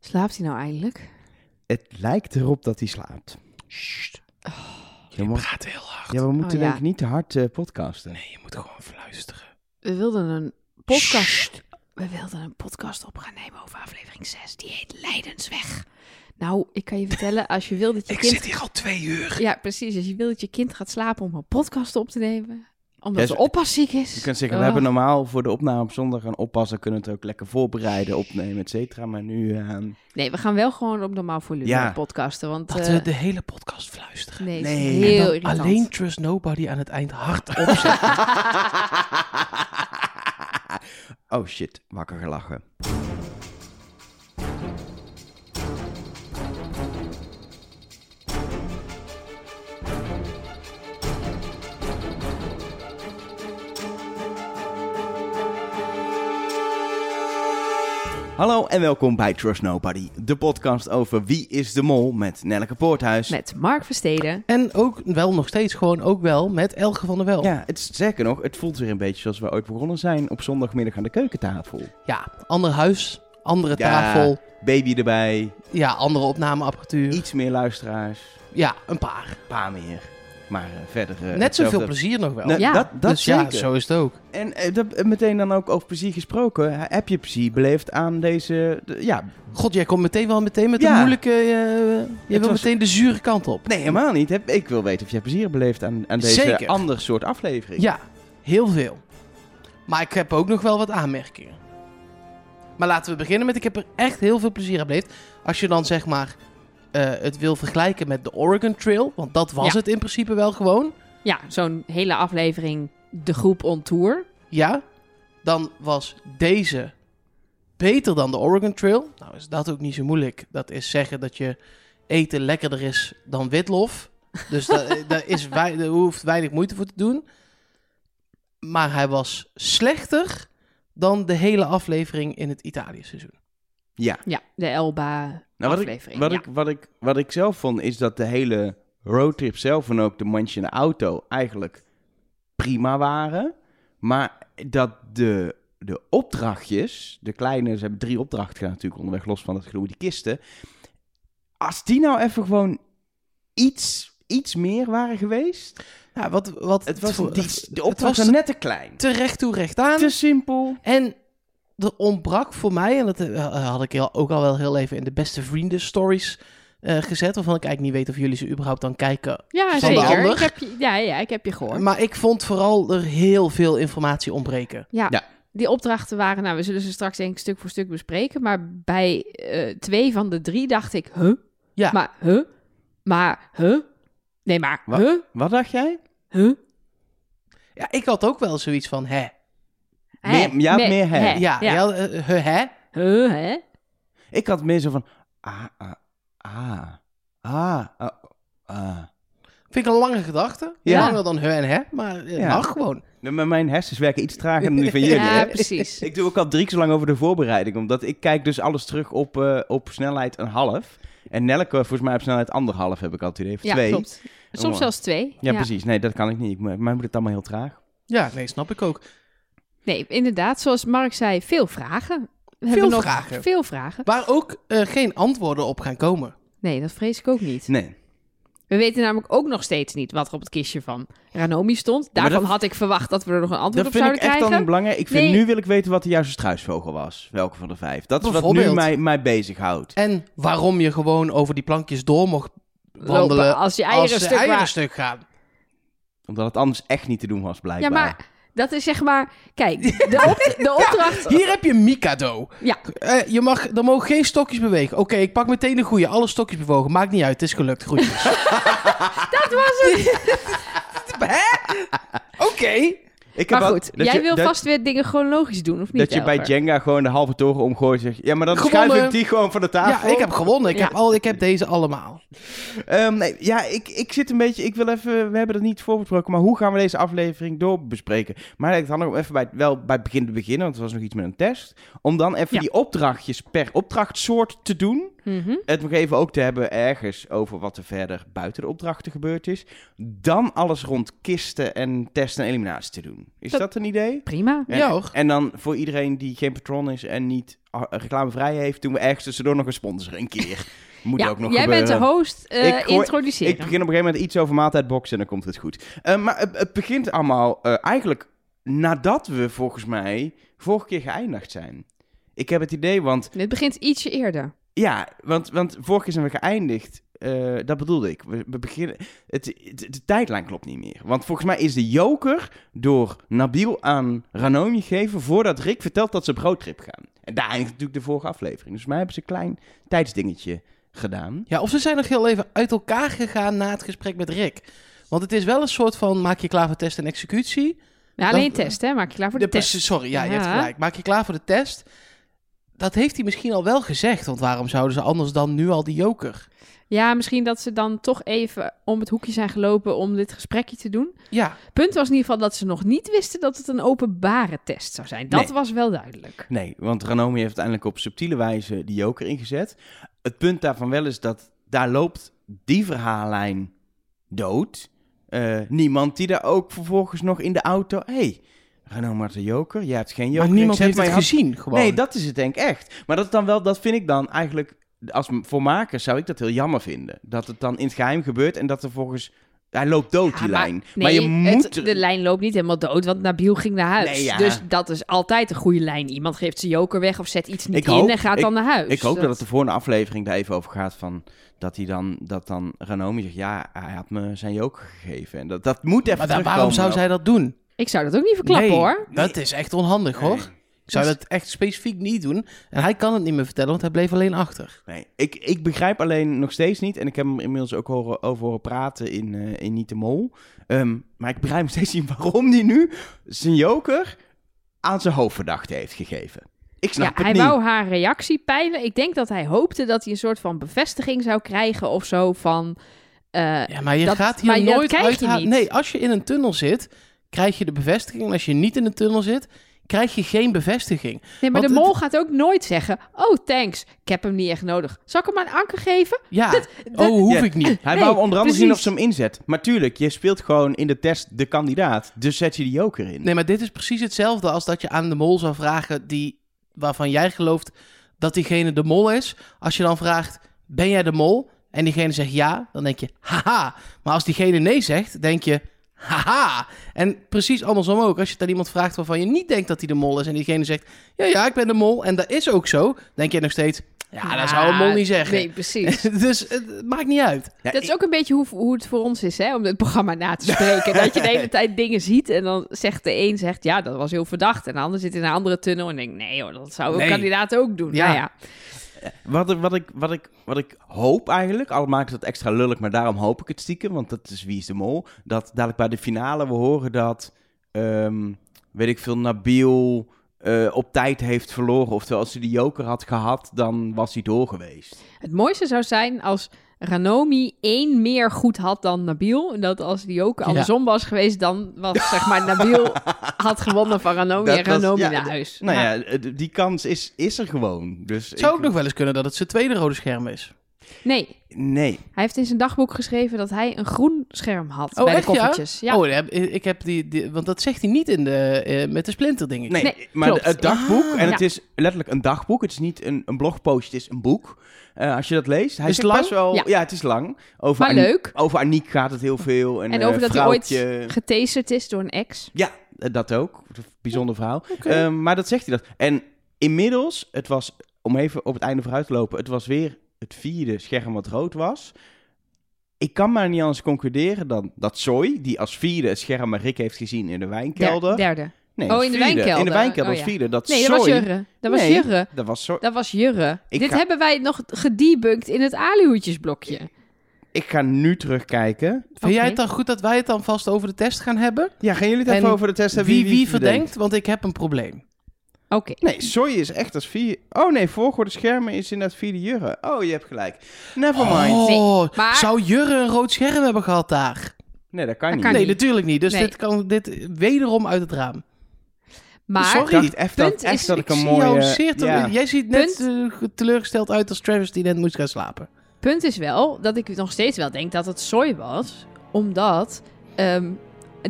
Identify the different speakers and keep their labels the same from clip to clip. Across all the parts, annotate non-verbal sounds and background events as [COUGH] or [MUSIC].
Speaker 1: Slaapt hij nou eindelijk?
Speaker 2: Het lijkt erop dat hij slaapt. Oh.
Speaker 3: Sst.
Speaker 2: Ja,
Speaker 3: Je
Speaker 2: maar-
Speaker 3: praat heel hard. Oh,
Speaker 2: Ja, we moeten
Speaker 1: ja.
Speaker 2: denk ik niet te hard eh, podcasten.
Speaker 3: Nee, je moet gewoon fluisteren.
Speaker 1: We wilden een podcast.
Speaker 3: Sst.
Speaker 1: We wilden een podcast op gaan nemen over aflevering 6. Die heet Leidensweg. Nou, ik kan je vertellen, als je wil dat je
Speaker 3: [LAUGHS] Ik
Speaker 1: kind...
Speaker 3: zit hier al twee uur.
Speaker 1: Ja, precies. Als je wil dat je kind gaat slapen om een podcast op te nemen. Omdat
Speaker 2: Ja,
Speaker 1: ze
Speaker 2: zo-
Speaker 1: oppasziek is.
Speaker 2: Je kunt zeggen, we
Speaker 1: Oh.
Speaker 2: hebben normaal voor de opname op zondag gaan oppassen. Kunnen we het ook lekker voorbereiden, opnemen, et cetera. Maar nu... eh,
Speaker 1: Nee, we gaan wel gewoon op normaal volume
Speaker 2: Ja.
Speaker 1: podcasten. Want
Speaker 3: Dat
Speaker 1: eh,
Speaker 3: we de hele podcast fluisteren.
Speaker 1: nee,
Speaker 2: Nee.
Speaker 1: is heel
Speaker 3: en dan
Speaker 1: irritant.
Speaker 3: alleen Trust Nobody aan het eind hard opzetten.
Speaker 2: oh shit, wakker gelachen. Hallo en welkom bij Trust Nobody, de podcast over Wie is de Mol met Nelleke Poorthuis.
Speaker 1: Met Mark Versteden.
Speaker 3: en ook wel nog steeds gewoon ook wel met Elge van der Wel.
Speaker 2: Ja, het, is- zeker nog, het voelt weer een beetje zoals we ooit begonnen zijn op zondagmiddag aan de keukentafel.
Speaker 3: Ja, ander huis, andere
Speaker 2: Ja.
Speaker 3: tafel,
Speaker 2: Baby erbij,
Speaker 3: ja, andere opnameapparatuur.
Speaker 2: iets meer luisteraars,
Speaker 3: Ja, een paar.
Speaker 2: een paar meer. Maar eh, verder... eh,
Speaker 3: Net
Speaker 2: hetzelfde.
Speaker 3: zoveel plezier nog wel.
Speaker 2: Nou,
Speaker 1: Ja.
Speaker 2: Dat, dat
Speaker 3: dus
Speaker 2: zeker.
Speaker 3: ja, zo is het ook.
Speaker 2: En eh, dat, eh, meteen dan ook over plezier gesproken. eh, Heb je plezier beleefd aan deze... de- ja,
Speaker 3: God, jij komt meteen wel meteen met
Speaker 2: Ja.
Speaker 3: een moeilijke... eh je wil
Speaker 2: was-
Speaker 3: meteen de zure kant op.
Speaker 2: nee, helemaal niet. Heb, ik wil weten of jij plezier beleeft aan, aan deze
Speaker 3: Zeker.
Speaker 2: ander soort aflevering.
Speaker 3: Ja, heel veel. Maar ik heb ook nog wel wat aanmerkingen. Maar laten we beginnen met, ik heb er echt heel veel plezier aan beleefd. Als je dan zeg maar eh, het wil vergelijken met de Oregon Trail, want dat was
Speaker 1: Ja.
Speaker 3: het in principe wel gewoon.
Speaker 1: Ja, zo'n hele aflevering De Groep on Tour.
Speaker 3: Ja, dan was deze beter dan de Oregon Trail. Nou is dat ook niet zo moeilijk. Dat is zeggen dat je eten lekkerder is dan witlof. Dus da-
Speaker 2: [LAUGHS]
Speaker 3: daar is wei- daar hoeft weinig moeite voor te doen. Maar hij was slechter dan de hele aflevering in het Italië-seizoen.
Speaker 2: Ja.
Speaker 1: Ja, de Elba
Speaker 2: Nou, wat, ik,
Speaker 1: aflevering.
Speaker 2: wat,
Speaker 1: ja.
Speaker 2: ik, wat, ik, wat ik zelf vond, is dat de hele roadtrip zelf en ook de mandje in de auto eigenlijk prima waren. Maar dat de, de opdrachtjes, de kleine, ze hebben drie opdrachten gedaan natuurlijk onderweg, los van het gedoe met die kisten. Als die nou even gewoon iets, iets meer waren geweest.
Speaker 3: Ja, wat, wat
Speaker 2: Het was,
Speaker 3: vo-
Speaker 2: die, de
Speaker 3: het was
Speaker 2: opdracht was net te klein.
Speaker 3: terecht toe recht aan.
Speaker 2: Te simpel.
Speaker 3: En er ontbrak voor mij, en dat eh, had ik heel- ook al wel heel even in de beste vrienden stories eh, gezet, waarvan ik eigenlijk niet weet of jullie ze überhaupt dan kijken.
Speaker 1: Ja,
Speaker 3: Van de
Speaker 1: zeker.
Speaker 3: ander.
Speaker 1: Ik heb je, ja, ja, ik heb je gehoord.
Speaker 3: Maar ik vond vooral er heel veel informatie ontbreken.
Speaker 1: ja,
Speaker 2: Ja.
Speaker 1: die opdrachten waren... Nou, we zullen ze straks denk ik stuk voor stuk bespreken. Maar bij eh, twee van de drie dacht ik... Huh?
Speaker 3: Ja.
Speaker 1: Maar, huh? Maar, huh? Nee, maar,
Speaker 2: Wat?
Speaker 1: huh?
Speaker 2: Wat dacht jij?
Speaker 1: Huh?
Speaker 3: Ja, ik had ook wel zoiets van, hè?
Speaker 1: Hè?
Speaker 2: Meer- ja, meer hè.
Speaker 3: Ja, ja.
Speaker 1: Ja.
Speaker 3: eh, hè, hè?
Speaker 1: Huh, hè?
Speaker 2: Ik had meer zo van. Ah, ah, ah, ah, ah, ah.
Speaker 3: Vind ik een lange gedachte.
Speaker 2: Ja.
Speaker 3: Langer dan hè en hè, maar eh,
Speaker 2: Ja.
Speaker 3: mag gewoon.
Speaker 2: Nou, maar Mijn hersens werken iets trager dan
Speaker 1: [LAUGHS]
Speaker 2: die van jullie.
Speaker 1: Ja,
Speaker 2: hè?
Speaker 1: precies.
Speaker 2: [LAUGHS] Ik doe ook al drie keer zo lang over de voorbereiding. Omdat ik kijk dus alles terug op, eh, op snelheid een half. En Nelke volgens mij op snelheid anderhalf heb ik al het idee. Of
Speaker 1: Ja,
Speaker 2: twee.
Speaker 1: klopt. Soms
Speaker 2: Jongen.
Speaker 1: zelfs twee.
Speaker 2: Ja, precies. Nee, dat kan ik niet. Maar mij moet het allemaal heel traag.
Speaker 3: Ja, nee, snap ik ook.
Speaker 1: Nee, inderdaad. Zoals Mark zei, veel vragen. We
Speaker 3: Veel
Speaker 1: hebben nog
Speaker 3: vragen.
Speaker 1: Veel vragen.
Speaker 3: Waar ook eh, geen antwoorden op gaan komen.
Speaker 1: Nee, dat vrees ik ook niet.
Speaker 2: Nee.
Speaker 1: We weten namelijk ook nog steeds niet wat er op het kistje van Ranomi stond.
Speaker 2: maar
Speaker 1: Daarvan
Speaker 2: dat-
Speaker 1: had ik verwacht dat we er nog een antwoord
Speaker 2: Dat
Speaker 1: op
Speaker 2: vind ik
Speaker 1: zouden
Speaker 2: echt
Speaker 1: krijgen.
Speaker 2: dan belangrijk. Ik vind
Speaker 1: Nee.
Speaker 2: nu wil ik weten wat de juiste struisvogel was. Welke van de vijf. Dat is wat nu
Speaker 3: Bijvoorbeeld.
Speaker 2: mij, mij bezighoudt.
Speaker 3: En waarom je gewoon over die plankjes door mocht wandelen
Speaker 1: Lopen als je eieren
Speaker 3: als de
Speaker 1: stuk
Speaker 3: eieren
Speaker 1: waren.
Speaker 3: stuk gaan.
Speaker 2: Omdat het anders echt niet te doen was, blijkbaar.
Speaker 1: Ja, maar dat is zeg maar... Kijk,
Speaker 2: [LAUGHS]
Speaker 1: de, op- de opdracht...
Speaker 3: Hier heb je Mikado.
Speaker 1: Ja.
Speaker 3: Eh, je mag, er mogen geen stokjes bewegen. Oké, ik pak meteen de goede. Alle stokjes bewogen. Maakt niet uit. Het is gelukt. Groetjes.
Speaker 2: [LAUGHS]
Speaker 1: Dat was het.
Speaker 3: Oké.
Speaker 2: ik heb
Speaker 1: Maar
Speaker 2: wel-
Speaker 1: goed,
Speaker 2: dat
Speaker 1: jij
Speaker 2: je-
Speaker 1: wil
Speaker 2: dat-
Speaker 1: vast weer dingen chronologisch doen, of niet,
Speaker 2: Dat je bij
Speaker 1: Elger?
Speaker 2: Jenga gewoon de halve toren omgooit en zegt... Ja, maar dan schuif
Speaker 3: Gewonnen.
Speaker 2: ik die gewoon van de
Speaker 3: Ja,
Speaker 2: tafel.
Speaker 3: ik heb gewonnen. Ik,
Speaker 1: Ja.
Speaker 3: heb al, ik heb deze allemaal.
Speaker 2: Ehm, nee, ja, ik, ik zit een beetje... Ik wil even... We hebben het niet voorbesproken, maar hoe gaan we deze aflevering doorbespreken? Maar ik had nog even bij, het- wel bij het begin te beginnen, want het was nog iets met een test. Om dan even
Speaker 1: Ja.
Speaker 2: die opdrachtjes per opdrachtsoort te doen.
Speaker 1: Mhm.
Speaker 2: het nog even ook te hebben ergens over wat er verder buiten de opdrachten gebeurd is. Dan alles rond kisten en testen en eliminatie te doen. Is
Speaker 1: Dat-
Speaker 2: dat, een idee?
Speaker 1: Prima.
Speaker 3: Ja,
Speaker 2: En-
Speaker 3: hoor.
Speaker 2: En dan voor iedereen die geen patron is en niet ah, reclamevrij heeft, doen we ergens tussendoor nog een sponsor een keer.
Speaker 1: [LAUGHS]
Speaker 2: Moet
Speaker 1: ja,
Speaker 2: ook nog
Speaker 1: jij
Speaker 2: gebeuren.
Speaker 1: bent de host. eh,
Speaker 2: Ik gooi-
Speaker 1: introduceren.
Speaker 2: Ik begin op een gegeven moment iets over maaltijdboxen en dan komt het goed. Eh, maar het, het begint allemaal eh, eigenlijk nadat we volgens mij vorige keer geëindigd zijn. Ik heb het idee, want
Speaker 1: Dit begint ietsje eerder.
Speaker 2: ja, want, want vorige keer zijn we geëindigd. Eh, dat bedoelde ik. We, we beginnen. Het, het- de tijdlijn klopt niet meer. Want volgens mij is de joker door Nabil aan Ranomi gegeven. voordat Rick vertelt dat ze op roadtrip gaan. En daar eindigt natuurlijk de vorige aflevering. Dus voor mij hebben ze een klein tijdsdingetje gedaan.
Speaker 3: Ja, of ze zijn nog heel even uit elkaar gegaan na het gesprek met Rick. Want het is wel een soort van maak je klaar voor test en executie.
Speaker 1: Ja, alleen
Speaker 3: Dan-
Speaker 1: test, hè? Maak je klaar voor de,
Speaker 3: Ja,
Speaker 1: test.
Speaker 3: precies, Sorry, ja, je hebt
Speaker 1: Ja.
Speaker 3: gelijk. Maak je klaar voor de test. Dat heeft hij misschien al wel gezegd. Want waarom zouden ze anders dan nu al die joker?
Speaker 1: Ja, misschien dat ze dan toch even om het hoekje zijn gelopen om dit gesprekje te doen.
Speaker 3: Ja,
Speaker 1: Punt was in ieder geval dat ze nog niet wisten dat het een openbare test zou zijn. Dat
Speaker 2: Nee.
Speaker 1: was wel duidelijk.
Speaker 2: Nee, want Ranomi heeft uiteindelijk op subtiele wijze die joker ingezet. Het punt daarvan wel is dat daar loopt die verhaallijn dood. Eh, niemand die daar ook vervolgens nog in de auto... Hé, hey, Ranomi had de joker, jij hebt geen joker
Speaker 3: maar niemand
Speaker 2: ingezet,
Speaker 3: heeft
Speaker 2: maar
Speaker 3: het
Speaker 2: je had-
Speaker 3: gezien gewoon.
Speaker 2: Nee, dat is het denk ik echt. Maar dat, is dan wel, dat vind ik dan eigenlijk... Als m- voor makers zou ik dat heel jammer vinden. Dat het dan in het geheim gebeurt en dat er volgens... Hij loopt dood,
Speaker 1: Ja,
Speaker 2: die
Speaker 1: maar-
Speaker 2: lijn.
Speaker 1: nee,
Speaker 2: maar je moet...
Speaker 1: het- de lijn loopt niet helemaal dood, want Nabil ging naar huis.
Speaker 2: Nee, ja.
Speaker 1: Dus dat is altijd een goede lijn. Iemand geeft zijn joker weg of zet iets niet
Speaker 2: Ik
Speaker 1: in
Speaker 2: hoop-
Speaker 1: en gaat dan naar huis.
Speaker 2: Ik hoop dat het de volgende aflevering daar even over gaat van dat hij dan dat dan Ranomi zegt ja hij had me zijn joker gegeven en dat dat moet even
Speaker 3: maar dan, waarom zou zij dat doen?
Speaker 1: Ik zou dat ook niet verklappen,
Speaker 3: Nee,
Speaker 1: hoor.
Speaker 3: dat is echt onhandig
Speaker 2: Nee.
Speaker 3: hoor. Ik zou dat echt specifiek niet doen. En hij kan het niet meer vertellen, want hij bleef alleen achter.
Speaker 2: Nee, ik, ik begrijp alleen nog steeds niet en ik heb hem inmiddels ook horen, over horen praten in eh, in niet de mol, Ehm, maar ik begrijp nog steeds niet waarom die nu zijn joker aan zijn hoofdverdachte heeft gegeven. Ik snap
Speaker 1: ja,
Speaker 2: het
Speaker 1: hij
Speaker 2: niet.
Speaker 1: wou haar reactie peilen. Ik denk dat hij hoopte dat hij een soort van bevestiging zou krijgen of zo van... eh,
Speaker 3: Ja, maar je
Speaker 1: Dat-
Speaker 3: gaat hier
Speaker 1: maar dat
Speaker 3: nooit
Speaker 1: krijg je
Speaker 3: uit haar-
Speaker 1: niet.
Speaker 3: Nee, als je in een tunnel zit, krijg je de bevestiging. En als je niet in een tunnel zit, krijg je geen bevestiging.
Speaker 1: nee, maar de
Speaker 3: Want
Speaker 1: mol
Speaker 3: het-
Speaker 1: gaat ook nooit zeggen... Oh, thanks, ik heb hem niet echt nodig. Zal ik hem aan Anker geven?
Speaker 3: Ja,
Speaker 1: dat-
Speaker 3: oh, hoef
Speaker 2: Ja.
Speaker 3: ik niet.
Speaker 2: Hij
Speaker 1: Nee,
Speaker 2: wou onder andere zien of
Speaker 1: precies.
Speaker 2: ze hem inzet. Maar tuurlijk, je speelt gewoon in de test de kandidaat. Dus zet je die joker in.
Speaker 3: Nee, maar dit is precies hetzelfde als dat je aan de mol zou vragen die, waarvan jij gelooft dat diegene de mol is. Als je dan vraagt, ben jij de mol? En diegene zegt ja, dan denk je, haha. Maar als diegene nee zegt, denk je, haha. En precies andersom ook. Als je het aan iemand vraagt waarvan je niet denkt dat hij de mol is... en diegene zegt, ja, ja, ik ben de mol en dat is ook zo... denk je nog steeds, ja, dat zou een mol niet zeggen.
Speaker 1: Nou, Nee, precies.
Speaker 3: [LAUGHS] dus het maakt niet uit.
Speaker 2: Ja,
Speaker 1: dat is ook een beetje hoe, hoe het voor ons is, hè, om dit programma na te spreken. dat je de
Speaker 2: [LAUGHS]
Speaker 1: hele tijd dingen ziet en dan zegt de een zegt, ja, dat was heel verdacht. En de ander zit in een andere tunnel en denkt, nee hoor, dat zou een
Speaker 3: Nee.
Speaker 1: kandidaat ook doen.
Speaker 3: Ja.
Speaker 1: Nou ja.
Speaker 2: Wat, ik- wat, ik, wat, ik, wat ik hoop eigenlijk, al maakt het extra lullig, maar daarom hoop ik het stiekem, want dat is Wie is de Mol. Dat dadelijk bij de finale we horen dat, ehm, weet ik veel, Nabil eh, op tijd heeft verloren. Oftewel, als hij de joker had gehad, dan was hij door geweest.
Speaker 1: Het mooiste zou zijn als Ranomi één meer goed had dan Nabil. En dat als die ook andersom was geweest, dan was zeg maar
Speaker 2: [LAUGHS]
Speaker 1: Nabil had gewonnen van Ranomi
Speaker 2: Dat
Speaker 1: en
Speaker 2: was-
Speaker 1: Ranomi
Speaker 2: ja,
Speaker 1: naar
Speaker 2: d-
Speaker 1: huis.
Speaker 2: Nou
Speaker 1: Ja.
Speaker 2: ja, eh, d- die kans is, is er gewoon. Dus
Speaker 3: Het zou
Speaker 2: ik-
Speaker 3: ook nog wel eens kunnen dat het zijn tweede rode scherm is.
Speaker 1: Nee,
Speaker 2: Nee,
Speaker 1: hij heeft in zijn dagboek geschreven dat hij een groen scherm had
Speaker 3: Oh,
Speaker 1: bij
Speaker 3: echt,
Speaker 1: de
Speaker 3: ja?
Speaker 1: koffertjes. Ja?
Speaker 3: Oh, ja, ik heb die, die- want dat zegt hij niet in de, eh, met de splinter, denk ik.
Speaker 2: nee,
Speaker 1: Nee,
Speaker 2: maar
Speaker 1: klopt. Ah,
Speaker 2: het dagboek, en het
Speaker 1: Ja.
Speaker 2: is letterlijk een dagboek, het is niet een, een blogpost, het is een boek. Eh, als je dat leest, hij
Speaker 3: Is
Speaker 2: zit
Speaker 3: het lang?
Speaker 2: best wel...
Speaker 1: Ja.
Speaker 2: Ja. het is lang. Over
Speaker 1: maar
Speaker 2: An-
Speaker 1: leuk.
Speaker 2: Over Aniek gaat het heel veel. En,
Speaker 1: En
Speaker 2: eh,
Speaker 1: over dat hij ooit
Speaker 2: vrouwtje.
Speaker 1: getaserd is door een ex.
Speaker 2: Ja, eh, dat ook. Bijzonder verhaal.
Speaker 3: Oké.
Speaker 2: Ehm, maar dat zegt hij dat. En inmiddels, het was, om even op het einde vooruit te lopen... het was weer het vierde scherm wat rood was. Ik kan maar niet anders concluderen dan dat Zoe... die als vierde het scherm met Rick heeft gezien in de wijnkelder...
Speaker 1: Der- Derde.
Speaker 2: nee,
Speaker 1: Oh,
Speaker 2: als
Speaker 1: in de
Speaker 2: vierde. In de
Speaker 1: wijnkelder.
Speaker 2: wijnkelder
Speaker 1: Oh,
Speaker 2: als
Speaker 1: ja.
Speaker 2: vierde. Dat
Speaker 1: Nee, dat
Speaker 2: Zoe...
Speaker 1: was Jurre. Dat was
Speaker 2: Nee.
Speaker 1: Jurre.
Speaker 2: Dat was Zoe.
Speaker 1: Dat was Jurre.
Speaker 2: Ik
Speaker 1: Dit
Speaker 2: ga-
Speaker 1: hebben wij nog gedebunked in het alihoedjesblokje.
Speaker 2: Ik ga nu terugkijken.
Speaker 3: Vind jij
Speaker 1: Oké.
Speaker 3: het dan goed dat wij het dan vast over de test gaan hebben?
Speaker 2: Ja, gaan jullie het even
Speaker 3: En
Speaker 2: over de test
Speaker 3: Wie
Speaker 2: hebben?
Speaker 3: wie, verdenkt, want ik heb een probleem.
Speaker 1: Oké.
Speaker 2: Nee, Soy is echt als vier. Oh nee, volgorde schermen is inderdaad vierde jurre. Oh, je hebt gelijk. Never mind.
Speaker 3: Oh,
Speaker 1: maar-
Speaker 3: zou Jurre een rood scherm hebben gehad daar?
Speaker 2: Nee, dat kan
Speaker 1: Dat
Speaker 2: niet.
Speaker 1: kan
Speaker 3: nee,
Speaker 1: niet.
Speaker 3: natuurlijk niet. Dus
Speaker 1: Nee.
Speaker 3: dit kan dit wederom uit het raam.
Speaker 1: Maar
Speaker 2: Ik
Speaker 3: Sorry.
Speaker 2: dacht echt dat,
Speaker 1: Punt
Speaker 2: echt
Speaker 1: is,
Speaker 2: dat ik
Speaker 1: ik
Speaker 2: een
Speaker 3: Zie
Speaker 2: mooie...
Speaker 3: jou zeer tele-
Speaker 2: ja.
Speaker 3: Jij ziet net eh, teleurgesteld uit als Travis die net moest gaan slapen.
Speaker 1: punt is wel dat ik nog steeds wel denk dat het sooi was. Omdat ehm,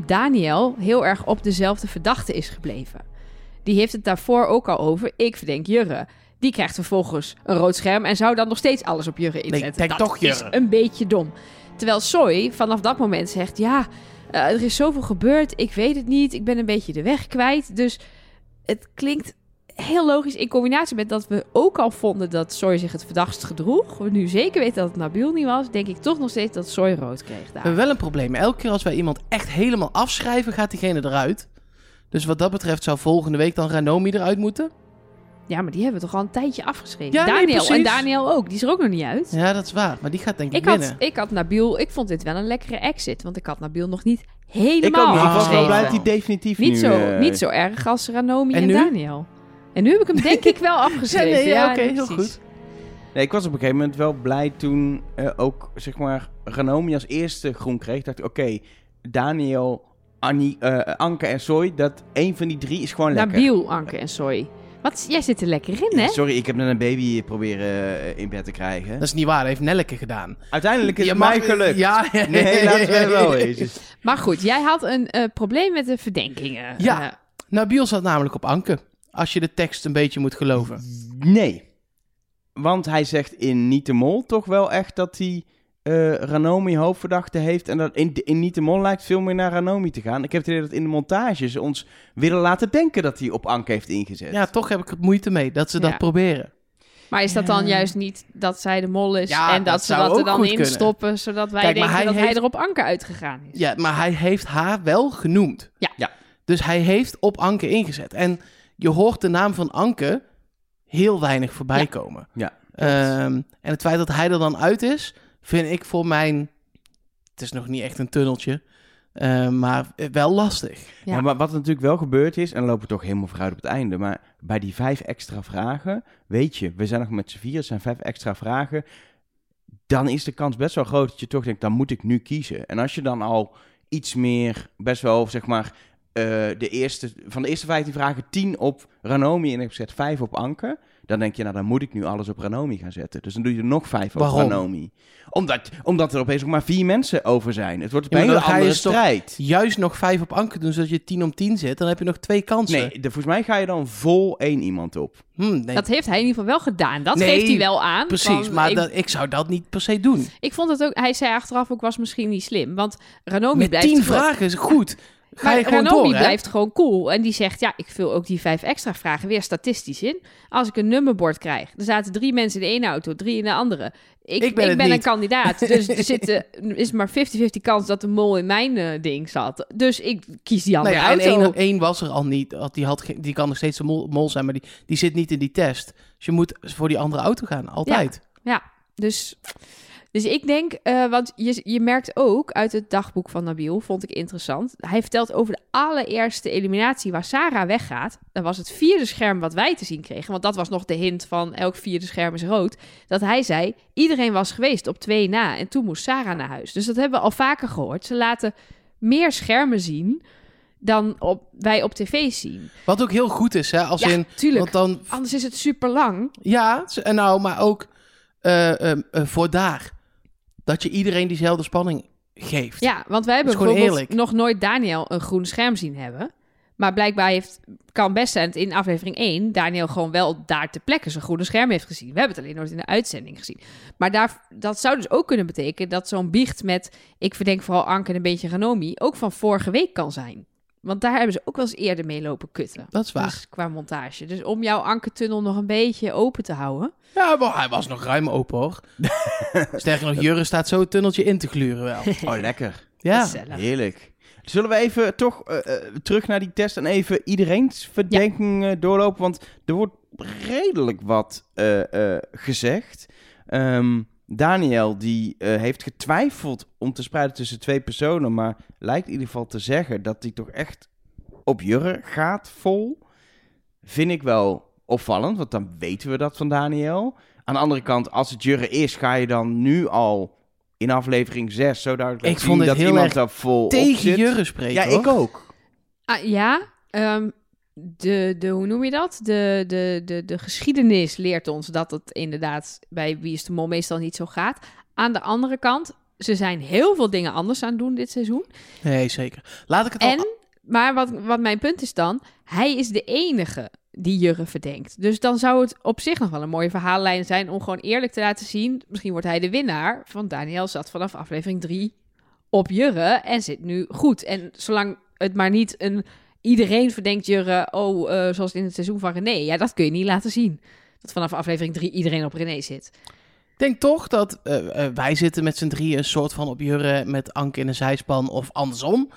Speaker 1: Daniel heel erg op dezelfde verdachte is gebleven. Die heeft het daarvoor ook al over. Ik verdenk Jurre. Die krijgt vervolgens een rood scherm en zou dan nog steeds alles op Jurre inzetten.
Speaker 3: ik denk
Speaker 1: dat
Speaker 3: toch
Speaker 1: is
Speaker 3: Jurre.
Speaker 1: een beetje dom. Terwijl Soy vanaf dat moment zegt... Ja, eh, er is zoveel gebeurd. Ik weet het niet. Ik ben een beetje de weg kwijt. Dus het klinkt heel logisch in combinatie met dat we ook al vonden dat Soy zich het verdachtst gedroeg. We nu zeker weten dat het Nabil niet was. Denk ik toch nog steeds dat Soy rood kreeg
Speaker 3: We
Speaker 1: daar.
Speaker 3: hebben wel een probleem. Elke keer als wij iemand echt helemaal afschrijven, gaat diegene eruit. Dus wat dat betreft zou volgende week dan Ranomi eruit moeten.
Speaker 1: Ja, maar die hebben we toch al een tijdje afgeschreven.
Speaker 3: Ja, nee,
Speaker 1: Daniel en
Speaker 3: precies.
Speaker 1: Daniel ook. Die is er ook nog niet uit.
Speaker 3: Ja, dat is waar. Maar die gaat denk ik,
Speaker 1: Ik had,
Speaker 3: winnen.
Speaker 1: ik had Nabil, ik vond dit wel een lekkere exit, want ik had Nabil nog niet
Speaker 2: Ik, ook
Speaker 1: helemaal
Speaker 2: niet. ik was wel
Speaker 1: afgeschreven.
Speaker 2: blij dat hij definitief
Speaker 1: niet,
Speaker 2: nu,
Speaker 1: zo,
Speaker 2: eh,
Speaker 1: niet zo erg als Ranomi en,
Speaker 3: En nu?
Speaker 1: Daniel. En nu heb ik hem denk ik wel afgeschreven.
Speaker 3: Ja, [LAUGHS] nee, ja, oké, heel
Speaker 1: precies.
Speaker 2: Nee, ik was op een gegeven moment wel blij toen eh, ook, zeg maar, Ranomi als eerste groen kreeg. Dacht ik, oké, Daniel, Annie, eh, Anke en Soy, dat één van die drie is gewoon lekker.
Speaker 1: Nabil, Nou, Anke en Soy. Wat, jij zit er lekker in, hè?
Speaker 2: Ja, Sorry, ik heb net een baby proberen eh, in bed te krijgen.
Speaker 3: Dat is niet waar, dat heeft Nelleke gedaan.
Speaker 2: Uiteindelijk is
Speaker 3: Je
Speaker 2: het
Speaker 3: mag-
Speaker 2: mij gelukt.
Speaker 3: Ja, [LAUGHS]
Speaker 2: Nee, laten we wel eens.
Speaker 1: Maar goed, jij had een eh, probleem met de verdenkingen.
Speaker 3: Ja.
Speaker 1: Eh,
Speaker 3: Nabil Nou, zat namelijk op Anke. Als je de tekst een beetje moet geloven.
Speaker 2: Nee. Want hij zegt in Niet de Mol toch wel echt dat hij eh, Ranomi hoofdverdachte heeft. En dat in, in Niet de Mol lijkt veel meer naar Ranomi te gaan. Ik heb het idee dat in de montages ons willen laten denken dat hij op Anke heeft ingezet.
Speaker 3: Ja, toch heb ik het moeite mee dat ze dat
Speaker 1: Ja.
Speaker 3: proberen.
Speaker 1: Maar is dat dan juist niet dat zij de mol is
Speaker 3: Ja,
Speaker 1: en dat,
Speaker 3: dat
Speaker 1: ze
Speaker 3: zou
Speaker 1: dat er
Speaker 3: ook
Speaker 1: dan
Speaker 3: goed
Speaker 1: in
Speaker 3: kunnen.
Speaker 1: stoppen, zodat wij
Speaker 3: Kijk, maar
Speaker 1: denken
Speaker 3: hij
Speaker 1: dat hij
Speaker 3: heeft-
Speaker 1: er op Anke uitgegaan is?
Speaker 3: Ja, maar hij heeft haar wel genoemd.
Speaker 1: Ja.
Speaker 2: Ja.
Speaker 3: Dus hij heeft op Anke ingezet. En je hoort de naam van Anke heel weinig voorbij
Speaker 1: Ja.
Speaker 3: komen.
Speaker 2: Ja.
Speaker 3: Ehm, en het feit dat hij er dan uit is, vind ik voor mijn... Het is nog niet echt een tunneltje, eh, maar wel lastig.
Speaker 1: Ja.
Speaker 2: Ja, maar wat natuurlijk wel gebeurd is, en dan lopen we toch helemaal vooruit op het einde, maar bij die vijf extra vragen, weet je, we zijn nog met z'n vier, het zijn vijf extra vragen, dan is de kans best wel groot dat je toch denkt, dan moet ik nu kiezen. En als je dan al iets meer, best wel, zeg maar, eh, de eerste, van de eerste 15 vragen, 10 op Ranomi en ik zet 5 op Anker, dan denk je, nou dan moet ik nu alles op Ranomi gaan zetten. Dus dan doe je er nog 5 op
Speaker 3: Waarom?
Speaker 2: Ranomi. Omdat, omdat er opeens nog maar vier mensen over zijn. Het wordt
Speaker 3: Ja,
Speaker 2: een
Speaker 3: maar
Speaker 2: hele
Speaker 3: dan ga je
Speaker 2: andere
Speaker 3: dus toch-
Speaker 2: strijd.
Speaker 3: Juist nog vijf op Anke doen, zodat je tien om tien zit. Dan heb je nog twee kansen.
Speaker 2: Nee, de- volgens mij ga je dan vol één iemand op.
Speaker 3: [LAUGHS] Hmm, nee.
Speaker 1: Dat heeft hij in ieder geval wel gedaan. Dat
Speaker 3: Nee,
Speaker 1: geeft hij wel aan.
Speaker 3: Precies,
Speaker 1: van,
Speaker 3: maar
Speaker 1: ik,
Speaker 3: ik... Dat, ik zou dat niet per se doen.
Speaker 1: ik vond het ook. Hij zei achteraf ook was misschien niet slim, want Ranomi
Speaker 3: Met
Speaker 1: blijft
Speaker 3: tien
Speaker 1: gewoon-
Speaker 3: vragen is goed. Ga
Speaker 1: Maar
Speaker 3: je gewoon
Speaker 1: Ranomi
Speaker 3: door, hè?
Speaker 1: blijft gewoon cool. En die zegt, ja, ik vul ook die vijf extra vragen weer statistisch in. Als ik een nummerbord krijg. Er zaten drie mensen in de ene auto, drie in de andere. Ik,
Speaker 3: Ik ben het
Speaker 1: een
Speaker 3: niet. [LAUGHS]
Speaker 1: kandidaat. Dus er zitten, is maar 50-50 kans dat de mol in mijn eh, ding zat. Dus ik kies die
Speaker 3: Nou
Speaker 1: andere
Speaker 3: ja, en
Speaker 1: auto.
Speaker 3: één, één was er al niet. Had- Die, had, geen- die kan nog steeds een mol, mol zijn, maar die, die zit niet in die test. Dus je moet voor die andere auto gaan, altijd.
Speaker 1: Dus, dus ik denk, eh, want je, je merkt ook uit het dagboek van Nabil, vond ik interessant. Hij vertelt over de allereerste eliminatie waar Sarah weggaat. Dat was het vierde scherm wat wij te zien kregen. Want dat was nog de hint van elk vierde scherm is rood. Dat hij zei, iedereen was geweest op twee na en toen moest Sarah naar huis. Dus dat hebben we al vaker gehoord. Ze laten meer schermen zien dan op, wij op tv zien.
Speaker 3: Wat ook heel goed is, hè? Als
Speaker 1: ja,
Speaker 3: in,
Speaker 1: tuurlijk.
Speaker 3: want dan,
Speaker 1: Anders is het super lang.
Speaker 3: ja, ze- en nou, maar ook eh, ehm, eh, voor daar. Dat je iedereen diezelfde spanning geeft.
Speaker 1: Ja, want wij hebben
Speaker 3: Dat is gewoon
Speaker 1: bijvoorbeeld nog nooit Daniel een groen scherm zien hebben. Maar blijkbaar heeft, kan best zijn dat in aflevering 1 Daniel gewoon wel daar ter plekke zijn groene scherm heeft gezien. We hebben het alleen nooit in de uitzending gezien. Maar daar, dat zou dus ook kunnen betekenen dat zo'n biecht met, ik verdenk vooral Anke en een beetje Ranomi, ook van vorige week kan zijn. Want daar hebben ze ook wel eens eerder mee lopen kutten.
Speaker 3: Dat is waar.
Speaker 1: Dus qua montage. Dus om jouw Anke-tunnel nog een beetje open te houden.
Speaker 3: Ja, maar hij was nog ruim open, hoor. Sterker nog, Jurre staat zo het tunneltje in te gluren wel.
Speaker 2: Oh, lekker.
Speaker 3: Ja.
Speaker 1: Gezellig.
Speaker 2: Heerlijk. Zullen we even toch eh, eh, terug naar die test en even iedereen's verdenkingen doorlopen? Want er wordt redelijk wat eh, eh, gezegd. Ehm, Daniel die eh, heeft getwijfeld om te spreiden tussen twee personen, maar lijkt in ieder geval te zeggen dat hij toch echt op Jurre gaat vol. Vind ik wel opvallend, want dan weten we dat van Daniel. Aan de andere kant, als het Jurre is, ga je dan nu al in aflevering 6 zo duidelijk
Speaker 3: Ik
Speaker 2: laten
Speaker 3: vond
Speaker 2: zien dat
Speaker 3: het heel
Speaker 2: iemand
Speaker 3: erg
Speaker 2: daar vol op
Speaker 3: Tegen
Speaker 2: zit.
Speaker 3: Jurre spreken,
Speaker 2: Ja,
Speaker 3: hoor.
Speaker 2: ik ook.
Speaker 1: Ah, ja, ehm, de, de, hoe noem je dat? De, de, de, de geschiedenis leert ons dat het inderdaad bij Wie is de Mol meestal niet zo gaat. Aan de andere kant, ze zijn heel veel dingen anders aan het doen dit seizoen.
Speaker 3: Nee, zeker. Laat ik het
Speaker 1: En,
Speaker 3: al...
Speaker 1: maar wat, wat mijn punt is dan, hij is de enige die Jurre verdenkt. Dus dan zou het op zich nog wel een mooie verhaallijn zijn om gewoon eerlijk te laten zien. Misschien wordt hij de winnaar. Van Daniel zat vanaf aflevering 3 op Jurre en zit nu goed. En zolang het maar niet een iedereen verdenkt Jurre, oh, eh, zoals in het seizoen van René. Ja, dat kun je niet laten zien. Dat vanaf aflevering 3 iedereen op René zit.
Speaker 3: Ik denk toch dat eh, eh, wij zitten met z'n drieën een soort van op jurren met Anke in een zijspan of andersom.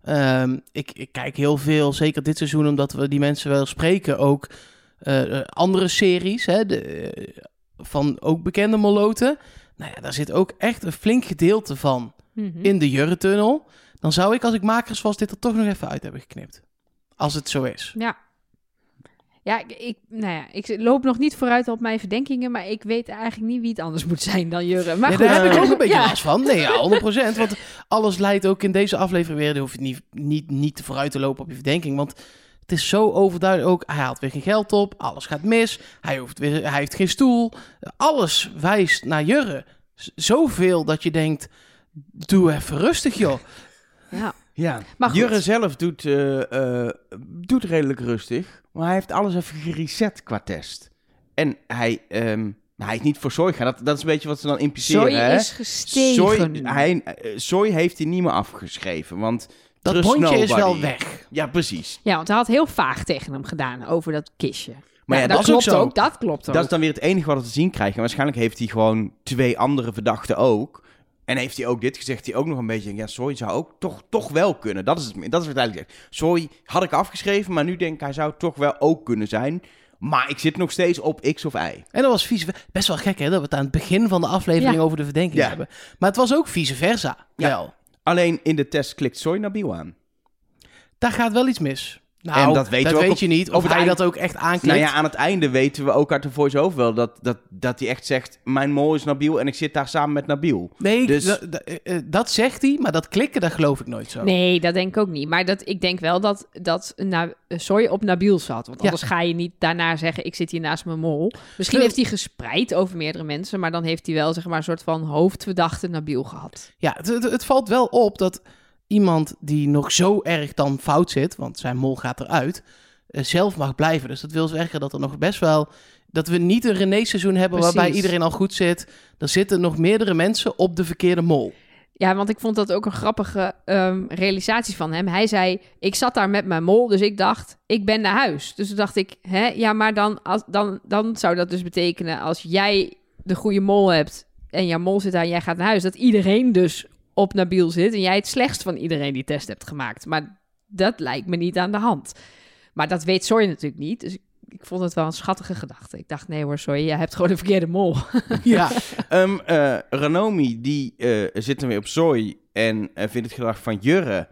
Speaker 3: Ehm, ik, ik kijk heel veel, zeker dit seizoen, omdat we die mensen wel spreken. Ook eh, eh, andere series hè, de, eh, van ook bekende moloten. Nou ja, daar zit ook echt een flink gedeelte van
Speaker 1: Hm?
Speaker 3: in de jurrentunnel. Dan zou ik als ik makers was dit er toch nog even uit hebben geknipt. Als het zo is.
Speaker 1: Ja. Ja, ik, ik, nou ja, ik loop nog niet vooruit op mijn verdenkingen, maar ik weet eigenlijk niet wie het anders moet zijn dan Jurre. Maar
Speaker 3: Ja,
Speaker 1: goed,
Speaker 3: daar
Speaker 1: [LAUGHS]
Speaker 3: heb ik ook een beetje
Speaker 1: ja.
Speaker 3: last van. Nee, ja, 100%. Want alles leidt ook in deze aflevering weer. Je hoeft niet, niet, niet te vooruit te lopen op je verdenking. Want het is zo overduidelijk ook. Hij haalt weer geen geld op. Alles gaat mis. Hij, hoeft weer, hij heeft geen stoel. Alles wijst naar Jurre. Z- Zoveel dat je denkt. Doe even rustig, joh.
Speaker 1: Ja.
Speaker 2: Ja,
Speaker 1: Maar goed.
Speaker 2: Jurre zelf doet, eh, eh, doet redelijk rustig, maar hij heeft alles even gereset qua test. En hij, ehm, hij is niet voor Soy gaan. Dat, dat is een beetje wat ze dan impliceren.
Speaker 1: Zoe
Speaker 2: hè?
Speaker 1: is gestegen.
Speaker 2: Soy- hij, eh, Soy heeft hij niet meer afgeschreven, want...
Speaker 3: Dat
Speaker 2: trust
Speaker 3: bondje is
Speaker 2: nobody.
Speaker 3: wel weg.
Speaker 2: Ja, precies.
Speaker 1: Ja, want hij had heel vaag tegen hem gedaan over dat kistje.
Speaker 2: Maar
Speaker 1: Nou,
Speaker 2: ja, dat,
Speaker 1: klopt
Speaker 2: is ook zo.
Speaker 1: Dat klopt ook.
Speaker 2: Dat is dan weer het enige wat we te zien krijgen. En waarschijnlijk heeft hij gewoon twee andere verdachten ook. En heeft hij ook dit gezegd, die ook nog een beetje... denkt, Ja, Soy zou ook toch, toch wel kunnen. Dat is, het, dat is wat hij eigenlijk zegt. Soy had ik afgeschreven, maar nu denk ik... hij zou toch wel ook kunnen zijn. Maar ik zit nog steeds op X of Y.
Speaker 3: En dat was vice Best wel gek, hè? Dat we het aan het begin van de aflevering
Speaker 1: Ja.
Speaker 3: over de verdenking
Speaker 2: Ja.
Speaker 3: hebben. Maar het was ook vice versa.
Speaker 2: Ja.
Speaker 3: Wel.
Speaker 2: Alleen in de test klikt Soy Nabil aan.
Speaker 3: Daar gaat wel iets mis. Nou,
Speaker 2: En dat weten we ook op-
Speaker 3: je niet. Of
Speaker 2: over het
Speaker 3: hij
Speaker 2: eind-
Speaker 3: dat ook echt aanklikt.
Speaker 2: Nou ja, aan het einde weten we ook uit de voice-over wel... dat, dat, dat hij echt zegt, mijn mol is Nabil... en ik zit daar samen met Nabil.
Speaker 3: Nee,
Speaker 2: Dus-
Speaker 3: da- da- eh, eh, dat zegt hij, maar dat klikken, dat geloof ik nooit zo.
Speaker 1: Nee, dat denk ik ook niet. Maar dat, ik denk wel dat, dat na, Soy op Nabil zat. Want
Speaker 3: Ja.
Speaker 1: anders ga je niet daarna zeggen, ik zit hier naast mijn mol. Misschien
Speaker 3: Nee.
Speaker 1: heeft hij gespreid over meerdere mensen, maar dan heeft hij wel zeg maar, een soort van hoofdverdachte Nabil gehad.
Speaker 3: Ja, het, het, het valt wel op dat iemand die nog zo erg dan fout zit, want zijn mol gaat eruit, eh, zelf mag blijven. Dus dat wil zeggen dat er nog best wel... Dat we niet een René-seizoen hebben waarbij
Speaker 1: Precies.
Speaker 3: iedereen al goed zit. Er zitten nog meerdere mensen op de verkeerde
Speaker 1: [LAUGHS]
Speaker 3: mol.
Speaker 1: Ja, want ik vond dat ook een grappige ehm, realisatie van hem. Hij zei, ik zat daar met mijn mol, dus ik dacht, ik ben naar huis. Dus toen dacht ik, hè, ja, maar dan, als, dan, dan zou dat dus betekenen... als jij de goede mol hebt en jouw mol zit daar en jij gaat naar huis... dat iedereen dus op Nabil zit en jij het slechtst van iedereen die test hebt gemaakt. Maar dat lijkt me niet aan de hand. Maar dat weet Sorry natuurlijk niet, dus ik, ik vond het wel een schattige gedachte. Ik dacht, nee hoor, Sorry, jij hebt gewoon de verkeerde mol.
Speaker 3: Ja,
Speaker 2: [LAUGHS] Ehm eh, Ranomi, die eh, zit dan weer op zooi en eh, vindt het gedrag van Jurre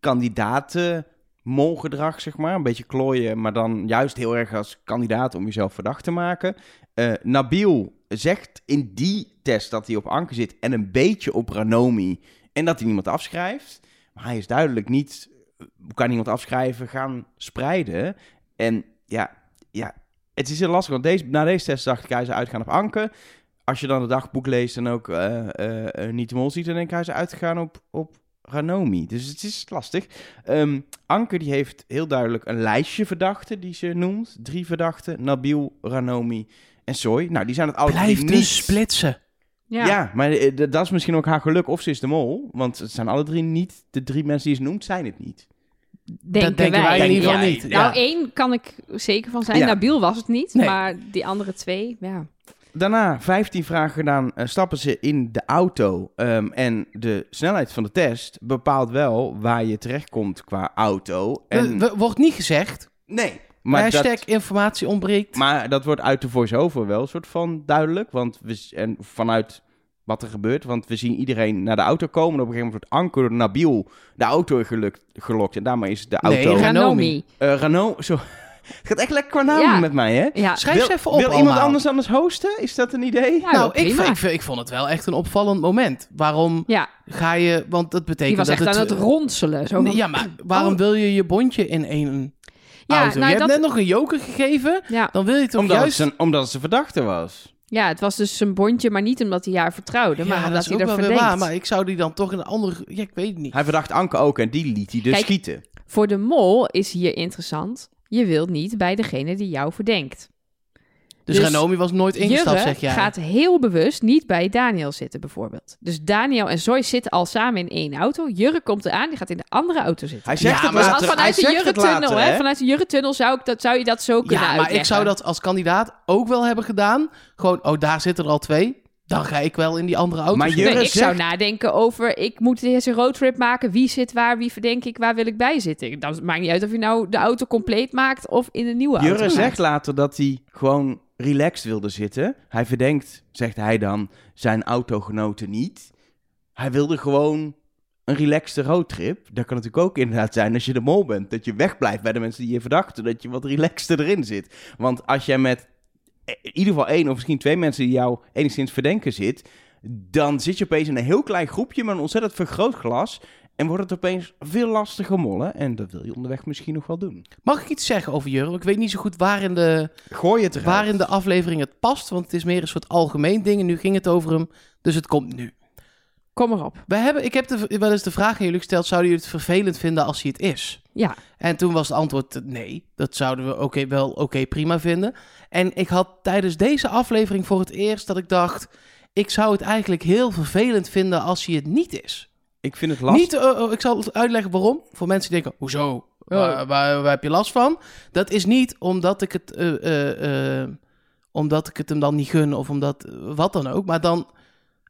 Speaker 2: kandidaten molgedrag, zeg maar. Een beetje klooien, maar dan juist heel erg als kandidaat om jezelf verdacht te maken. Eh, Nabil zegt in die test dat hij op Anke zit en een beetje op Ranomi en dat hij niemand afschrijft. Maar hij is duidelijk niet, eh, kan niemand afschrijven, gaan spreiden. En ja, ja het is heel lastig, want deze, na deze test dacht ik, hij zou uitgaan op Anke als je dan het dagboek leest en ook eh, eh, eh, niet de mol ziet, dan denk ik hij is uitgegaan op, op Ranomi. Dus het is lastig. Ehm, Anke die heeft heel duidelijk een lijstje verdachten die ze noemt. Drie verdachten, Nabil, Ranomi en Soy. Nou, die zijn het alle
Speaker 3: blijf
Speaker 2: drie
Speaker 3: dus
Speaker 2: niet.
Speaker 3: splitsen.
Speaker 2: Ja, maar eh, d- dat is misschien ook haar geluk of ze is de mol. Want het zijn alle drie niet, de drie mensen die ze noemt, zijn het niet.
Speaker 1: denken
Speaker 3: dat denken wij,
Speaker 1: wij
Speaker 3: in ieder
Speaker 2: ja.
Speaker 3: geval niet.
Speaker 2: Ja.
Speaker 1: Nou, één kan ik zeker van zijn.
Speaker 2: Ja.
Speaker 1: Nabil was het niet,
Speaker 3: Nee. Oh,
Speaker 1: maar die andere twee, ja.
Speaker 2: Daarna 15 vragen gedaan, eh, stappen ze in de auto. ehm, en de snelheid van de test bepaalt wel waar je terechtkomt qua auto. En,
Speaker 3: We- we- Wordt niet gezegd.
Speaker 2: nee, maar
Speaker 3: Hashtag
Speaker 2: dat,
Speaker 3: informatie ontbreekt.
Speaker 2: maar dat wordt uit de voice-over wel een soort van duidelijk. Want we, z- en vanuit wat er gebeurt, want we zien iedereen naar de auto komen. En op een gegeven moment wordt Anker door Nabil de auto gelukt, gelokt. En daarmee is de
Speaker 3: Nee,
Speaker 2: auto...
Speaker 3: Ra-
Speaker 2: Nee,
Speaker 1: Ranomi.
Speaker 2: Eh, Renault, zo... [LAUGHS] Het gaat echt lekker qua namen
Speaker 1: Ja.
Speaker 2: met mij, hè?
Speaker 1: Ja.
Speaker 3: Schrijf
Speaker 2: Wil-
Speaker 3: ze even op
Speaker 2: Wil iemand
Speaker 3: allemaal.
Speaker 2: anders anders hosten? Is dat een idee?
Speaker 1: Ja,
Speaker 3: nou,
Speaker 1: joh,
Speaker 3: ik,
Speaker 1: prima.
Speaker 3: vind- ik, vind- ik vond het wel echt een opvallend moment. Waarom
Speaker 1: Ja,
Speaker 3: ga je... Want dat
Speaker 1: die
Speaker 3: betekent
Speaker 1: was
Speaker 3: dat
Speaker 1: echt aan het
Speaker 3: eh,
Speaker 1: ronselen. Zo van-
Speaker 3: Nee, ja, maar waarom
Speaker 1: Oh.
Speaker 3: wil je je bondje in één...
Speaker 1: Ja,
Speaker 3: auto.
Speaker 1: nou,
Speaker 3: je
Speaker 1: dat-
Speaker 3: hebt net nog een joker gegeven.
Speaker 1: Ja.
Speaker 3: Dan wil je toch
Speaker 2: Omdat,
Speaker 3: juist...
Speaker 2: het zijn, omdat het zijn verdachte was.
Speaker 1: ja, het was dus zijn bondje, maar niet omdat hij haar vertrouwde, maar
Speaker 3: Ja,
Speaker 1: omdat
Speaker 3: ook
Speaker 1: hij er
Speaker 3: wel weer
Speaker 1: verdenkt.
Speaker 3: waar, maar ik zou die dan toch in een andere... Ja, ik weet het niet.
Speaker 2: Hij verdacht Anke ook en die liet hij dus
Speaker 1: Kijk.
Speaker 2: schieten.
Speaker 1: Voor de mol is hier interessant. Je wilt niet bij degene die jou verdenkt.
Speaker 3: Dus,
Speaker 1: Dus
Speaker 3: Ranomi was nooit ingestapt,
Speaker 1: Jurre
Speaker 3: zeg jij.
Speaker 1: gaat heel bewust niet bij Daniel zitten, bijvoorbeeld. Dus Daniel en Zoe zitten al samen in één auto. Jurre komt eraan, die gaat in de andere auto zitten.
Speaker 2: Hij zegt
Speaker 3: Ja,
Speaker 2: het
Speaker 3: maar
Speaker 1: Dus
Speaker 2: later.
Speaker 1: als
Speaker 2: Hij
Speaker 1: vanuit de
Speaker 2: zegt het
Speaker 1: Jurre-tunnel,
Speaker 2: later,
Speaker 1: hè? Vanuit de Jurre-tunnel zou, ik dat- zou je dat zo kunnen
Speaker 3: Ja, maar ik
Speaker 1: uitleggen.
Speaker 3: zou dat als kandidaat ook wel hebben gedaan. Gewoon, oh, daar zitten er al twee. Dan ga ik wel in die andere auto.
Speaker 2: Maar
Speaker 3: zitten.
Speaker 1: Nee,
Speaker 2: Jurre
Speaker 1: ik zou
Speaker 2: zegt-
Speaker 1: nadenken over, ik moet deze roadtrip maken. Wie zit waar, wie verdenk ik, waar wil ik bij zitten? Dan maakt niet uit of je nou de auto compleet maakt of in een nieuwe auto
Speaker 2: Jurre
Speaker 1: maakt.
Speaker 2: zegt later dat hij gewoon relaxed wilde zitten. Hij verdenkt, zegt hij dan, zijn autogenoten niet. Hij wilde gewoon een relaxte roadtrip. Dat kan natuurlijk ook inderdaad zijn als je de mol bent. Dat je wegblijft bij de mensen die je verdachten. Dat je wat relaxter erin zit. Want als jij met eh, in ieder geval één of misschien twee mensen die jou enigszins verdenken zit... dan zit je opeens in een heel klein groepje met een ontzettend vergrootglas... en wordt het opeens veel lastiger mollen. En dat wil je onderweg misschien nog wel doen.
Speaker 3: Mag ik iets zeggen over Jurre? Ik weet niet zo goed waar in, de,
Speaker 2: Gooi het eruit.
Speaker 3: waar in de aflevering het past. Want het is meer een soort algemeen ding. En nu ging het over hem. Dus het komt nu.
Speaker 1: Kom maar op.
Speaker 3: We hebben, ik heb de, wel eens de vraag aan jullie gesteld: zouden jullie het vervelend vinden als hij het is?
Speaker 1: Ja.
Speaker 3: En toen was het antwoord eh, nee. Dat zouden we oké wel oké prima vinden. En ik had tijdens deze aflevering voor het eerst dat ik dacht: ik zou het eigenlijk heel vervelend vinden als hij het niet is.
Speaker 2: Ik vind het lastig.
Speaker 3: Niet, eh, eh, ik zal het uitleggen waarom. Voor mensen die denken: hoezo? Waar, waar- waar heb je last van? Dat is niet omdat ik het, eh, eh, eh, omdat ik het hem dan niet gun of omdat eh, wat dan ook. Maar dan,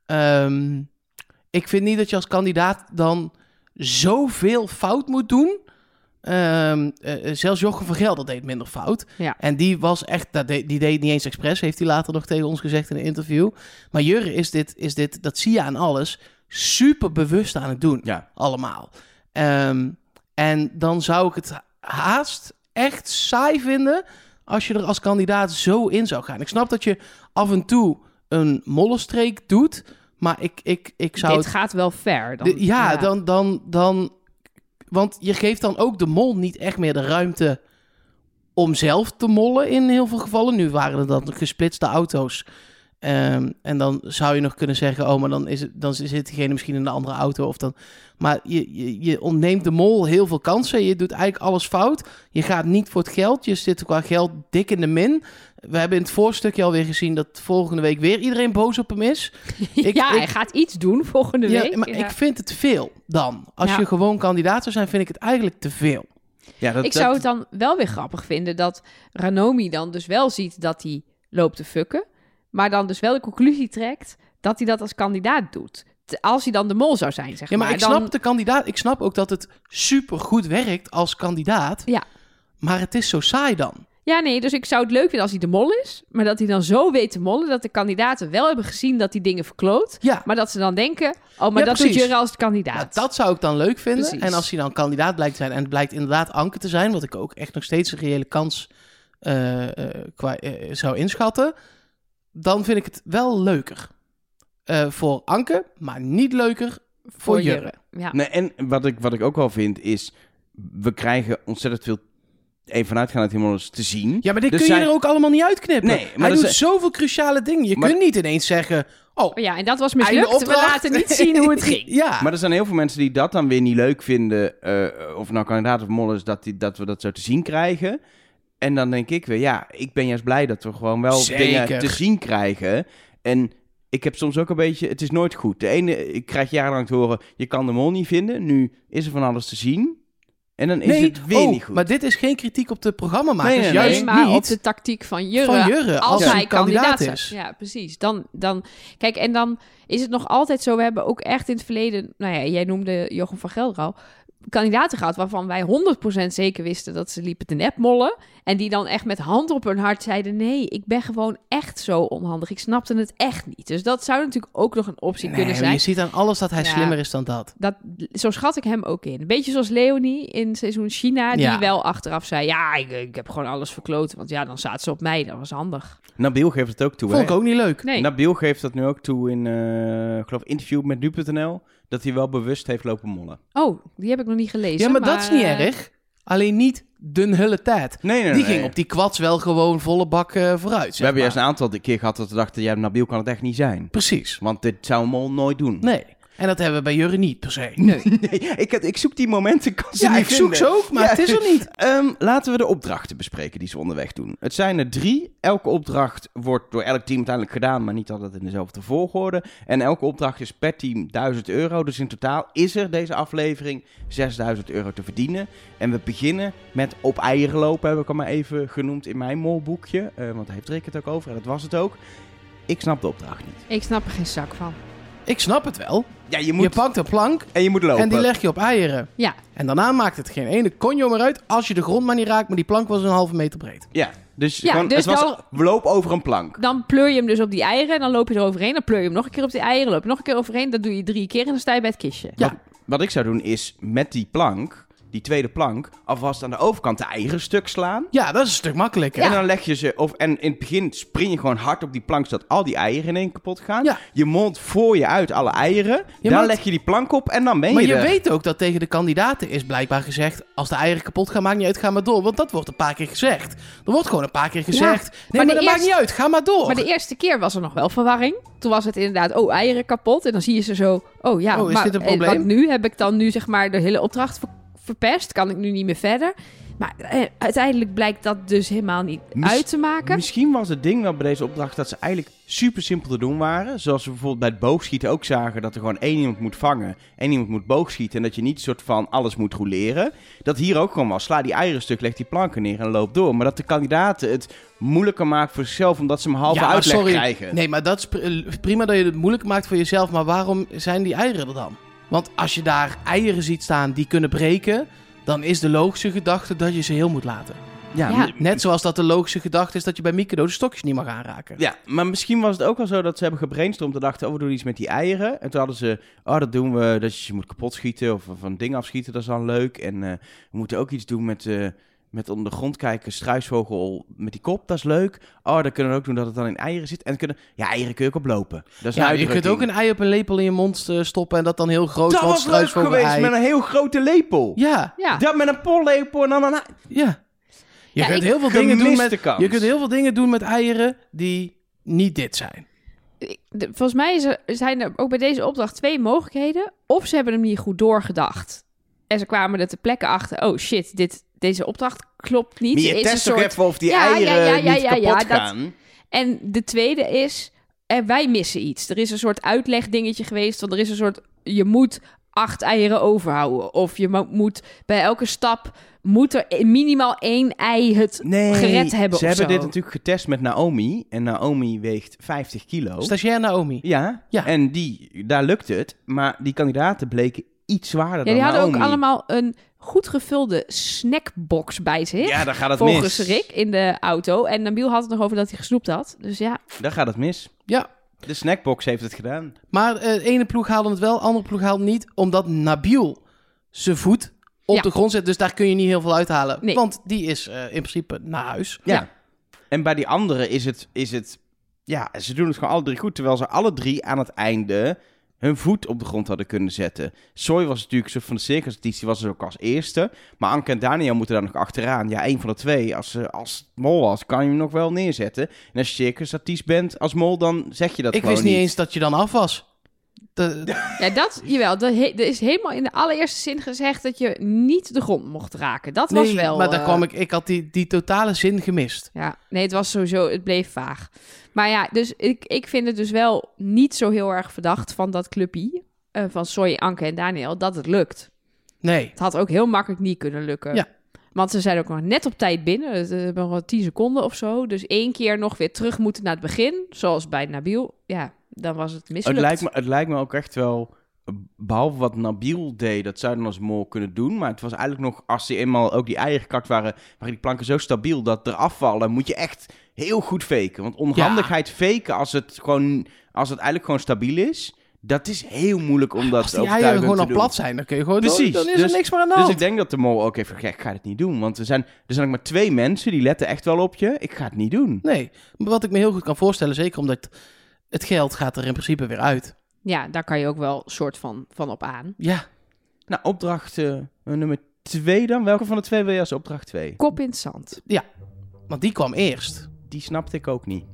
Speaker 3: ehm, ik vind niet dat je als kandidaat dan zoveel fout moet doen. Ehm, eh, eh, zelfs Jochem van Gelder deed minder fout.
Speaker 1: Ja.
Speaker 3: En die was echt, dat deed- die deed niet eens expres, heeft hij later nog tegen ons gezegd in een interview. Maar Jurre is dit, is dit, dat zie je aan alles, super bewust aan het doen.
Speaker 2: Ja.
Speaker 3: Allemaal. Ehm, en dan zou ik het haast echt saai vinden als je er als kandidaat zo in zou gaan. Ik snap dat je af en toe een mollenstreek doet, maar ik, ik, ik zou
Speaker 1: Dit
Speaker 3: het...
Speaker 1: gaat wel ver. Dan.
Speaker 3: De-
Speaker 1: [LAUGHS]
Speaker 3: ja, Dan, dan, dan. Want je geeft dan ook de mol niet echt meer de ruimte om zelf te mollen in heel veel gevallen. Nu waren er dan gesplitste auto's. Ehm, en dan zou je nog kunnen zeggen: oh, maar dan, is het, dan zit degene misschien in een andere auto. Of dan, maar je, je, je ontneemt de mol heel veel kansen. Je doet eigenlijk alles fout. Je gaat niet voor het geld. Je zit qua geld dik in de min. We hebben in het voorstukje alweer gezien dat volgende week weer iedereen boos op hem is. Ik-
Speaker 1: ja, hij
Speaker 3: ik-
Speaker 1: gaat iets doen volgende
Speaker 3: Ja,
Speaker 1: week.
Speaker 3: maar
Speaker 1: Ja.
Speaker 3: ik vind het veel dan. Als
Speaker 1: Ja.
Speaker 3: je gewoon kandidaat zou zijn, vind ik het eigenlijk te veel.
Speaker 2: Ja, dat,
Speaker 1: Ik zou het dan wel weer grappig vinden dat Ranomi dan dus wel ziet dat hij loopt te fucken, maar dan dus wel de conclusie trekt dat hij dat als kandidaat doet. Te- Als hij dan de mol zou zijn, zeg
Speaker 3: Ja, maar, ik
Speaker 1: dan,
Speaker 3: snap de kandidaat. Ik snap ook dat het supergoed werkt als kandidaat.
Speaker 1: Ja.
Speaker 3: Maar het is zo saai dan.
Speaker 1: Ja, nee, dus ik zou het leuk vinden als hij de mol is, maar dat hij dan zo weet te mollen dat de kandidaten wel hebben gezien dat hij dingen verkloot,
Speaker 3: Ja.
Speaker 1: maar dat ze dan denken, oh, maar dat
Speaker 3: Ja, precies.
Speaker 1: doet Jurre als
Speaker 3: Ja,
Speaker 1: kandidaat.
Speaker 3: dat zou ik dan leuk vinden.
Speaker 1: Precies.
Speaker 3: En als hij dan kandidaat blijkt te zijn en het blijkt inderdaad Anke te zijn, wat ik ook echt nog steeds een reële kans eh, eh, qua, eh, zou inschatten, dan vind ik het wel leuker Eh, voor Anke, maar niet leuker voor, Jurre.
Speaker 1: Ja.
Speaker 2: Nee, en wat ik, wat ik ook wel vind is... we krijgen ontzettend veel... even vanuitgaan uit helemaal eens te zien.
Speaker 3: Ja, maar dit
Speaker 2: Dus
Speaker 3: kun je
Speaker 2: zij-
Speaker 3: er ook allemaal niet uitknippen.
Speaker 2: Nee, maar
Speaker 3: Hij
Speaker 2: dat
Speaker 3: doet
Speaker 2: is-
Speaker 3: zoveel cruciale dingen. Je
Speaker 2: Maar-
Speaker 3: kunt niet ineens zeggen... Oh,
Speaker 1: Oh ja, en dat was
Speaker 3: einde
Speaker 1: mislukt. We
Speaker 3: opdracht.
Speaker 1: laten niet zien hoe
Speaker 3: [LAUGHS]
Speaker 1: het ging.
Speaker 3: ja.
Speaker 2: Maar er zijn heel veel mensen die dat dan weer niet leuk vinden... eh, of het nou kandidaat of mol is, dat, die, dat we dat zo te zien krijgen. En dan denk ik weer, ja, ik ben juist blij dat we gewoon wel
Speaker 3: Zeker.
Speaker 2: dingen te zien krijgen. En ik heb soms ook een beetje... Het is nooit goed. De ene, ik krijg jarenlang te horen, je kan de mol niet vinden. Nu is er van alles te zien. En dan is
Speaker 3: nee,
Speaker 2: het weer
Speaker 3: oh,
Speaker 2: niet goed.
Speaker 3: Maar dit is geen kritiek op de programmamakers.
Speaker 2: Nee, nee, nee.
Speaker 3: juist
Speaker 1: Nee, maar
Speaker 3: niet
Speaker 1: op de tactiek van Jurre.
Speaker 3: van Jurre.
Speaker 1: als
Speaker 3: hij
Speaker 1: hij kandidaat
Speaker 3: Eh, kandidaat is.
Speaker 1: is. Ja, precies. Dan, dan, kijk, en dan is het nog altijd zo. We hebben ook echt in het verleden, nou ja, jij noemde Jochem van Gelder al, kandidaten gehad waarvan wij 100% zeker wisten dat ze liepen te nepmollen. En die dan echt met hand op hun hart zeiden: nee, ik ben gewoon echt zo onhandig. Ik snapte het echt niet. Dus dat zou natuurlijk ook nog een optie
Speaker 3: Nee,
Speaker 1: kunnen
Speaker 3: maar
Speaker 1: zijn.
Speaker 3: Je ziet aan alles dat hij
Speaker 1: Ja.
Speaker 3: slimmer is dan dat.
Speaker 1: Dat, zo schat ik hem ook in. Een beetje zoals Leonie in seizoen China, die
Speaker 3: Ja.
Speaker 1: wel achteraf zei: Ja, ik, ik heb gewoon alles verkloot. Want ja, dan zaten ze op mij. Dat was handig.
Speaker 2: Nabil geeft het ook toe,
Speaker 3: Vond
Speaker 2: hè?
Speaker 3: ik ook niet leuk.
Speaker 1: Nee.
Speaker 2: Nabil geeft dat nu ook toe in, eh, ik geloof, interview met nu.nl. Dat hij wel bewust heeft lopen mollen.
Speaker 1: Oh, die heb ik nog niet gelezen.
Speaker 3: Ja, maar dat is niet
Speaker 1: eh,
Speaker 3: erg. Alleen niet de hele tijd.
Speaker 2: Nee, nee,
Speaker 3: Die
Speaker 2: nee.
Speaker 3: ging op die kwads wel gewoon volle bak eh, vooruit.
Speaker 2: We
Speaker 3: zeg
Speaker 2: hebben juist
Speaker 3: maar.
Speaker 2: een aantal keer gehad dat we dachten, ja, Nabil kan het echt niet zijn.
Speaker 3: Precies.
Speaker 2: Want dit zou een mol nooit doen.
Speaker 3: Nee. En dat hebben we bij Jurre niet per se.
Speaker 2: Nee, ik, heb- ik zoek die momenten. ik Kan ze
Speaker 3: Ja,
Speaker 2: niet
Speaker 3: ik zoek
Speaker 2: vinden.
Speaker 3: ze ook, maar
Speaker 2: Ja.
Speaker 3: het is er niet.
Speaker 2: Ehm, laten we de opdrachten bespreken die ze onderweg doen. Het zijn er drie. Elke opdracht wordt door elk team uiteindelijk gedaan, maar niet altijd in dezelfde volgorde. En elke opdracht is per team 1000 euro. Dus in totaal is er deze aflevering 6000 euro te verdienen. En we beginnen met op eieren lopen, heb ik al maar even genoemd in mijn molboekje. Eh, want daar heeft Rick het ook over en dat was het ook. Ik snap de opdracht niet.
Speaker 1: eh, Ik snap er geen zak van.
Speaker 3: Ik snap het wel.
Speaker 2: Ja, je moet... eh,
Speaker 3: Je pakt een plank
Speaker 2: en je moet lopen.
Speaker 3: en die leg je op eieren.
Speaker 1: Ja,
Speaker 3: En daarna maakt het geen ene konjo meer uit als je de grond maar niet raakt, maar die plank was een halve meter breed.
Speaker 2: Ja, dus,
Speaker 1: Ja,
Speaker 2: gewoon,
Speaker 1: dus
Speaker 2: het was
Speaker 1: dan-
Speaker 2: loop over een plank.
Speaker 1: dan pleur je hem dus op die eieren. Dan loop je er overheen. Dan pleur je hem nog een keer op die eieren. Loop je nog een keer overheen. Dat doe je drie keer en dan sta je bij het kistje.
Speaker 3: Ja.
Speaker 2: Wat ik zou doen is met die plank, die tweede plank, alvast aan de overkant de eieren stuk slaan.
Speaker 3: Ja, dat is een stuk makkelijker.
Speaker 2: En dan leg je ze, of, en in het begin spring je gewoon hard op die plank, zodat al die eieren in één kapot gaan.
Speaker 3: Ja.
Speaker 2: Je mond voor je uit alle eieren.
Speaker 3: Ja,
Speaker 2: dan
Speaker 3: maar het-
Speaker 2: leg je die plank op en dan ben
Speaker 3: maar
Speaker 2: je
Speaker 3: je
Speaker 2: er.
Speaker 3: weet ook dat tegen de kandidaten is blijkbaar gezegd: als de eieren kapot gaan, maakt niet uit, ga maar door. Want dat wordt een paar keer gezegd. Er wordt gewoon een paar keer gezegd: nee, maar,
Speaker 1: maar de
Speaker 3: dat maakt
Speaker 1: eerste-
Speaker 3: niet uit, ga maar door.
Speaker 1: Maar de eerste keer was er nog wel verwarring. Toen was het inderdaad, oh, eieren kapot. En dan zie je ze zo, oh ja,
Speaker 3: Oh, is
Speaker 1: maar
Speaker 3: dit een
Speaker 1: eh,
Speaker 3: probleem?
Speaker 1: wat nu heb ik dan nu zeg maar de hele opdracht ver- verpest. Kan ik nu niet meer verder. Maar eh, uiteindelijk blijkt dat dus helemaal niet
Speaker 2: Mis-
Speaker 1: uit te maken.
Speaker 2: Misschien was het ding wel bij deze opdracht dat ze eigenlijk super simpel te doen waren. Zoals we bijvoorbeeld bij het boogschieten ook zagen dat er gewoon één iemand moet vangen, één iemand moet boogschieten en dat je niet een soort van alles moet roleren. Dat hier ook gewoon was, sla die eieren stuk, leg die planken neer en loop door. Maar dat de kandidaten het moeilijker maken voor zichzelf omdat ze hem half
Speaker 3: Ja, maar
Speaker 2: uitleg
Speaker 3: sorry.
Speaker 2: krijgen.
Speaker 3: Nee, maar dat is pr- eh, prima dat je het moeilijk maakt voor jezelf. Maar waarom zijn die eieren er dan? Want als je daar eieren ziet staan die kunnen breken, dan is de logische gedachte dat je ze heel moet laten.
Speaker 2: Ja,
Speaker 1: Ja.
Speaker 2: m-
Speaker 3: Net zoals dat de logische gedachte is dat je bij Mikado de stokjes niet mag aanraken.
Speaker 2: Ja, maar misschien was het ook wel zo dat ze hebben gebrainstormd en dachten, oh, we doen iets met die eieren. En toen hadden ze, oh, dat doen we, dat je ze moet kapot schieten of van ding afschieten, dat is dan leuk. En eh, we moeten ook iets doen met, eh, met onder de grond kijken, struisvogel met die kop, dat is leuk. Oh, dan kunnen we ook doen dat het dan in eieren zit. En kunnen, ja, eieren kun je ook oplopen. Dat is
Speaker 3: Ja,
Speaker 2: een
Speaker 3: je kunt ook een ei op een lepel in je mond eh, stoppen en dat dan heel groot
Speaker 2: Dat
Speaker 3: want
Speaker 2: was leuk
Speaker 3: struisvogel
Speaker 2: geweest,
Speaker 3: ei.
Speaker 2: met een heel grote lepel.
Speaker 3: Ja,
Speaker 1: ja.
Speaker 2: Dat met een pollepel en dan een...
Speaker 3: ja. Je
Speaker 1: Ja,
Speaker 3: kunt
Speaker 1: ik-
Speaker 3: heel veel dingen
Speaker 2: Gemiste
Speaker 3: doen met
Speaker 2: kans.
Speaker 3: je kunt heel veel dingen doen met eieren die niet dit zijn.
Speaker 1: Ik- de- volgens mij is er- zijn er ook bij deze opdracht twee mogelijkheden. Of ze hebben hem niet goed doorgedacht. En ze kwamen er te plekken achter, oh shit, dit, deze opdracht klopt niet.
Speaker 2: Maar
Speaker 1: Er
Speaker 2: je
Speaker 1: is
Speaker 2: test
Speaker 1: een
Speaker 2: toch
Speaker 1: soort-
Speaker 2: even of die
Speaker 1: Ja, ja,
Speaker 2: eieren
Speaker 1: ja, ja,
Speaker 2: niet
Speaker 1: ja,
Speaker 2: kapot
Speaker 1: ja, dat-
Speaker 2: gaan.
Speaker 1: En de tweede is, eh, wij missen iets. Er is een soort uitlegdingetje geweest. Want er is een soort, je moet acht eieren overhouden. Of je mo- moet bij elke stap, moet er e- minimaal één ei het...
Speaker 2: nee,
Speaker 1: gered hebben
Speaker 2: Ze
Speaker 1: of
Speaker 2: hebben
Speaker 1: zo.
Speaker 2: dit natuurlijk getest met Naomi. En Naomi weegt 50 kilo.
Speaker 3: Stagiair Naomi.
Speaker 2: Ja,
Speaker 3: Ja.
Speaker 2: en die, daar lukte het. Maar die kandidaten bleken iets zwaarder
Speaker 1: Ja,
Speaker 2: dan
Speaker 1: die hadden ook
Speaker 2: Naomi.
Speaker 1: allemaal een goed gevulde snackbox bij zich.
Speaker 2: Ja, daar gaat het
Speaker 1: volgens
Speaker 2: mis.
Speaker 1: Rick in de auto. En Nabil had het nog over dat hij gesnoept had. Dus ja,
Speaker 2: Daar gaat het mis.
Speaker 3: Ja,
Speaker 2: De snackbox heeft het gedaan.
Speaker 3: Maar eh, de ene ploeg haalde het wel, de andere ploeg haalde het niet. Omdat Nabil zijn voet op
Speaker 1: Ja.
Speaker 3: de grond zet. Dus daar kun je niet heel veel uithalen.
Speaker 1: Nee.
Speaker 3: Want die is eh, in principe naar huis.
Speaker 2: Ja.
Speaker 1: Ja.
Speaker 2: En bij die anderen is het, is het... Ja, ze doen het gewoon alle drie goed. Terwijl ze alle drie aan het einde hun voet op de grond hadden kunnen zetten. Soy was natuurlijk een soort van de circuseditie, was er ook als eerste. Maar Anke en Daniel moeten daar nog achteraan. Ja, één van de twee. Als, ze- als het mol was, kan je hem nog wel neerzetten. En als je circusartiest bent als mol, dan zeg je dat
Speaker 3: Ik
Speaker 2: gewoon
Speaker 3: wist niet eens dat je dan af was. De-
Speaker 1: ja dat, jawel. dat he- Er is helemaal in de allereerste zin gezegd dat je niet de grond mocht raken. Dat was
Speaker 3: nee,
Speaker 1: wel...
Speaker 3: maar daar
Speaker 1: eh,
Speaker 3: kwam ik, ik had die, die totale zin gemist.
Speaker 1: Ja, nee, het was sowieso, het bleef vaag. Maar ja, dus ik, ik vind het dus wel niet zo heel erg verdacht van dat clubje eh, van Soy, Anke en Daniel, dat het lukt.
Speaker 3: Nee.
Speaker 1: Het had ook heel makkelijk niet kunnen lukken.
Speaker 3: Ja.
Speaker 1: Want ze zijn ook nog net op tijd binnen, het, eh, nog wel 10 seconden of zo. Dus één keer nog weer terug moeten naar het begin, zoals bij Nabil. Ja, dan was het mislukt.
Speaker 2: Het lijkt, me, het lijkt me ook echt wel, behalve wat Nabil deed, dat zou je dan als mol kunnen doen. Maar het was eigenlijk nog, als ze eenmaal ook die eieren gekakt waren, waren die planken zo stabiel dat er afvallen, moet je echt heel goed faken. Want onhandigheid faken als het, gewoon, als het eigenlijk gewoon stabiel is, dat is heel moeilijk om dat
Speaker 3: Als die
Speaker 2: overtuigend
Speaker 3: eieren gewoon
Speaker 2: te
Speaker 3: al
Speaker 2: doen.
Speaker 3: plat zijn, dan kun je gewoon
Speaker 2: Precies,
Speaker 3: Dan is
Speaker 2: dus-
Speaker 3: er niks meer aan de
Speaker 2: Dus
Speaker 3: hand.
Speaker 2: ik denk dat de mol ook even, ja, ik ga dit niet doen. Want er zijn, er zijn ook maar twee mensen die letten echt wel op je. Ik ga het niet doen.
Speaker 3: Nee. Maar wat ik me heel goed kan voorstellen, zeker omdat het geld gaat er in principe weer uit.
Speaker 1: Ja, daar kan je ook wel soort van, van op aan.
Speaker 3: Ja.
Speaker 2: Nou, opdracht eh, nummer twee dan? Welke van de twee wil je als opdracht twee?
Speaker 1: Kop in het zand.
Speaker 3: Want die kwam eerst.
Speaker 2: Die snapte ik ook niet.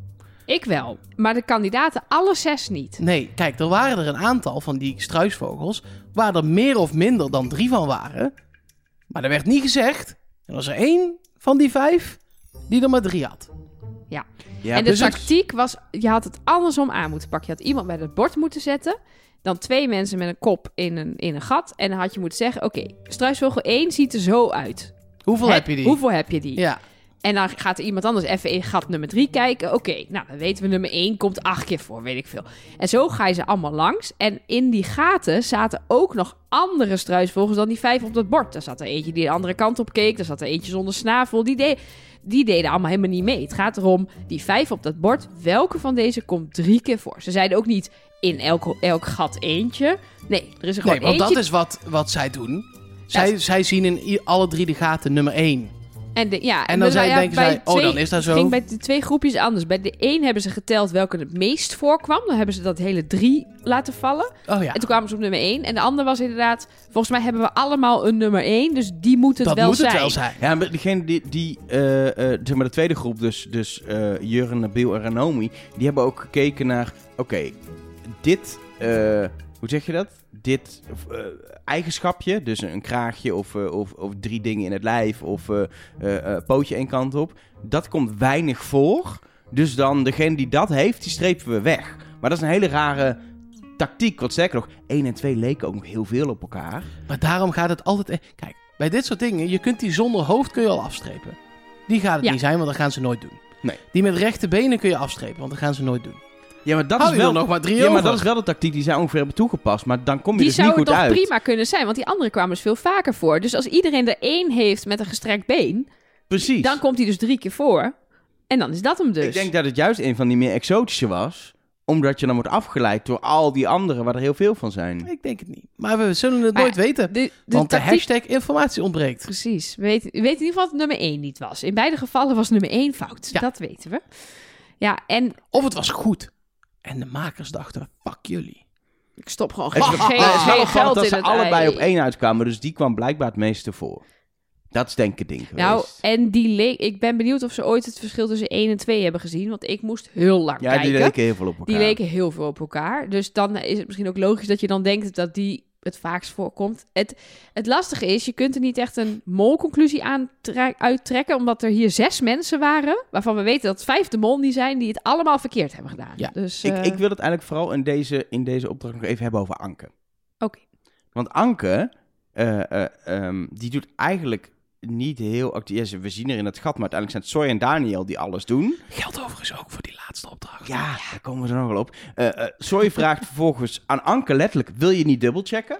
Speaker 1: Ik wel, maar de kandidaten alle zes niet.
Speaker 3: Nee, kijk, er waren er een aantal van die struisvogels... waar er meer of minder dan drie van waren. Maar er werd niet gezegd. Er was er één van die vijf die er maar drie had.
Speaker 2: Ja,
Speaker 1: en de
Speaker 2: dus het-
Speaker 1: tactiek was, je had het andersom aan moeten pakken. Je had iemand bij het bord moeten zetten. Dan twee mensen met een kop in een, in een gat. En dan had je moeten zeggen, oké, struisvogel 1 ziet er zo uit.
Speaker 3: Hoeveel
Speaker 1: Hè,
Speaker 3: heb je die?
Speaker 1: Hoeveel heb je die?
Speaker 3: Ja,
Speaker 1: En dan gaat er iemand anders even in gat nummer 3 kijken. Oké, nou dan weten we nummer 1 komt acht keer voor, weet ik veel. En zo ga je ze allemaal langs. En in die gaten zaten ook nog andere struisvogels dan die vijf op dat bord. Daar zat er eentje die de andere kant op keek. Daar zat er eentje zonder snavel. Die, de- die deden allemaal helemaal niet mee. Het gaat erom, die vijf op dat bord, welke van deze komt drie keer voor? Ze zeiden ook niet in elk, elk gat eentje. Nee, er is er gewoon
Speaker 3: nee, want
Speaker 1: eentje.
Speaker 3: dat is wat, wat zij doen. Zij, zij zien in i- alle drie de gaten nummer één.
Speaker 1: En, de- ja,
Speaker 3: En dan
Speaker 1: bij-
Speaker 3: zij-
Speaker 1: ja,
Speaker 3: denken
Speaker 1: bij
Speaker 3: zij, oh,
Speaker 1: twee-
Speaker 3: dan is dat
Speaker 1: Het
Speaker 3: zo.
Speaker 1: ging bij de twee groepjes anders. Bij de een hebben ze geteld welke het meest voorkwam. Dan hebben ze dat hele drie laten vallen.
Speaker 3: Oh ja,
Speaker 1: En toen kwamen ze op nummer één. En de ander was inderdaad... Volgens mij hebben we allemaal een nummer één. Dus die moet het,
Speaker 3: dat
Speaker 1: wel,
Speaker 3: moet
Speaker 1: zijn.
Speaker 3: het wel zijn.
Speaker 2: Ja, maar degene die, die eh, eh, zeg maar de tweede groep, dus, dus eh Jurgen, Nabil en Ranomi, die hebben ook gekeken naar, oké, dit, eh, hoe zeg je dat? Dit eh, eigenschapje, dus een kraagje of, eh, of, of drie dingen in het lijf of eh, eh, eh, pootje één kant op, dat komt weinig voor. Dus dan degene die dat heeft, die strepen we weg. Maar dat is een hele rare tactiek, want sterker nog, 1 en 2 leken ook nog heel veel op elkaar.
Speaker 3: Maar daarom gaat het altijd... eh, Kijk, bij dit soort dingen, je kunt die zonder hoofd kun je al afstrepen. Die gaat het
Speaker 1: Ja.
Speaker 3: niet zijn, want dat gaan ze nooit doen.
Speaker 2: Nee.
Speaker 3: Die met rechte benen kun je afstrepen, want dat gaan ze nooit doen.
Speaker 2: Ja, maar dat
Speaker 3: Hou
Speaker 2: is
Speaker 3: je
Speaker 2: wel
Speaker 3: er nog maar drie
Speaker 2: Ja, maar
Speaker 3: over?
Speaker 2: dat is wel de tactiek die zij ongeveer hebben toegepast. Maar dan kom je
Speaker 1: Die
Speaker 2: dus niet
Speaker 1: zou
Speaker 2: goed
Speaker 1: toch
Speaker 2: uit.
Speaker 1: prima kunnen zijn. Want die andere kwamen dus veel vaker voor. Dus als iedereen er één heeft met een gestrekt been...
Speaker 2: Precies.
Speaker 1: Dan komt hij dus drie keer voor. En dan is dat hem dus.
Speaker 2: Ik denk dat het juist een van die meer exotische was. Omdat je dan wordt afgeleid door al die anderen waar er heel veel van zijn.
Speaker 3: Ik denk het niet. Maar we zullen het
Speaker 1: Maar
Speaker 3: nooit weten.
Speaker 1: de, de
Speaker 3: want
Speaker 1: tactiek...
Speaker 3: de hashtag informatie ontbreekt.
Speaker 1: Precies. We weten, we weten in ieder geval dat het nummer 1 niet was. In beide gevallen was nummer 1 fout.
Speaker 3: Ja.
Speaker 1: Dat weten we. Ja, en
Speaker 3: Of het was goed. En de makers dachten, fuck jullie.
Speaker 1: ik stop gewoon
Speaker 2: Het is
Speaker 1: geen,
Speaker 2: wel-
Speaker 1: [LAUGHS] geen,
Speaker 2: Nou, het is wel
Speaker 1: geen
Speaker 2: grappig
Speaker 1: geld
Speaker 2: dat
Speaker 1: in
Speaker 2: ze
Speaker 1: het
Speaker 2: allebei
Speaker 1: ei.
Speaker 2: op één uitkwamen. Dus die kwam blijkbaar het meeste voor. Dat is denk ik het ding geweest.
Speaker 1: Nou, en die leek... Ik ben benieuwd of ze ooit het verschil tussen 1 en 2 hebben gezien. Want ik moest heel lang
Speaker 2: ja,
Speaker 1: kijken.
Speaker 2: die leken heel veel op elkaar.
Speaker 1: Die leken heel veel op elkaar. Dus dan is het misschien ook logisch dat je dan denkt dat die het vaakst voorkomt. Het, het lastige is, je kunt er niet echt een molconclusie aan tre- uittrekken... omdat er hier zes mensen waren... waarvan we weten dat vijf de mol niet zijn... die het allemaal verkeerd hebben gedaan.
Speaker 3: Ja,
Speaker 1: dus, eh,
Speaker 2: Ik, ik wil het eigenlijk vooral in deze, in deze opdracht nog even hebben over Anke.
Speaker 1: Oké.
Speaker 2: Want Anke, eh, eh, ehm, die doet eigenlijk niet heel actief. Ja, ze- we zien er in het gat, maar uiteindelijk zijn het Soy en Daniel die alles doen.
Speaker 3: Geldt overigens ook voor die laatste opdracht.
Speaker 2: Ja, daar komen we er nog wel op. Eh eh, Soy [LAUGHS] vraagt vervolgens aan Anke letterlijk, wil je niet dubbelchecken?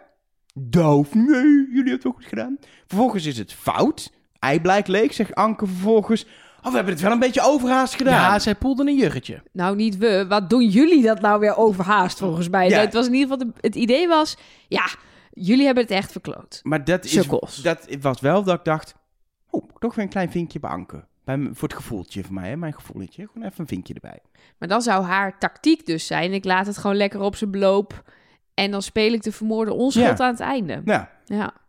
Speaker 2: Doof, nee, jullie hebben het wel goed gedaan. Vervolgens is het fout. Ei blijkt leeg, zegt Anke vervolgens. Oh, we hebben het wel een beetje overhaast gedaan.
Speaker 3: Ja, zij poelde een juggetje.
Speaker 1: Nou, niet we. Wat doen jullie dat nou weer overhaast, volgens mij?
Speaker 2: Ja.
Speaker 1: Het, was in ieder geval de- het idee was, ja, jullie hebben het echt verkloot.
Speaker 2: Maar dat, is,
Speaker 1: Sukkels.
Speaker 2: dat was wel dat ik dacht... Oh, toch weer een klein vinkje bij Anke. Bij, m- voor het gevoeltje van mij, hè? mijn gevoeletje. Gewoon even een vinkje erbij.
Speaker 1: Maar dan zou haar tactiek dus zijn, ik laat het gewoon lekker op zijn beloop... en dan speel ik de vermoorde onschuld aan het einde.
Speaker 2: Nou,
Speaker 1: Ja.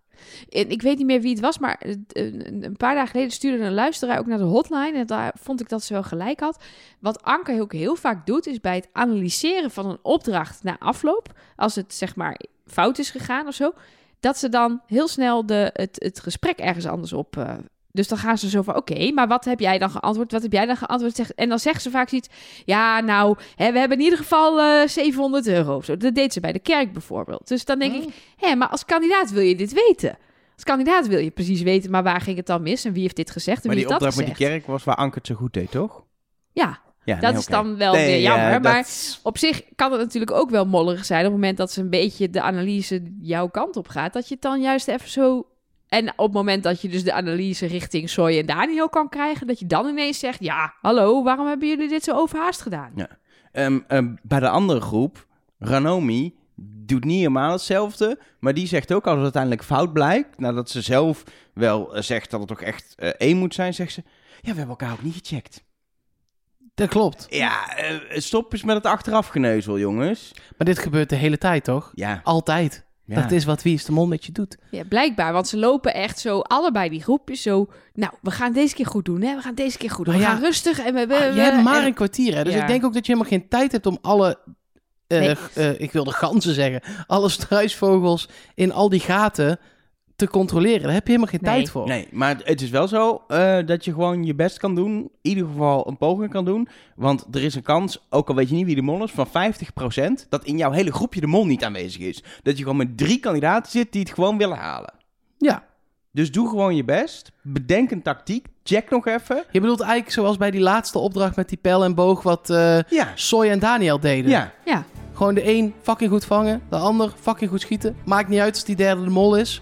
Speaker 1: En ik weet niet meer wie het was, maar eh, een een paar dagen geleden stuurde een luisteraar ook naar de hotline. En daar vond ik dat ze wel gelijk had. Wat Anker ook heel vaak doet, is bij het analyseren van een opdracht na afloop. Als het zeg maar fout is gegaan of zo. Dat ze dan heel snel de, het, het gesprek ergens anders op. eh, dus dan gaan ze zo van: oké, maar wat heb jij dan geantwoord? Wat heb jij dan geantwoord? Zegt- En dan zegt ze vaak zoiets. Ja, nou, hè, we hebben in ieder geval eh 700 euro of zo. Dat deed ze bij de kerk bijvoorbeeld. Dus dan denk
Speaker 2: Oh.
Speaker 1: ik. Hé, maar als kandidaat wil je dit weten. Als kandidaat wil je precies weten, maar waar ging het dan mis en wie heeft dit gezegd en
Speaker 2: maar
Speaker 1: wie
Speaker 2: die
Speaker 1: heeft dat
Speaker 2: opdracht met die
Speaker 1: gezegd?
Speaker 2: kerk was waar Anke het zo goed deed, toch?
Speaker 1: Ja,
Speaker 2: Ja,
Speaker 1: dat
Speaker 2: nee,
Speaker 1: is
Speaker 2: oké.
Speaker 1: dan wel
Speaker 2: Nee,
Speaker 1: weer
Speaker 2: ja,
Speaker 1: jammer.
Speaker 2: dat-
Speaker 1: maar op zich kan het natuurlijk ook wel mollig zijn op het moment dat ze een beetje de analyse jouw kant op gaat, dat je het dan juist even zo en op het moment dat je dus de analyse richting Soy en Daniel kan krijgen, dat je dan ineens zegt: ja, hallo, waarom hebben jullie dit zo overhaast gedaan?
Speaker 2: Ehm, ehm, bij de andere groep, Ranomi doet niet helemaal hetzelfde. Maar die zegt ook, als het uiteindelijk fout blijkt... nadat ze zelf wel eh, zegt dat het toch echt eh, één moet zijn, zegt ze... Ja, we hebben elkaar ook niet gecheckt.
Speaker 3: Dat klopt.
Speaker 2: Ja, eh, stop eens met het achterafgeneuzel, jongens.
Speaker 3: Maar dit gebeurt de hele tijd, toch?
Speaker 2: Ja,
Speaker 3: Altijd.
Speaker 2: Ja.
Speaker 3: Dat is wat Wie is de Mol met je doet.
Speaker 1: Ja, blijkbaar. Want ze lopen echt zo, allebei die groepjes, zo... Nou, we gaan het deze keer goed doen, hè. We gaan het deze keer goed doen.
Speaker 3: Nou
Speaker 1: we
Speaker 3: ja,
Speaker 1: gaan rustig en we... we,
Speaker 3: Ah,
Speaker 1: we-
Speaker 3: je hebt maar
Speaker 1: en-
Speaker 3: een kwartier, hè? Dus
Speaker 1: Ja.
Speaker 3: ik denk ook dat je helemaal geen tijd hebt om alle... eh,
Speaker 1: Nee.
Speaker 3: g- eh, ik wilde ganzen zeggen. Alle struisvogels in al die gaten te controleren. Daar heb je helemaal geen
Speaker 1: Nee.
Speaker 3: tijd voor.
Speaker 2: Nee, maar het is wel zo eh, dat je gewoon je best kan doen. In ieder geval een poging kan doen. Want er is een kans, ook al weet je niet wie de mol is, van 50% dat in jouw hele groepje de mol niet aanwezig is. Dat je gewoon met drie kandidaten zit die het gewoon willen halen.
Speaker 3: Ja.
Speaker 2: Dus doe gewoon je best. Bedenk een tactiek. Check nog even.
Speaker 3: Je bedoelt eigenlijk zoals bij die laatste opdracht met die pijl en boog... wat eh
Speaker 2: Ja.
Speaker 3: Soy en Daniel deden.
Speaker 2: Ja.
Speaker 1: Ja,
Speaker 3: Gewoon de een fucking goed vangen, de ander fucking goed schieten. Maakt niet uit als die derde de mol is.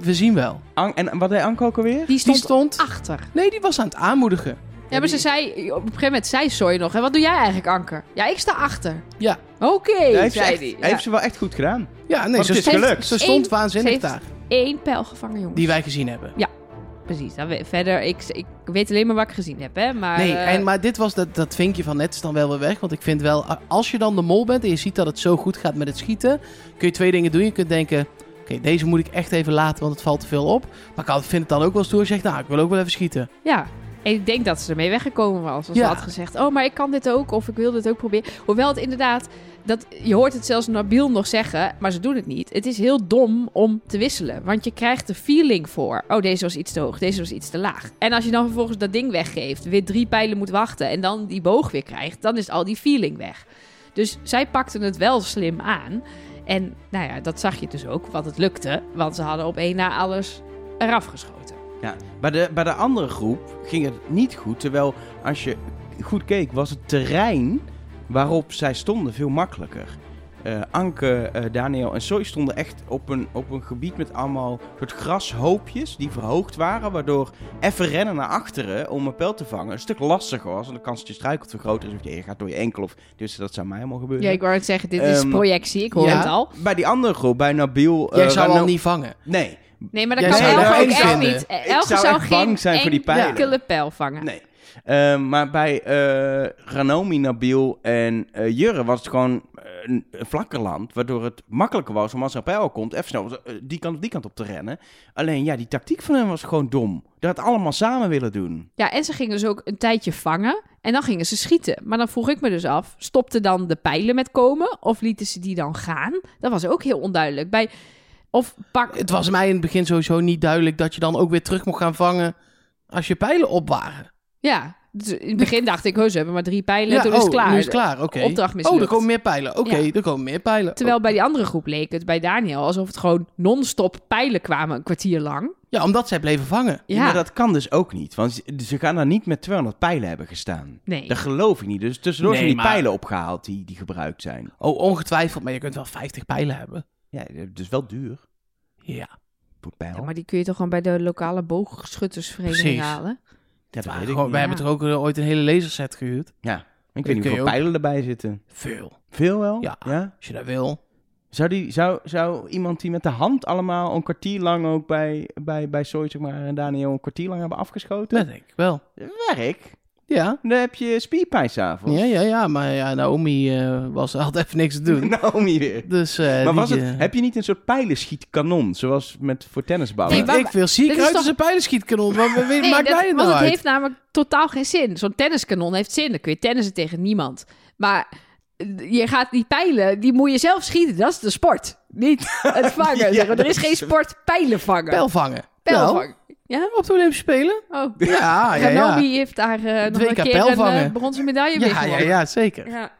Speaker 3: We zien wel.
Speaker 2: Ang- en wat deed Anko ook alweer?
Speaker 1: die stond Ah.
Speaker 3: die stond...
Speaker 1: achter.
Speaker 3: Nee, die was aan het aanmoedigen.
Speaker 1: Ja, maar ze zei... Op een gegeven moment zei Soy nog... En wat doe jij eigenlijk, Anker? Ja, ik sta achter.
Speaker 3: Ja.
Speaker 1: Oké,
Speaker 2: Daar heeft, ze
Speaker 1: zei
Speaker 2: echt-
Speaker 1: hij.
Speaker 2: heeft ze wel echt goed gedaan.
Speaker 3: Ja, nee,
Speaker 2: Want
Speaker 3: ze
Speaker 2: het is
Speaker 3: stond,
Speaker 2: gelukt.
Speaker 3: ze stond
Speaker 1: Eén-
Speaker 3: waanzinnig
Speaker 1: ze heeft-
Speaker 3: daar.
Speaker 1: Eén pijl gevangen, jongens.
Speaker 3: Die wij gezien hebben.
Speaker 1: Precies. Dan we- verder, ik, ik weet alleen maar wat ik gezien heb, hè. Maar,
Speaker 3: Nee,
Speaker 1: eh,
Speaker 3: en, maar dit was dat, dat vinkje van net is dan wel weer weg. Want ik vind wel, a- als je dan de mol bent en je ziet dat het zo goed gaat met het schieten, kun je twee dingen doen. Je kunt denken, oké, deze moet ik echt even laten, want het valt te veel op. Maar ik had- vind het dan ook wel stoer als je zegt, nou, ik wil ook wel even schieten.
Speaker 1: Ja. En ik denk dat ze ermee weggekomen was. Als
Speaker 3: Ja.
Speaker 1: ze had gezegd, oh, maar ik kan dit ook. Of ik wil dit ook proberen. Hoewel het inderdaad... Dat, je hoort het zelfs Nabil nog zeggen, maar ze doen het niet. Het is heel dom om te wisselen. Want je krijgt de feeling voor... Oh, deze was iets te hoog, deze was iets te laag. En als je dan vervolgens dat ding weggeeft... weer drie pijlen moet wachten en dan die boog weer krijgt... dan is al die feeling weg. Dus zij pakten het wel slim aan. En nou ja, dat zag je dus ook, want het lukte. Want ze hadden op één na alles eraf geschoten.
Speaker 2: Ja. Bij, de, bij de andere groep ging het niet goed. Terwijl als je goed keek, was het terrein waarop zij stonden veel makkelijker. Eh, Anke, eh, Daniel en Soy stonden echt op een, op een gebied met allemaal soort grashoopjes die verhoogd waren. Waardoor even rennen naar achteren om een pijl te vangen een stuk lastiger was. En de kans dat je struikelt veel groter is. Of je gaat door je enkel. Of, dus dat zou mij helemaal gebeuren.
Speaker 1: Ja, ik wou het zeggen, dit is
Speaker 2: Ehm,
Speaker 1: projectie, ik hoor
Speaker 3: ja.
Speaker 1: het al.
Speaker 2: Bij die andere groep, bij Nabil... eh,
Speaker 3: Jij zou
Speaker 2: Rano-
Speaker 3: al niet vangen.
Speaker 2: Nee,
Speaker 1: Nee, maar dat
Speaker 3: Jij
Speaker 1: kan
Speaker 3: zou
Speaker 1: Elge
Speaker 3: daar
Speaker 1: ook
Speaker 3: één
Speaker 1: echt
Speaker 3: vinden.
Speaker 1: niet.
Speaker 2: Ik
Speaker 1: Elke
Speaker 2: zou
Speaker 1: zou,
Speaker 2: echt
Speaker 1: geen
Speaker 2: bang zijn voor die pijlen.
Speaker 1: enkele pijl vangen.
Speaker 2: Nee. Ehm, maar bij eh Ranomi, Nabil en eh Jurre was het gewoon eh, een, een vlakker land. Waardoor het makkelijker was om als er een pijl komt even snel eh, die kant op die kant op te rennen. Alleen ja, die tactiek van hem was gewoon dom. Dat allemaal samen willen doen.
Speaker 1: Ja, en ze gingen dus ook een tijdje vangen en dan gingen ze schieten. Maar dan vroeg ik me dus af, stopte dan de pijlen met komen of lieten ze die dan gaan? Dat was ook heel onduidelijk. Bij, of pak...
Speaker 3: Het was mij in het begin sowieso niet duidelijk dat je dan ook weer terug mocht gaan vangen als je pijlen op waren.
Speaker 1: Ja, dus in het begin dacht ik, "Huh, ze hebben maar drie pijlen en toen
Speaker 3: oh,
Speaker 1: is het klaar.
Speaker 3: nu is het klaar, oké.
Speaker 1: Opdracht
Speaker 3: Oh,
Speaker 1: mislukt.
Speaker 3: er komen meer pijlen. Oké,
Speaker 1: Ja.
Speaker 3: er komen meer pijlen.
Speaker 1: Terwijl bij die andere groep leek het bij Daniel alsof het gewoon non-stop pijlen kwamen een kwartier lang.
Speaker 3: Ja, omdat zij bleven vangen.
Speaker 1: Ja,
Speaker 2: Maar dat kan dus ook niet. Want ze- ze gaan daar niet met 200 pijlen hebben gestaan.
Speaker 1: nee.
Speaker 2: Dat geloof ik niet. Dus tussendoor
Speaker 3: Nee,
Speaker 2: zijn die
Speaker 3: maar-
Speaker 2: pijlen opgehaald die, die gebruikt zijn.
Speaker 3: Oh, ongetwijfeld, maar je kunt wel 50 pijlen hebben.
Speaker 2: Ja, dus wel duur
Speaker 3: Ja,
Speaker 2: voor pijl.
Speaker 1: Ja, maar die kun je toch gewoon bij de lokale boogschuttersvereniging
Speaker 3: Precies.
Speaker 1: halen?
Speaker 2: dat
Speaker 3: Maar
Speaker 2: weet ik
Speaker 3: gewoon,
Speaker 2: niet.
Speaker 3: wij
Speaker 1: Ja.
Speaker 3: hebben toch ook eh, ooit een hele laserset gehuurd?
Speaker 2: Ik
Speaker 3: kun
Speaker 2: weet niet
Speaker 3: je
Speaker 2: hoeveel
Speaker 3: ook-
Speaker 2: pijlen erbij zitten.
Speaker 3: Veel,
Speaker 2: Veel wel?
Speaker 3: Ja.
Speaker 2: ja?
Speaker 3: als je dat wil.
Speaker 2: Zou, die, zou, zou iemand die met de hand allemaal een kwartier lang ook bij, bij, bij Soy, zeg maar, en Daniel een kwartier lang hebben afgeschoten?
Speaker 3: Dat denk ik wel.
Speaker 2: Werk?
Speaker 3: Ja,
Speaker 2: Dan heb je spierpijn s'avonds.
Speaker 3: ja, ja, ja maar ja, Naomi eh, was, had even niks te
Speaker 2: [LAUGHS]
Speaker 3: doen.
Speaker 2: Naomi weer.
Speaker 3: Dus, eh,
Speaker 2: Maar
Speaker 3: die,
Speaker 2: was het,
Speaker 3: eh,
Speaker 2: heb je niet een soort pijlenschietkanon, zoals met voor tennisballen?
Speaker 1: Nee,
Speaker 2: [LAUGHS]
Speaker 3: ik,
Speaker 1: maar-
Speaker 3: ik wil ziek
Speaker 1: dit is
Speaker 3: uit
Speaker 1: toch-
Speaker 3: als een pijlenschietkanoon. Wat wat-
Speaker 1: Nee,
Speaker 3: maakt
Speaker 1: dat-
Speaker 3: mij
Speaker 1: want
Speaker 3: het nou
Speaker 1: het
Speaker 3: uit?
Speaker 1: heeft namelijk totaal geen zin. Zo'n tenniskanon heeft zin. Dan kun je tennissen tegen niemand. Maar eh, je gaat die pijlen, die moet je zelf schieten. Dat is de sport. Niet
Speaker 3: [LAUGHS]
Speaker 1: het vangen.
Speaker 2: Ja,
Speaker 1: zeg maar. Er
Speaker 2: dat
Speaker 1: is
Speaker 2: is
Speaker 1: geen
Speaker 2: zo.
Speaker 1: sport pijlen vangen.
Speaker 3: Pijl vangen.
Speaker 1: Pijl
Speaker 3: Wel,
Speaker 1: vangen.
Speaker 3: Op de Olympische
Speaker 2: [LAUGHS]
Speaker 3: Spelen?
Speaker 1: Oh.
Speaker 3: Ja, ja, ja.
Speaker 1: Ganomi heeft daar eh, nog
Speaker 3: WK
Speaker 1: een keer een
Speaker 3: pijlvangen.
Speaker 1: eh, bronzen medaille mee
Speaker 3: Ja, ja,
Speaker 1: gewonnen.
Speaker 3: ja, zeker.
Speaker 1: Ja.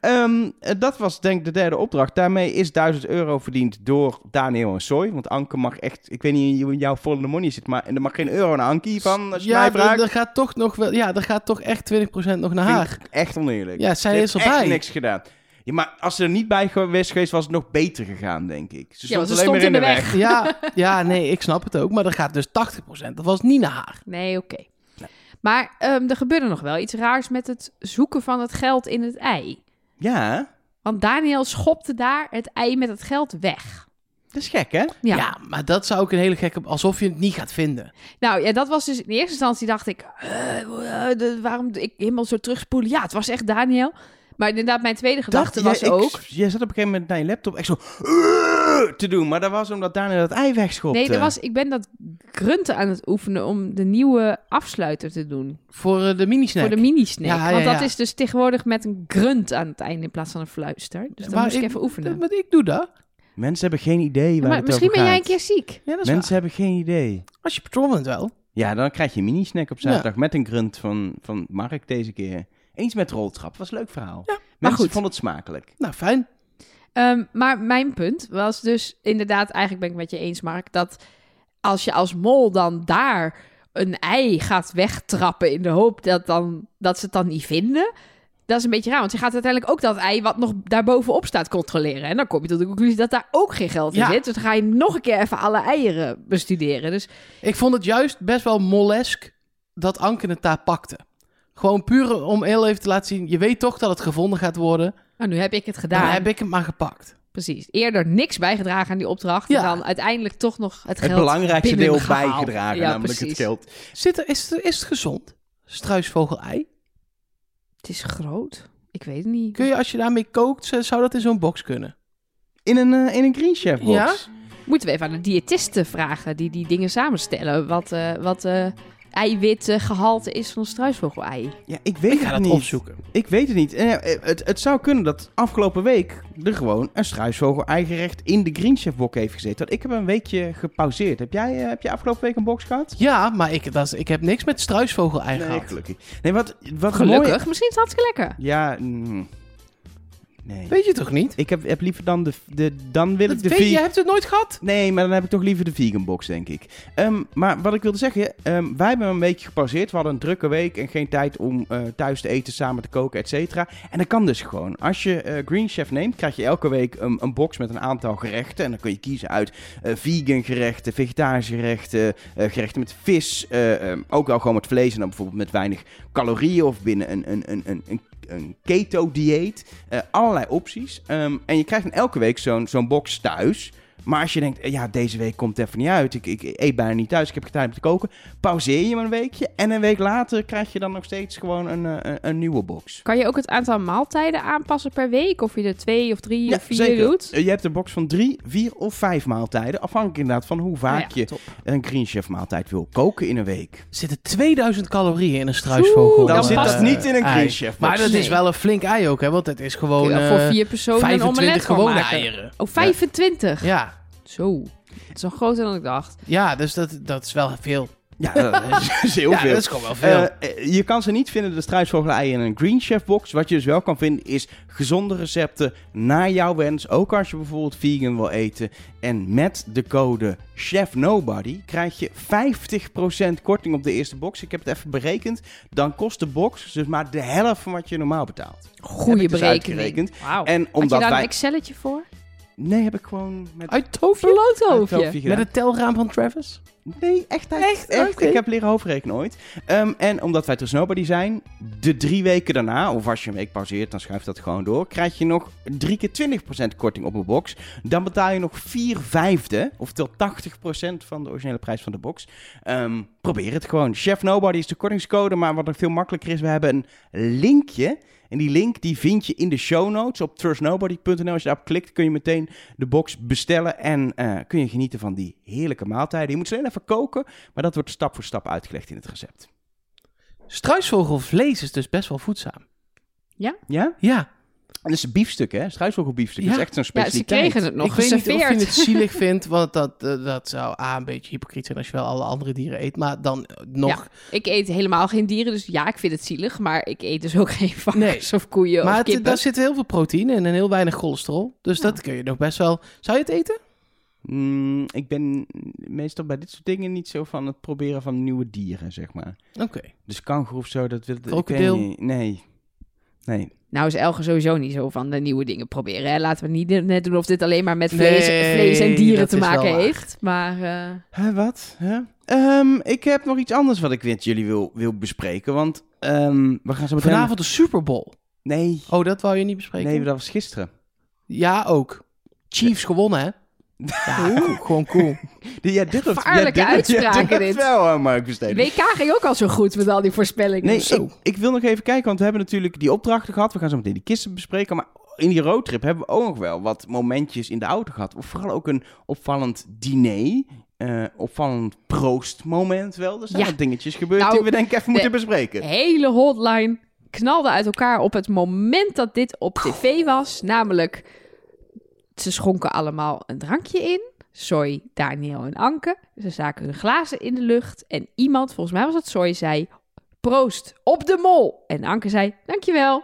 Speaker 2: Ehm, eh, dat was denk ik de derde opdracht. Daarmee is 1000 euro verdiend door Daniel en Soy. Want Anke mag echt, ik weet niet hoe jouw volle money zit, maar er mag geen euro naar Anke hiervan, als je
Speaker 3: Ja,
Speaker 2: mij
Speaker 3: er,
Speaker 2: vraagt.
Speaker 3: er gaat toch nog wel, ja, er gaat toch echt 20% nog naar haar.
Speaker 2: Vind ik echt oneerlijk.
Speaker 3: Ja, zij
Speaker 2: Ze
Speaker 3: is
Speaker 2: heeft echt
Speaker 3: erbij.
Speaker 2: niks gedaan. Ja, maar als ze er niet bij geweest geweest, was het nog beter gegaan, denk ik. Ze
Speaker 1: Ja, want
Speaker 2: stond
Speaker 1: ze
Speaker 2: alleen maar in
Speaker 1: stond in de
Speaker 2: de weg.
Speaker 3: Ja, ja, nee, ik snap het ook. Maar er gaat dus 80%. Dat was niet naar haar.
Speaker 1: Nee, oké. Maar ehm, er gebeurde nog wel iets raars met het zoeken van het geld in het ei.
Speaker 2: Ja, hè?
Speaker 1: Want Daniel schopte daar het ei met het geld weg.
Speaker 2: dat is gek, hè?
Speaker 3: Ja. maar dat zou ook een hele gekke... Alsof je het niet gaat vinden.
Speaker 1: Nou ja, dat was dus in eerste instantie dacht ik, eh, eh, de- waarom ik helemaal zo terugspoelen? Ja, het was echt Daniel. Maar inderdaad, mijn tweede gedachte was
Speaker 2: jij, ik-
Speaker 1: ook...
Speaker 2: Jij zat op een gegeven moment naar je laptop echt zo te doen. Maar dat was omdat Daniel dat ei wegschopte.
Speaker 1: Nee, er was, ik ben dat grunten aan het oefenen om de nieuwe afsluiter te doen.
Speaker 3: Voor eh, de mini-snack.
Speaker 1: Voor de mini-snack.
Speaker 3: Ja, ja,
Speaker 1: Want dat
Speaker 3: ja.
Speaker 1: is dus tegenwoordig met een grunt aan het einde in plaats van een fluister. Dus dan
Speaker 3: Maar
Speaker 1: moest ik,
Speaker 3: ik-
Speaker 1: even oefenen.
Speaker 3: Maar ik doe dat.
Speaker 2: Mensen hebben geen idee waar
Speaker 1: maar
Speaker 2: het
Speaker 1: misschien
Speaker 2: over
Speaker 1: ben jij een
Speaker 2: gaat.
Speaker 1: keer ziek.
Speaker 3: Ja, dat is
Speaker 2: Mensen hebben geen idee.
Speaker 3: waar. Als je patrol bent wel.
Speaker 2: Ja, dan krijg je een mini-snack op zaterdag met een grunt van, van Mark deze keer. Eens met roltrap. Was een leuk verhaal. Mensen
Speaker 1: goed.
Speaker 2: vonden het smakelijk.
Speaker 3: Nou, fijn.
Speaker 1: Ehm, maar mijn punt was dus inderdaad, eigenlijk ben ik met je eens, Mark, dat als je als mol dan daar een ei gaat wegtrappen in de hoop dat, dan, dat ze het dan niet vinden, dat is een beetje raar. Want je gaat uiteindelijk ook dat ei wat nog daarbovenop staat controleren. En dan kom je tot de conclusie dat daar ook geen geld in
Speaker 3: Ja.
Speaker 1: zit. Dus dan ga je nog een keer even alle eieren bestuderen. Dus
Speaker 3: Ik vond het juist best wel molesk dat Anken het daar pakte. Gewoon puur om heel even te laten zien, je weet toch dat het gevonden gaat worden.
Speaker 1: nou, nu heb ik het gedaan.
Speaker 3: Daar heb ik het maar gepakt.
Speaker 1: Precies. Eerder niks bijgedragen aan die opdracht. En
Speaker 3: Ja.
Speaker 1: dan uiteindelijk toch nog het
Speaker 2: Het
Speaker 1: geld
Speaker 2: belangrijkste deel
Speaker 1: binnengehaald.
Speaker 2: bijgedragen,
Speaker 1: Ja,
Speaker 2: namelijk
Speaker 1: precies.
Speaker 2: het geld.
Speaker 3: Zit er, is, er, is het gezond? Struisvogel-ei?
Speaker 1: Het is groot. Ik weet het niet.
Speaker 3: Kun je als je daarmee kookt, z- zou dat in zo'n box kunnen?
Speaker 2: In een, eh, in een Green Chef box.
Speaker 3: Ja?
Speaker 1: Moeten we even aan de diëtisten vragen die die dingen samenstellen. Wat, eh wat eh eiwitgehalte is van struisvogel-ei.
Speaker 2: Ja, ik weet
Speaker 3: Ik ga
Speaker 2: het
Speaker 3: dat
Speaker 2: niet.
Speaker 3: opzoeken.
Speaker 2: Ik weet het niet. Eh, eh, het, het zou kunnen dat afgelopen week er gewoon een struisvogel eigenrecht in de Green Chef box heeft gezeten. Want ik heb een weekje gepauzeerd. Heb jij, eh, heb jij afgelopen week een box gehad?
Speaker 3: Ja, maar ik, dat, is- ik heb niks met struisvogel-ei
Speaker 2: Nee,
Speaker 3: gehad.
Speaker 2: gelukkig. Nee, wat, wat
Speaker 1: Gelukkig.
Speaker 2: mooi-
Speaker 1: Misschien is het hartstikke lekker.
Speaker 2: Ja, mm, nee.
Speaker 3: Weet je toch niet?
Speaker 2: Ik heb, heb liever dan de, de dan wil
Speaker 3: Dat
Speaker 2: ik de
Speaker 3: weet, je,
Speaker 2: vegan.
Speaker 3: hebt het nooit gehad?
Speaker 2: Nee, maar dan heb ik toch liever de vegan box, denk ik. Ehm, maar wat ik wilde zeggen, ehm, wij hebben een weekje gepauzeerd. We hadden een drukke week en geen tijd om eh, thuis te eten, samen te koken, et cetera. En dat kan dus gewoon. Als je eh, Green Chef neemt, krijg je elke week een, een box met een aantal gerechten. En dan kun je kiezen uit eh, vegan gerechten, vegetarische gerechten, eh, gerechten met vis. eh, ehm, ook wel gewoon met vlees en dan bijvoorbeeld met weinig calorieën of binnen een, een, een, een, een, een keto-dieet. Eh, allerlei opties. Ehm, en je krijgt dan elke week zo'n zo'n box thuis. Maar als je denkt, eh, ja, deze week komt het even niet uit. Ik, ik eet bijna niet thuis, ik heb geen tijd om te koken. Pauzeer je maar een weekje. En een week later krijg je dan nog steeds gewoon een, eh, een, een nieuwe box.
Speaker 1: Kan je ook het aantal maaltijden aanpassen per week? Of je er twee of drie of vier doet?
Speaker 2: Eh, Je hebt een box van drie, vier of vijf maaltijden. Afhankelijk inderdaad van hoe vaak
Speaker 1: Nou ja,
Speaker 2: je
Speaker 1: top.
Speaker 2: een Green Chef maaltijd wil koken in een week.
Speaker 3: Zitten 2000 calorieën in een struisvogel.
Speaker 1: Oeh, Dan
Speaker 2: Dan zit
Speaker 1: past
Speaker 2: dat
Speaker 1: het.
Speaker 2: niet in een
Speaker 3: ei.
Speaker 2: Green Chef
Speaker 3: Maar
Speaker 2: box.
Speaker 3: dat is
Speaker 1: Nee.
Speaker 3: wel een flink ei ook, hè? Want het is gewoon
Speaker 1: Kun je
Speaker 3: eh,
Speaker 1: voor vier personen een
Speaker 3: 25
Speaker 1: omelet van
Speaker 3: gewone
Speaker 1: maken.
Speaker 3: eieren.
Speaker 1: Oh, 25?
Speaker 3: Ja,
Speaker 1: Zo. Dat is wel groter dan ik dacht.
Speaker 3: ja dus dat, dat is wel veel.
Speaker 2: Ja, [LAUGHS] dat is- is heel
Speaker 3: ja,
Speaker 2: veel.
Speaker 3: dat is gewoon wel veel.
Speaker 2: Eh, eh, je kan ze niet vinden, de struisvogel-eieren in een Green Chef box. Wat je dus wel kan vinden is gezonde recepten naar jouw wens. Ook als je bijvoorbeeld vegan wil eten. En met de code Chef Nobody krijg je 50% korting op de eerste box. Ik heb het even berekend. Dan kost de box dus maar de helft van wat je normaal betaalt.
Speaker 1: Goede
Speaker 2: ik dus
Speaker 1: berekening.
Speaker 2: uitgerekend.
Speaker 1: Wauw. Oh,
Speaker 2: En
Speaker 1: Had je nou
Speaker 2: omdat
Speaker 1: daar een
Speaker 2: wij...
Speaker 1: Excelletje voor?
Speaker 2: Nee, heb ik gewoon met...
Speaker 3: Uit het hoofdje?
Speaker 1: Een
Speaker 2: uit
Speaker 1: loodhoofdje.
Speaker 2: het hoofdje gedaan.
Speaker 3: Met het telraam van Travis?
Speaker 2: Nee, echt. Uit, echt?
Speaker 3: Echt? Oké.
Speaker 2: Ik heb leren hoofdrekenen ooit. Ehm, en omdat wij ter Snowbody zijn, de drie weken daarna, of als je een week pauzeert, dan schuift dat gewoon door, krijg je nog drie keer 20% korting op een box. Dan betaal je nog vier vijfde, oftewel 80% van de originele prijs van de box. Ehm, probeer het gewoon. Chef Nobody is de kortingscode, maar wat nog veel makkelijker is, we hebben een linkje. En die link die vind je in de show notes op trustnobody.nl. Als je daarop klikt, kun je meteen de box bestellen en eh, kun je genieten van die heerlijke maaltijden. Je moet ze alleen even koken, maar dat wordt stap voor stap uitgelegd in het recept.
Speaker 3: Struisvogelvlees is dus best wel voedzaam.
Speaker 2: Ja?
Speaker 3: Ja,
Speaker 2: En dat is een biefstuk, hè? Struisvogelbiefstuk.
Speaker 3: Ja.
Speaker 2: Dat is echt zo'n
Speaker 1: Ja, ze
Speaker 2: specialiteit.
Speaker 1: kregen het nog
Speaker 3: ik weet niet of je
Speaker 1: geserveerd.
Speaker 3: het
Speaker 1: [LAUGHS]
Speaker 3: zielig vindt, want dat, eh, dat zou A, een beetje hypocriet zijn als je wel alle andere dieren eet, maar dan eh, nog...
Speaker 1: Ik eet helemaal geen dieren, dus ja, ik vind het zielig. Maar ik eet dus ook [LAUGHS] geen varkens of koeien
Speaker 3: maar
Speaker 1: of
Speaker 3: het-
Speaker 1: kippen.
Speaker 3: daar zit heel veel proteïne in en heel weinig cholesterol, dus dat kun je nog best wel... Zou je het eten?
Speaker 2: Mm, ik ben meestal bij dit soort dingen niet zo van het proberen van nieuwe dieren, zeg maar.
Speaker 3: Oké.
Speaker 2: Dus kangoeroe of zo, dat wil ik weet
Speaker 3: Krokodil.
Speaker 2: niet. Nee. Nee.
Speaker 1: Nou is Elge sowieso niet zo van de nieuwe dingen proberen. Hè? Laten we niet net doen of dit alleen maar met vlees,
Speaker 3: Nee,
Speaker 1: vlees en dieren
Speaker 3: dat
Speaker 1: te
Speaker 3: is
Speaker 1: maken
Speaker 3: wel waar.
Speaker 1: heeft. Maar eh,
Speaker 2: Hè, wat? Hè? Ehm, ik heb nog iets anders wat ik met jullie wil, wil bespreken, want ehm, we gaan zo meteen...
Speaker 3: Vanavond de Super Bowl.
Speaker 2: Nee.
Speaker 3: Oh, dat wou je niet bespreken?
Speaker 2: Nee, dat was gisteren.
Speaker 3: Ja, ook. Chiefs gewonnen, hè? Gewoon cool.
Speaker 2: Ja, dit was
Speaker 1: Gevaarlijke uitspraken, dit.
Speaker 2: wel aan Mark Versteden.
Speaker 1: WK ging ook al zo goed met al die voorspellingen.
Speaker 2: Nee,
Speaker 3: dus- Zo.
Speaker 2: ik, ik wil nog even kijken, want we hebben natuurlijk die opdrachten gehad. We gaan zo meteen die kisten bespreken. Maar in die roadtrip hebben we ook nog wel wat momentjes in de auto gehad. Of vooral ook een opvallend diner. eh, opvallend proostmoment wel. Er zijn
Speaker 1: Ja.
Speaker 2: wat dingetjes gebeurd
Speaker 1: Nou,
Speaker 2: die we denk ik even moeten
Speaker 1: De Eh.
Speaker 2: bespreken.
Speaker 1: hele hotline knalde uit elkaar op het moment dat dit op tv was. Namelijk, ze schonken allemaal een drankje in. Soy, Daniel en Anke. Ze staken hun glazen in de lucht. En iemand, volgens mij was het Soy, zei... Proost, op de mol! En Anke zei, dankjewel.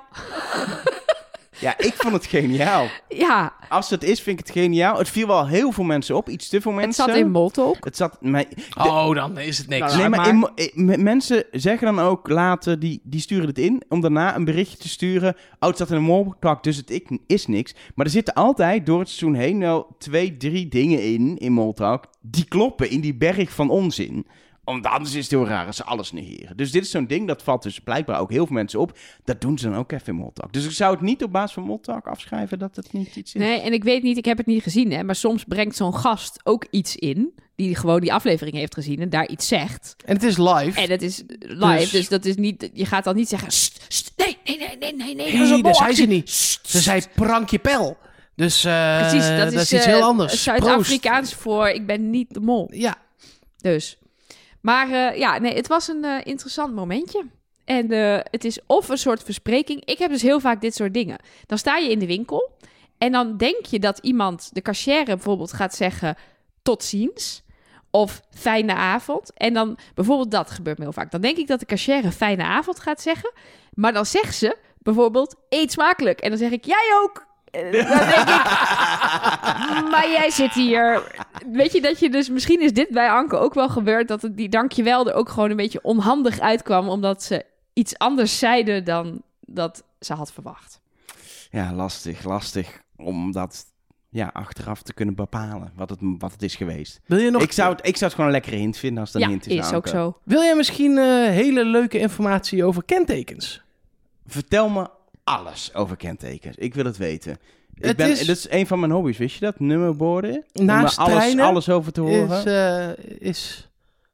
Speaker 2: Ja, ik vond het geniaal.
Speaker 1: Ja,
Speaker 2: Als het is, vind ik het geniaal. Het viel wel heel veel mensen op. Iets te veel
Speaker 1: het
Speaker 2: mensen.
Speaker 1: zat in Moltalk.
Speaker 2: Het zat... Mij,
Speaker 3: [LAUGHS] Oh, dan is het niks.
Speaker 1: Nou,
Speaker 2: Nee,
Speaker 1: Ja,
Speaker 2: maar,
Speaker 1: maar-
Speaker 2: in mo- eh, m- mensen zeggen dan ook later, die, die sturen het in, om daarna een berichtje te sturen. Oh, het zat in een moltak, dus het ik- is niks. Maar er zitten altijd door het seizoen heen wel twee, drie dingen in, in moltak, die kloppen in die berg van onzin. Omdat anders is het heel raar als ze alles negeren. Dus dit is zo'n ding, dat valt dus blijkbaar ook heel veel mensen op. Dat doen ze dan ook even in moltak. Dus ik zou het niet op basis van moltak afschrijven dat het niet iets is.
Speaker 1: Nee, en ik weet niet, ik heb het niet gezien, hè, maar soms brengt zo'n gast ook iets in. Die gewoon die aflevering heeft gezien en daar iets zegt.
Speaker 3: En het is live.
Speaker 1: En het is live, dus,
Speaker 3: Dus-
Speaker 1: dat is niet, je gaat dan niet zeggen. "Sst, sst, nee, nee, nee, nee, nee, nee.
Speaker 3: Nee, dus
Speaker 1: dat is een
Speaker 3: dat zei
Speaker 1: molactie."
Speaker 3: ze niet.
Speaker 1: Sst,
Speaker 3: Ze zei prankje pel. Dus eh,
Speaker 1: Precies, dat,
Speaker 3: dat, is, iets
Speaker 1: eh,
Speaker 3: heel anders. Proost.
Speaker 1: Zuid-Afrikaans voor ik ben niet de mol.
Speaker 3: Ja,
Speaker 1: Dus. Maar eh, ja, nee, het was een eh, interessant momentje. En eh, het is of een soort verspreking. Ik heb dus heel vaak dit soort dingen. Dan sta je in de winkel en dan denk je dat iemand, de cashier bijvoorbeeld, gaat zeggen tot ziens. Of fijne avond. En dan bijvoorbeeld dat gebeurt me heel vaak. Dan denk ik dat de cashier fijne avond gaat zeggen. Maar dan zegt ze bijvoorbeeld eet smakelijk. En dan zeg ik jij ook. Eh, Dan denk ik, maar jij zit hier. Weet je dat je dus. Misschien is dit bij Anke ook wel gebeurd. Dat het die dankjewel er ook gewoon een beetje onhandig uitkwam. Omdat ze iets anders zeiden dan dat ze had verwacht.
Speaker 2: Ja, lastig, lastig om dat ja, achteraf te kunnen bepalen, wat het, wat het is geweest.
Speaker 3: wil je nog...
Speaker 2: Ik zou, het, ik zou het gewoon een lekkere hint vinden als dat
Speaker 1: ja,
Speaker 2: een hint is.
Speaker 1: is ook
Speaker 2: Anke.
Speaker 1: zo.
Speaker 3: Wil jij misschien eh, hele leuke informatie over kentekens?
Speaker 2: Vertel me alles over kentekens. Ik wil het weten. Ik
Speaker 3: Het
Speaker 2: ben,
Speaker 3: is-
Speaker 2: Dat is een van mijn hobby's, wist je dat? Nummerborden. Om er
Speaker 3: Naast
Speaker 2: alles,
Speaker 3: treinen
Speaker 2: alles over te horen.
Speaker 3: Is, eh, is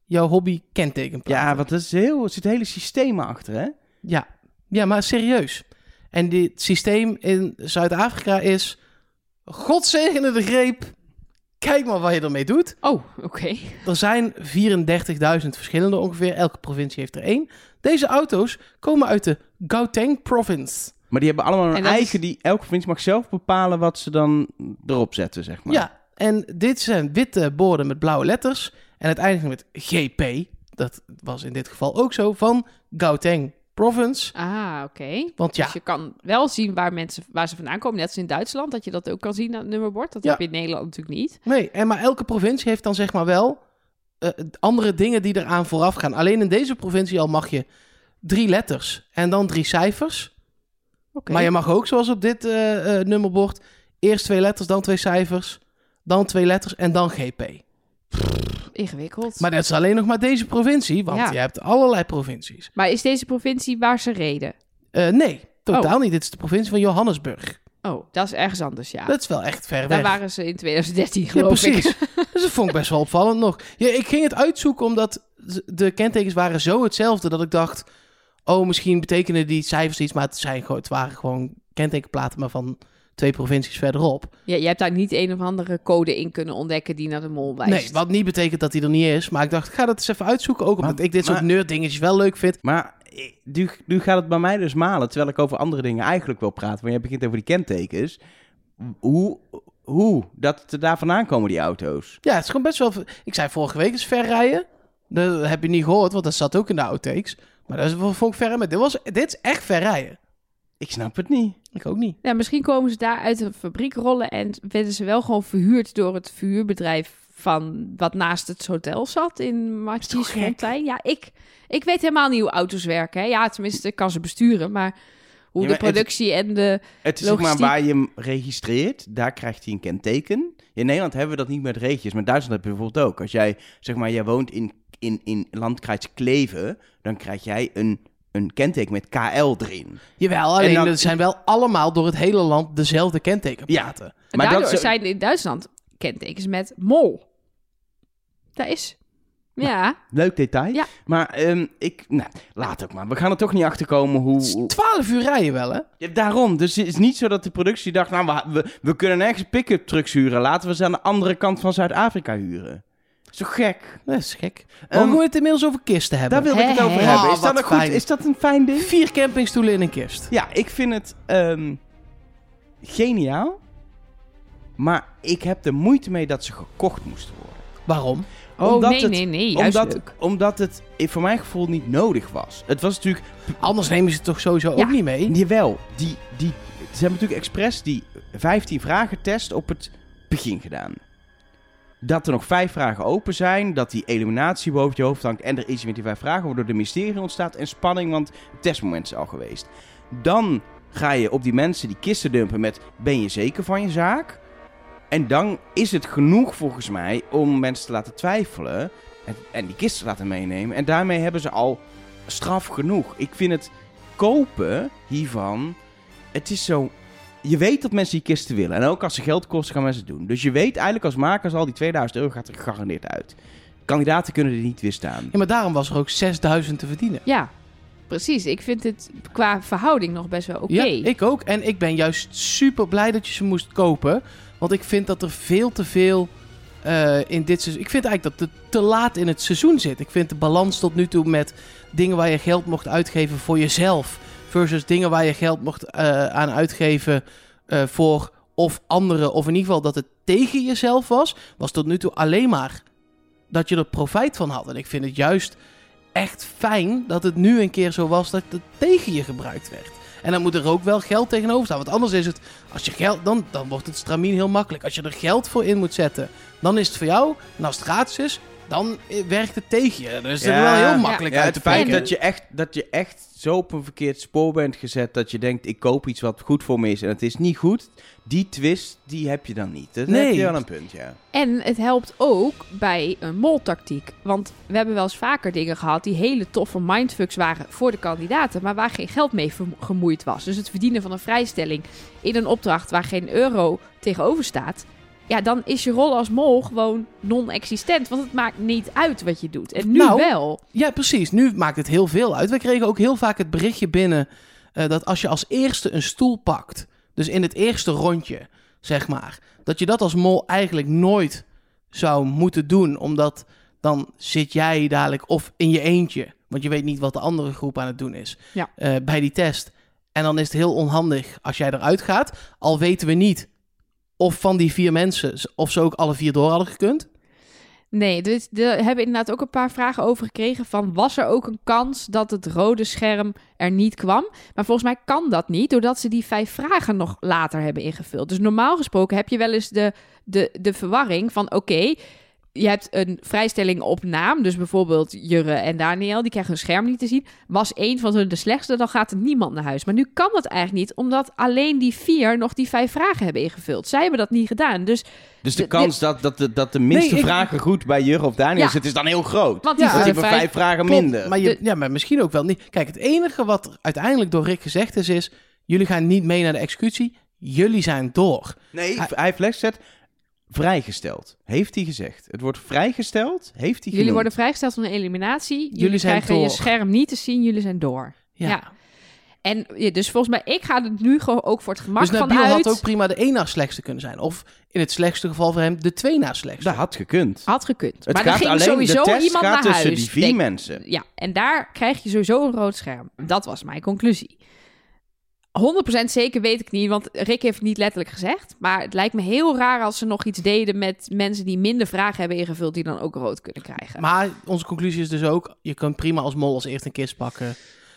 Speaker 3: jouw hobby kenteken
Speaker 2: ja,
Speaker 3: platen.
Speaker 2: want dat is heel, er zit hele systemen achter, hè?
Speaker 3: ja. ja, maar serieus. En dit systeem in Zuid-Afrika is... Godzegende de greep. Kijk maar wat je ermee doet.
Speaker 1: Oh, oké.
Speaker 3: Er zijn 34.000 verschillende ongeveer. Elke provincie heeft er één. Deze auto's komen uit de Gauteng province.
Speaker 2: Maar die hebben allemaal
Speaker 1: En
Speaker 2: een
Speaker 1: dat is-
Speaker 2: eigen... Die, elke provincie mag zelf bepalen wat ze dan erop zetten, zeg maar.
Speaker 3: Ja, en dit zijn witte borden met blauwe letters. En het eindigt met GP. Dat was in dit geval ook zo. Van Gauteng province.
Speaker 1: Ah, oké.
Speaker 3: Want ja,
Speaker 1: Dus je kan wel zien waar, mensen, waar ze vandaan komen. Net als in Duitsland, dat je dat ook kan zien aan het nummerbord. Dat
Speaker 3: Ja.
Speaker 1: heb je in Nederland natuurlijk niet.
Speaker 3: nee. En maar elke provincie heeft dan zeg maar wel eh, andere dingen die eraan vooraf gaan. Alleen in deze provincie al mag je drie letters en dan drie cijfers.
Speaker 1: Oké.
Speaker 3: Maar je mag ook, zoals op dit eh, eh, nummerbord, eerst twee letters, dan twee cijfers, dan twee letters en dan GP.
Speaker 1: Ingewikkeld. Maar,
Speaker 3: Maar dat is alleen nog maar deze provincie, want
Speaker 1: Ja.
Speaker 3: je hebt allerlei provincies.
Speaker 1: is deze provincie waar ze reden?
Speaker 3: Eh, nee, totaal niet. Dit is de provincie van Johannesburg.
Speaker 1: Oh, dat is ergens anders, ja.
Speaker 3: Dat is wel echt ver
Speaker 1: Daar
Speaker 3: weg.
Speaker 1: waren ze in 2013,
Speaker 3: ja,
Speaker 1: geloof ik.
Speaker 3: precies.
Speaker 1: [LAUGHS]
Speaker 3: dus dat vond ik best wel opvallend nog. Ja, ik ging het uitzoeken omdat z- de kentekens waren zo hetzelfde dat ik dacht... Oh, misschien betekenen die cijfers iets, maar het, zijn, gewoon- het waren gewoon kentekenplaten maar van twee provincies verderop.
Speaker 1: Ja, je hebt daar niet een of andere code in kunnen ontdekken die naar de mol wijst.
Speaker 3: Nee, wat niet betekent dat hij er niet is. Maar ik dacht, ik ga dat eens even uitzoeken. Ook omdat
Speaker 2: Maar-
Speaker 3: ik dit soort
Speaker 2: maar-
Speaker 3: nerddingetjes wel leuk vind.
Speaker 2: Maar eh, nu, nu gaat het bij mij dus malen, terwijl ik over andere dingen eigenlijk wil praten. Want jij begint over die kentekens. Hoe, hoe dat het er daar vandaan komen, die auto's?
Speaker 3: Ja, het is gewoon best wel... Ik zei vorige week eens verrijden. Dat heb je niet gehoord, want dat zat ook in de outtakes. Maar dat is- vond ik ver. Maar dit, was, dit is echt verrijden.
Speaker 2: Ik snap het niet.
Speaker 3: Ik ook niet.
Speaker 1: Ja, misschien komen ze daar uit de fabriek rollen en werden ze wel gewoon verhuurd door het verhuurbedrijf van wat naast het hotel zat in
Speaker 3: toch gek?
Speaker 1: Martinsfontein. Ja, ik, ik weet helemaal niet hoe auto's werken. Hè. Ja, tenminste, ik kan ze besturen, maar hoe
Speaker 2: Ja,
Speaker 1: de
Speaker 2: maar het-
Speaker 1: productie en de...
Speaker 2: Het is zeg maar
Speaker 1: Logistiek.
Speaker 2: waar je hem registreert, daar krijgt hij een kenteken. In Nederland hebben we dat niet met reetjes, maar in Duitsland heb je bijvoorbeeld ook. Als jij, zeg maar, jij woont in, in, in landkreis Kleven, dan krijg jij een, een kenteken met KL erin.
Speaker 3: Jawel, alleen
Speaker 2: dan-
Speaker 3: dat zijn wel allemaal door het hele land dezelfde kentekenplaten.
Speaker 1: En
Speaker 2: Maar dat
Speaker 1: daardoor
Speaker 2: is-
Speaker 1: zijn in Duitsland kentekens met mol. Dat is... Ja,
Speaker 2: Leuk detail.
Speaker 1: Ja.
Speaker 2: Maar ehm, ik... Nou, laat ook maar. We gaan er toch niet achter komen hoe...
Speaker 3: Het is
Speaker 2: hoe-
Speaker 3: 12 uur rijden wel, hè?
Speaker 2: Ja, daarom. Dus het is niet zo dat de productie dacht... Nou, we, we, we kunnen nergens pick-up trucks huren. Laten we ze aan de andere kant van Zuid-Afrika huren. Is toch gek?
Speaker 3: Dat is gek.
Speaker 2: Ehm,
Speaker 3: Waarom moet je het inmiddels over kisten hebben?
Speaker 2: Daar wilde ik het
Speaker 1: Hè,
Speaker 2: over
Speaker 1: hè.
Speaker 2: hebben.
Speaker 3: Ah,
Speaker 2: Is dat,
Speaker 3: wat
Speaker 2: een goed,
Speaker 3: fijn.
Speaker 2: is dat een fijn ding?
Speaker 3: Vier campingstoelen in een kist.
Speaker 2: Ja, ik vind het ehm, geniaal. Maar ik heb er moeite mee dat ze gekocht moesten worden.
Speaker 3: Waarom?
Speaker 1: Oh,
Speaker 2: Omdat
Speaker 1: nee,
Speaker 2: het-
Speaker 1: nee, nee. Juist
Speaker 2: Omdat,
Speaker 1: leuk.
Speaker 2: omdat het eh, voor mijn gevoel niet nodig was. Het was natuurlijk...
Speaker 3: Anders nemen ze het toch sowieso
Speaker 1: Ja.
Speaker 3: ook niet mee?
Speaker 2: Jawel, die, die, ze hebben natuurlijk expres die 15 vragen test op het begin gedaan. Dat er nog vijf vragen open zijn, dat die eliminatie boven je hoofd hangt en er is weer die vijf vragen, waardoor er mysterie ontstaat en spanning, want het testmoment is al geweest. Dan ga je op die mensen die kisten dumpen met ben je zeker van je zaak? En dan is het genoeg volgens mij om mensen te laten twijfelen en, en die kisten laten meenemen. En daarmee hebben ze al straf genoeg. Ik vind het kopen hiervan, het is zo... Je weet dat mensen die kisten willen. En ook als ze geld kosten, gaan mensen het doen. Dus je weet eigenlijk als makers al, die 2000 euro gaat er gegarandeerd uit. Kandidaten kunnen er niet weerstaan.
Speaker 3: Ja, maar daarom was er ook 6000 te verdienen.
Speaker 1: Ja, precies. Ik vind het qua verhouding nog best wel oké.
Speaker 3: Ja, ik ook. En ik ben juist super blij dat je ze moest kopen. Want ik vind dat er veel te veel eh, in dit seizoen... Ik vind eigenlijk dat het te laat in het seizoen zit. Ik vind de balans tot nu toe met dingen waar je geld mocht uitgeven voor jezelf... versus dingen waar je geld mocht eh, aan uitgeven eh, voor of anderen... of in ieder geval dat het tegen jezelf was... was tot nu toe alleen maar dat je er profijt van had. En ik vind het juist echt fijn dat het nu een keer zo was dat het tegen je gebruikt werd. En dan moet er ook wel geld tegenover staan. Want anders is het, als je geld, dan, dan wordt het stramien heel makkelijk. Als je er geld voor in moet zetten, dan is het voor jou. En als het gratis is, dan eh, werkt het tegen je. Dus het
Speaker 2: Ja.
Speaker 3: is wel heel makkelijk
Speaker 2: Ja,
Speaker 3: uit
Speaker 2: het
Speaker 3: te
Speaker 2: feit
Speaker 1: En-
Speaker 2: dat je, echt, dat je echt zo op een verkeerd spoor bent gezet... dat je denkt, ik koop iets wat goed voor me is en het is niet goed. Die twist, die heb je dan niet. Dat
Speaker 3: Nee.
Speaker 2: heb je wel een punt, ja.
Speaker 1: En het helpt ook bij een moltactiek. Want we hebben wel eens vaker dingen gehad die hele toffe mindfucks waren voor de kandidaten, maar waar geen geld mee vermo- gemoeid was. Dus het verdienen van een vrijstelling in een opdracht waar geen euro tegenover staat. Ja, dan is je rol als mol gewoon non-existent. Want het maakt niet uit wat je doet. En nu
Speaker 3: Nou,
Speaker 1: wel.
Speaker 3: Ja, precies. Nu maakt het heel veel uit. We kregen ook heel vaak het berichtje binnen eh, dat als je als eerste een stoel pakt, dus in het eerste rondje, zeg maar, dat je dat als mol eigenlijk nooit zou moeten doen, omdat dan zit jij dadelijk of in je eentje, want je weet niet wat de andere groep aan het doen is,
Speaker 1: Ja.
Speaker 3: eh, bij die test. En dan is het heel onhandig als jij eruit gaat, al weten we niet of van die vier mensen, z- of ze ook alle vier door hadden gekund.
Speaker 1: Nee, dus er hebben inderdaad ook een paar vragen over gekregen van was er ook een kans dat het rode scherm er niet kwam? Maar volgens mij kan dat niet, doordat ze die vijf vragen nog later hebben ingevuld. Dus normaal gesproken heb je wel eens de, de, de verwarring van oké, je hebt een vrijstelling op naam, dus bijvoorbeeld Jurre en Daniel, die krijgen hun scherm niet te zien. Was één van hun de slechtste, dan gaat er niemand naar huis. Maar nu kan dat eigenlijk niet, omdat alleen die vier nog die vijf vragen hebben ingevuld. Zij hebben dat niet gedaan, dus
Speaker 2: Dus de
Speaker 1: De-
Speaker 2: kans dat, dat, de, dat de minste
Speaker 3: Nee, ik-
Speaker 2: vragen goed bij Jurgen of Daniel
Speaker 1: Ja.
Speaker 2: zit, is dan heel
Speaker 1: Want die
Speaker 2: groot. Want die
Speaker 1: vragen
Speaker 2: hebben vijf
Speaker 1: vijf-
Speaker 2: vragen
Speaker 3: Klopt,
Speaker 2: minder.
Speaker 3: Maar, je,
Speaker 1: De-
Speaker 3: ja, maar misschien ook wel niet. Kijk, het enige wat er uiteindelijk door Rick gezegd is, is... jullie gaan niet mee naar de executie, jullie zijn door.
Speaker 2: Nee, hij,
Speaker 3: Hij-
Speaker 2: heeft leggezet vrijgesteld. Heeft hij gezegd. Het wordt vrijgesteld, heeft hij
Speaker 1: Jullie
Speaker 2: genoemd.
Speaker 1: worden vrijgesteld van een eliminatie. Jullie,
Speaker 3: zijn
Speaker 1: krijgen je
Speaker 3: door.
Speaker 1: scherm niet te zien. Jullie zijn door.
Speaker 3: Ja.
Speaker 1: Ja. En ja, dus volgens mij, ik ga er nu gewoon ook voor het gemak
Speaker 3: dus
Speaker 1: van
Speaker 3: Nabil
Speaker 1: uit.
Speaker 3: had ook prima de één na slechtste kunnen zijn. Of in het slechtste geval voor hem de twee na slechtste.
Speaker 2: Dat had gekund.
Speaker 1: Had gekund.
Speaker 2: Het
Speaker 1: maar
Speaker 2: gaat
Speaker 1: dan ging
Speaker 2: alleen,
Speaker 1: sowieso
Speaker 2: de test
Speaker 1: iemand
Speaker 2: gaat
Speaker 1: naar
Speaker 2: tussen
Speaker 1: huis.
Speaker 2: die vier
Speaker 1: Denk-
Speaker 2: mensen.
Speaker 1: Ja, en daar krijg je sowieso een rood scherm. Dat was mijn conclusie. 100% zeker weet ik niet, want Rick heeft het niet letterlijk gezegd. Maar het lijkt me heel raar als ze nog iets deden met mensen die minder vragen hebben ingevuld, die dan ook rood kunnen krijgen.
Speaker 3: Maar onze conclusie is dus ook... je kunt prima als mol als eerst een kist pakken.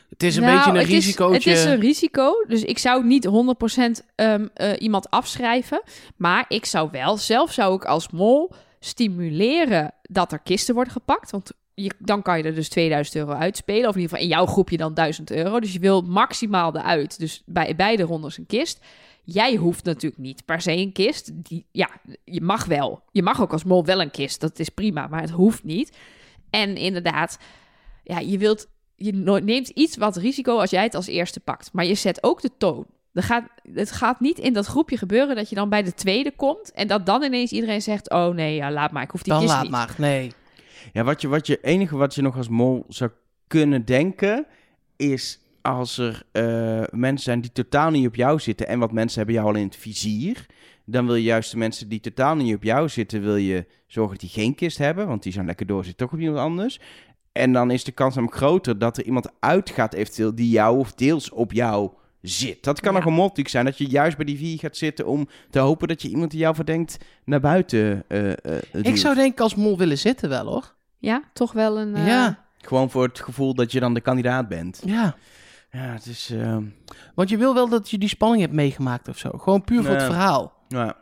Speaker 3: Het is een
Speaker 1: Nou,
Speaker 3: beetje een
Speaker 1: het is-
Speaker 3: risicootje.
Speaker 1: Het is een risico, dus ik zou niet 100% ehm, eh, iemand afschrijven. Maar ik zou wel, zelf zou ik als mol stimuleren dat er kisten worden gepakt. Want je, dan kan je er dus 2000 euro uitspelen. Of in ieder geval in jouw groepje dan 1000 euro. Dus je wil maximaal eruit. Dus bij beide rondes een kist. Jij hoeft natuurlijk niet per se een kist. Die, ja, je mag wel. Je mag ook als mol wel een kist. Dat is prima, maar het hoeft niet. En inderdaad, ja, je wilt je no- neemt iets wat risico als jij het als eerste pakt. Maar je zet ook de toon. Er gaat, het gaat niet in dat groepje gebeuren dat je dan bij de tweede komt en dat dan ineens iedereen zegt: Oh nee, ja, laat maar, ik hoef die
Speaker 3: Dan
Speaker 1: kist
Speaker 3: laat
Speaker 1: niet.
Speaker 3: maar. Nee.
Speaker 2: Ja, wat je, wat je enige wat je nog als mol zou kunnen denken is als er eh, mensen zijn die totaal niet op jou zitten en wat mensen hebben jou al in het vizier. Dan wil je juist de mensen die totaal niet op jou zitten, wil je zorgen dat die geen kist hebben, want die zijn lekker door, zit toch op iemand anders. En dan is de kans namelijk groter dat er iemand uitgaat eventueel die jou of deels op jou zit. Dat kan
Speaker 1: Ja.
Speaker 2: nog een mol natuurlijk zijn, dat je juist bij die vier gaat zitten om te hopen dat je iemand die jou verdenkt naar buiten eh eh,
Speaker 3: Ik
Speaker 2: duwt.
Speaker 3: zou denk ik als mol willen zitten wel hoor.
Speaker 1: Ja, toch wel een. eh,
Speaker 3: Ja.
Speaker 2: Gewoon voor het gevoel dat je dan de kandidaat bent.
Speaker 3: Ja.
Speaker 2: Ja, het is... ehm,
Speaker 3: Want je wil wel dat je die spanning hebt meegemaakt of zo. Gewoon puur voor het
Speaker 2: Nee.
Speaker 3: verhaal.
Speaker 2: ja.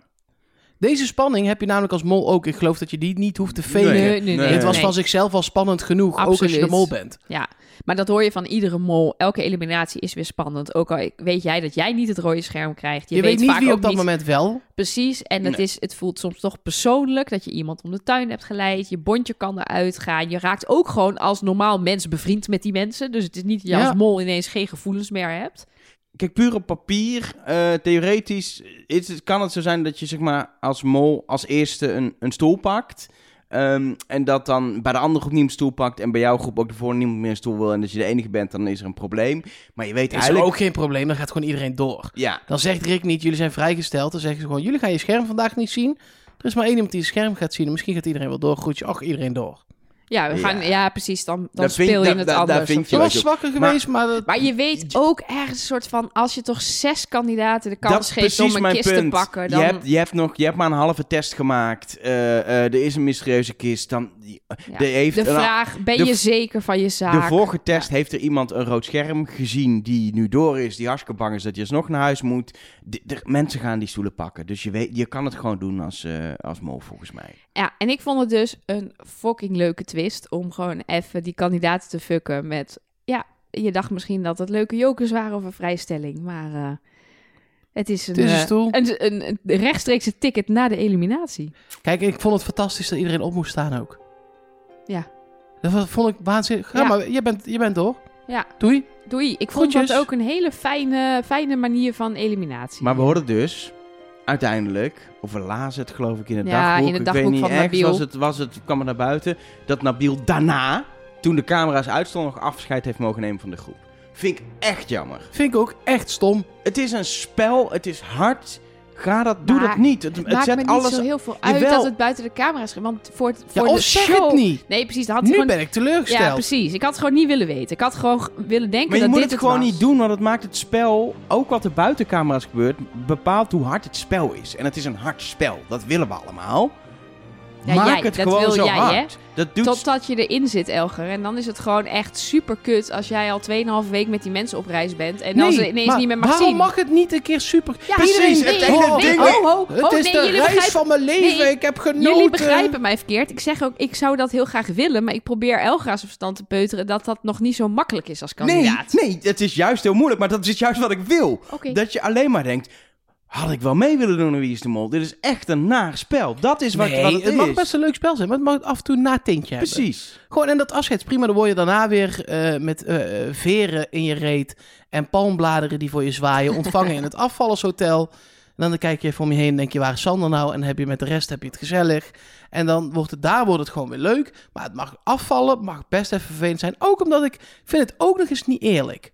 Speaker 3: Deze spanning heb je namelijk als mol ook. Ik geloof dat je die niet hoeft te velen.
Speaker 1: Nee, nee, nee,
Speaker 2: Nee.
Speaker 3: Dit was
Speaker 1: nee.
Speaker 3: van zichzelf al spannend genoeg, ook als je de
Speaker 1: Absoluut.
Speaker 3: mol bent.
Speaker 1: Ja, maar dat hoor je van iedere mol. Elke eliminatie is weer spannend. Ook al weet jij dat jij niet het rode scherm krijgt.
Speaker 3: Je,
Speaker 1: Je,
Speaker 3: weet, niet
Speaker 1: vaak
Speaker 3: wie
Speaker 1: ook
Speaker 3: op dat
Speaker 1: niet
Speaker 3: moment wel.
Speaker 1: precies. En het,
Speaker 2: Nee.
Speaker 1: is, het voelt soms toch persoonlijk dat je iemand om de tuin hebt geleid. Je bondje kan eruit gaan. Je raakt ook gewoon als normaal mens bevriend met die mensen. Dus het is niet dat je
Speaker 3: Ja.
Speaker 1: als mol ineens geen gevoelens meer hebt.
Speaker 2: Kijk, puur op papier, eh, theoretisch, is het, kan het zo zijn dat je zeg maar, als mol als eerste een, een stoel pakt. ehm, en dat dan bij de andere groep niet een stoel pakt en bij jouw groep ook ervoor niemand meer een stoel wil. En dat je de enige bent, dan is er een probleem. Maar je weet
Speaker 3: Is er
Speaker 2: eigenlijk...
Speaker 3: ook geen probleem, dan gaat gewoon iedereen door.
Speaker 2: Ja,
Speaker 3: Dan zegt Rick niet, jullie zijn vrijgesteld. Dan zeggen ze gewoon, jullie gaan je scherm vandaag niet zien. Er is maar één iemand die je scherm gaat zien. En misschien gaat iedereen wel door. Groetje, ach, iedereen door.
Speaker 1: Ja, we
Speaker 2: Ja.
Speaker 1: Gaan, ja precies. Dan, dan
Speaker 2: Dat vind-
Speaker 1: speel je
Speaker 2: dat-
Speaker 1: het
Speaker 2: dat- dat
Speaker 1: anders.
Speaker 2: vind
Speaker 1: of
Speaker 2: je
Speaker 3: Je
Speaker 1: zo.
Speaker 2: wel.
Speaker 3: was zwakker geweest, maar... dat-
Speaker 1: Maar je weet ook ergens een soort van... als je toch zes kandidaten de kans
Speaker 2: dat is
Speaker 1: geeft om
Speaker 2: precies
Speaker 1: een
Speaker 2: mijn
Speaker 1: kist
Speaker 2: punt.
Speaker 1: te pakken... Dan...
Speaker 2: je, hebt, je, hebt nog, je hebt maar een halve test gemaakt. Eh, eh, er is een mysterieuze kist. Dan,
Speaker 1: Ja.
Speaker 2: er heeft
Speaker 1: de
Speaker 2: een-
Speaker 1: vraag, ben
Speaker 2: de-
Speaker 1: je zeker van je zaak?
Speaker 2: De vorige test heeft er iemand een rood scherm gezien die nu door is, die hartstikke bang is dat je alsnog naar huis moet. De, de- mensen gaan die stoelen pakken. Dus je, weet, je kan het gewoon doen als, eh, als mol, volgens mij.
Speaker 1: Ja, en ik vond het dus een fucking leuke twist om gewoon even die kandidaten te fucken met... Ja, je dacht misschien dat het leuke jokers waren of een vrijstelling, maar... eh, het is een,
Speaker 3: Het is een
Speaker 1: eh,
Speaker 3: stoel.
Speaker 1: een, een, een rechtstreekse ticket na de eliminatie.
Speaker 3: Kijk, ik vond het fantastisch dat iedereen op moest staan ook.
Speaker 1: Ja.
Speaker 3: Dat was- vond ik waanzinnig. Ga
Speaker 1: Ja.
Speaker 3: maar, je bent, je bent door.
Speaker 1: Ja,
Speaker 3: Doei.
Speaker 1: doei. Ik vond
Speaker 3: Groetjes.
Speaker 1: dat ook een hele fijne, fijne manier van eliminatie.
Speaker 2: Maar we hoorden dus uiteindelijk, of we lazen het geloof ik in het
Speaker 1: Ja,
Speaker 2: dagboek.
Speaker 1: in het
Speaker 2: ik
Speaker 1: dagboek
Speaker 2: weet niet,
Speaker 1: van
Speaker 2: ergens
Speaker 1: Nabil.
Speaker 2: Was het, was het, kwam het naar buiten dat Nabil daarna, toen de camera's uitstonden, nog afscheid heeft mogen nemen van de groep. Vind ik echt jammer.
Speaker 3: Vind ik ook echt stom.
Speaker 2: Het is een spel, het is hard. Ga dat, doe
Speaker 1: Maar
Speaker 2: dat niet. Het,
Speaker 1: Het maakt
Speaker 2: zet
Speaker 1: me niet
Speaker 2: alles
Speaker 1: zo heel veel uit
Speaker 2: Jawel. oh,
Speaker 1: dat het buiten de camera is. ge- Want voor, het-
Speaker 3: Ja,
Speaker 1: voor
Speaker 3: of
Speaker 1: de
Speaker 3: oh, zeg
Speaker 1: show...
Speaker 3: het niet.
Speaker 1: Nee, precies. Dat had
Speaker 3: Nu
Speaker 1: gewoon...
Speaker 3: ben ik teleurgesteld.
Speaker 1: Ja, precies. Ik had het gewoon niet willen weten. Ik had gewoon g- willen denken
Speaker 2: Maar je
Speaker 1: dat
Speaker 2: moet
Speaker 1: dit
Speaker 2: het gewoon
Speaker 1: was.
Speaker 2: niet doen, want het maakt het spel, ook wat er buiten camera's gebeurt, bepaalt hoe hard het spel is. En het is een hard spel, dat willen we allemaal.
Speaker 1: Ja,
Speaker 2: Maak
Speaker 1: jij,
Speaker 2: het
Speaker 1: dat
Speaker 2: gewoon
Speaker 1: wil
Speaker 2: zo
Speaker 1: jij, hè?
Speaker 2: hard. Dat doet
Speaker 1: Totdat je erin zit, Elger. En dan is het gewoon echt super kut als jij al 2,5 week met die mensen op reis bent. En dan ze ineens
Speaker 3: maar
Speaker 1: niet meer mag
Speaker 3: waarom
Speaker 1: zien.
Speaker 3: mag het niet een keer super...
Speaker 1: ja,
Speaker 2: Precies,
Speaker 1: iedereen- Oh,
Speaker 2: het
Speaker 1: nee,
Speaker 2: hele
Speaker 1: nee,
Speaker 2: ding-
Speaker 1: Ho, ho,
Speaker 3: Het
Speaker 1: ho,
Speaker 3: is
Speaker 1: nee,
Speaker 3: de
Speaker 1: jullie
Speaker 3: reis
Speaker 1: begrijpen-
Speaker 3: van mijn leven,
Speaker 1: Nee,
Speaker 3: ik heb genoten.
Speaker 1: Jullie begrijpen mij verkeerd. Ik zeg ook, ik zou dat heel graag willen. Maar ik probeer Elga's verstand te peuteren dat dat nog niet zo makkelijk is als
Speaker 2: nee,
Speaker 1: kandidaat.
Speaker 2: nee, het is juist heel moeilijk, maar dat is juist wat ik wil.
Speaker 1: Oké.
Speaker 2: Dat je alleen maar denkt, had ik wel mee willen doen aan Wie is de Mol? Dit is echt een naar spel. Dat is wat,
Speaker 3: Nee,
Speaker 2: wat
Speaker 3: het,
Speaker 2: het, is.
Speaker 3: mag best een leuk spel zijn, maar het mag af en toe een natintje hebben.
Speaker 2: Precies.
Speaker 3: Gewoon, en dat afscheid is prima. Dan word je daarna weer eh, met eh, eh, veren in je reet en palmbladeren die voor je zwaaien ontvangen in het afvallershotel. En dan kijk je even om je heen en denk je, waar is Sander nou? En heb je met de rest heb je het gezellig. En dan wordt het daar wordt het gewoon weer leuk. Maar het mag afvallen, het mag best even vervelend zijn. Ook omdat ik vind het ook nog eens niet eerlijk.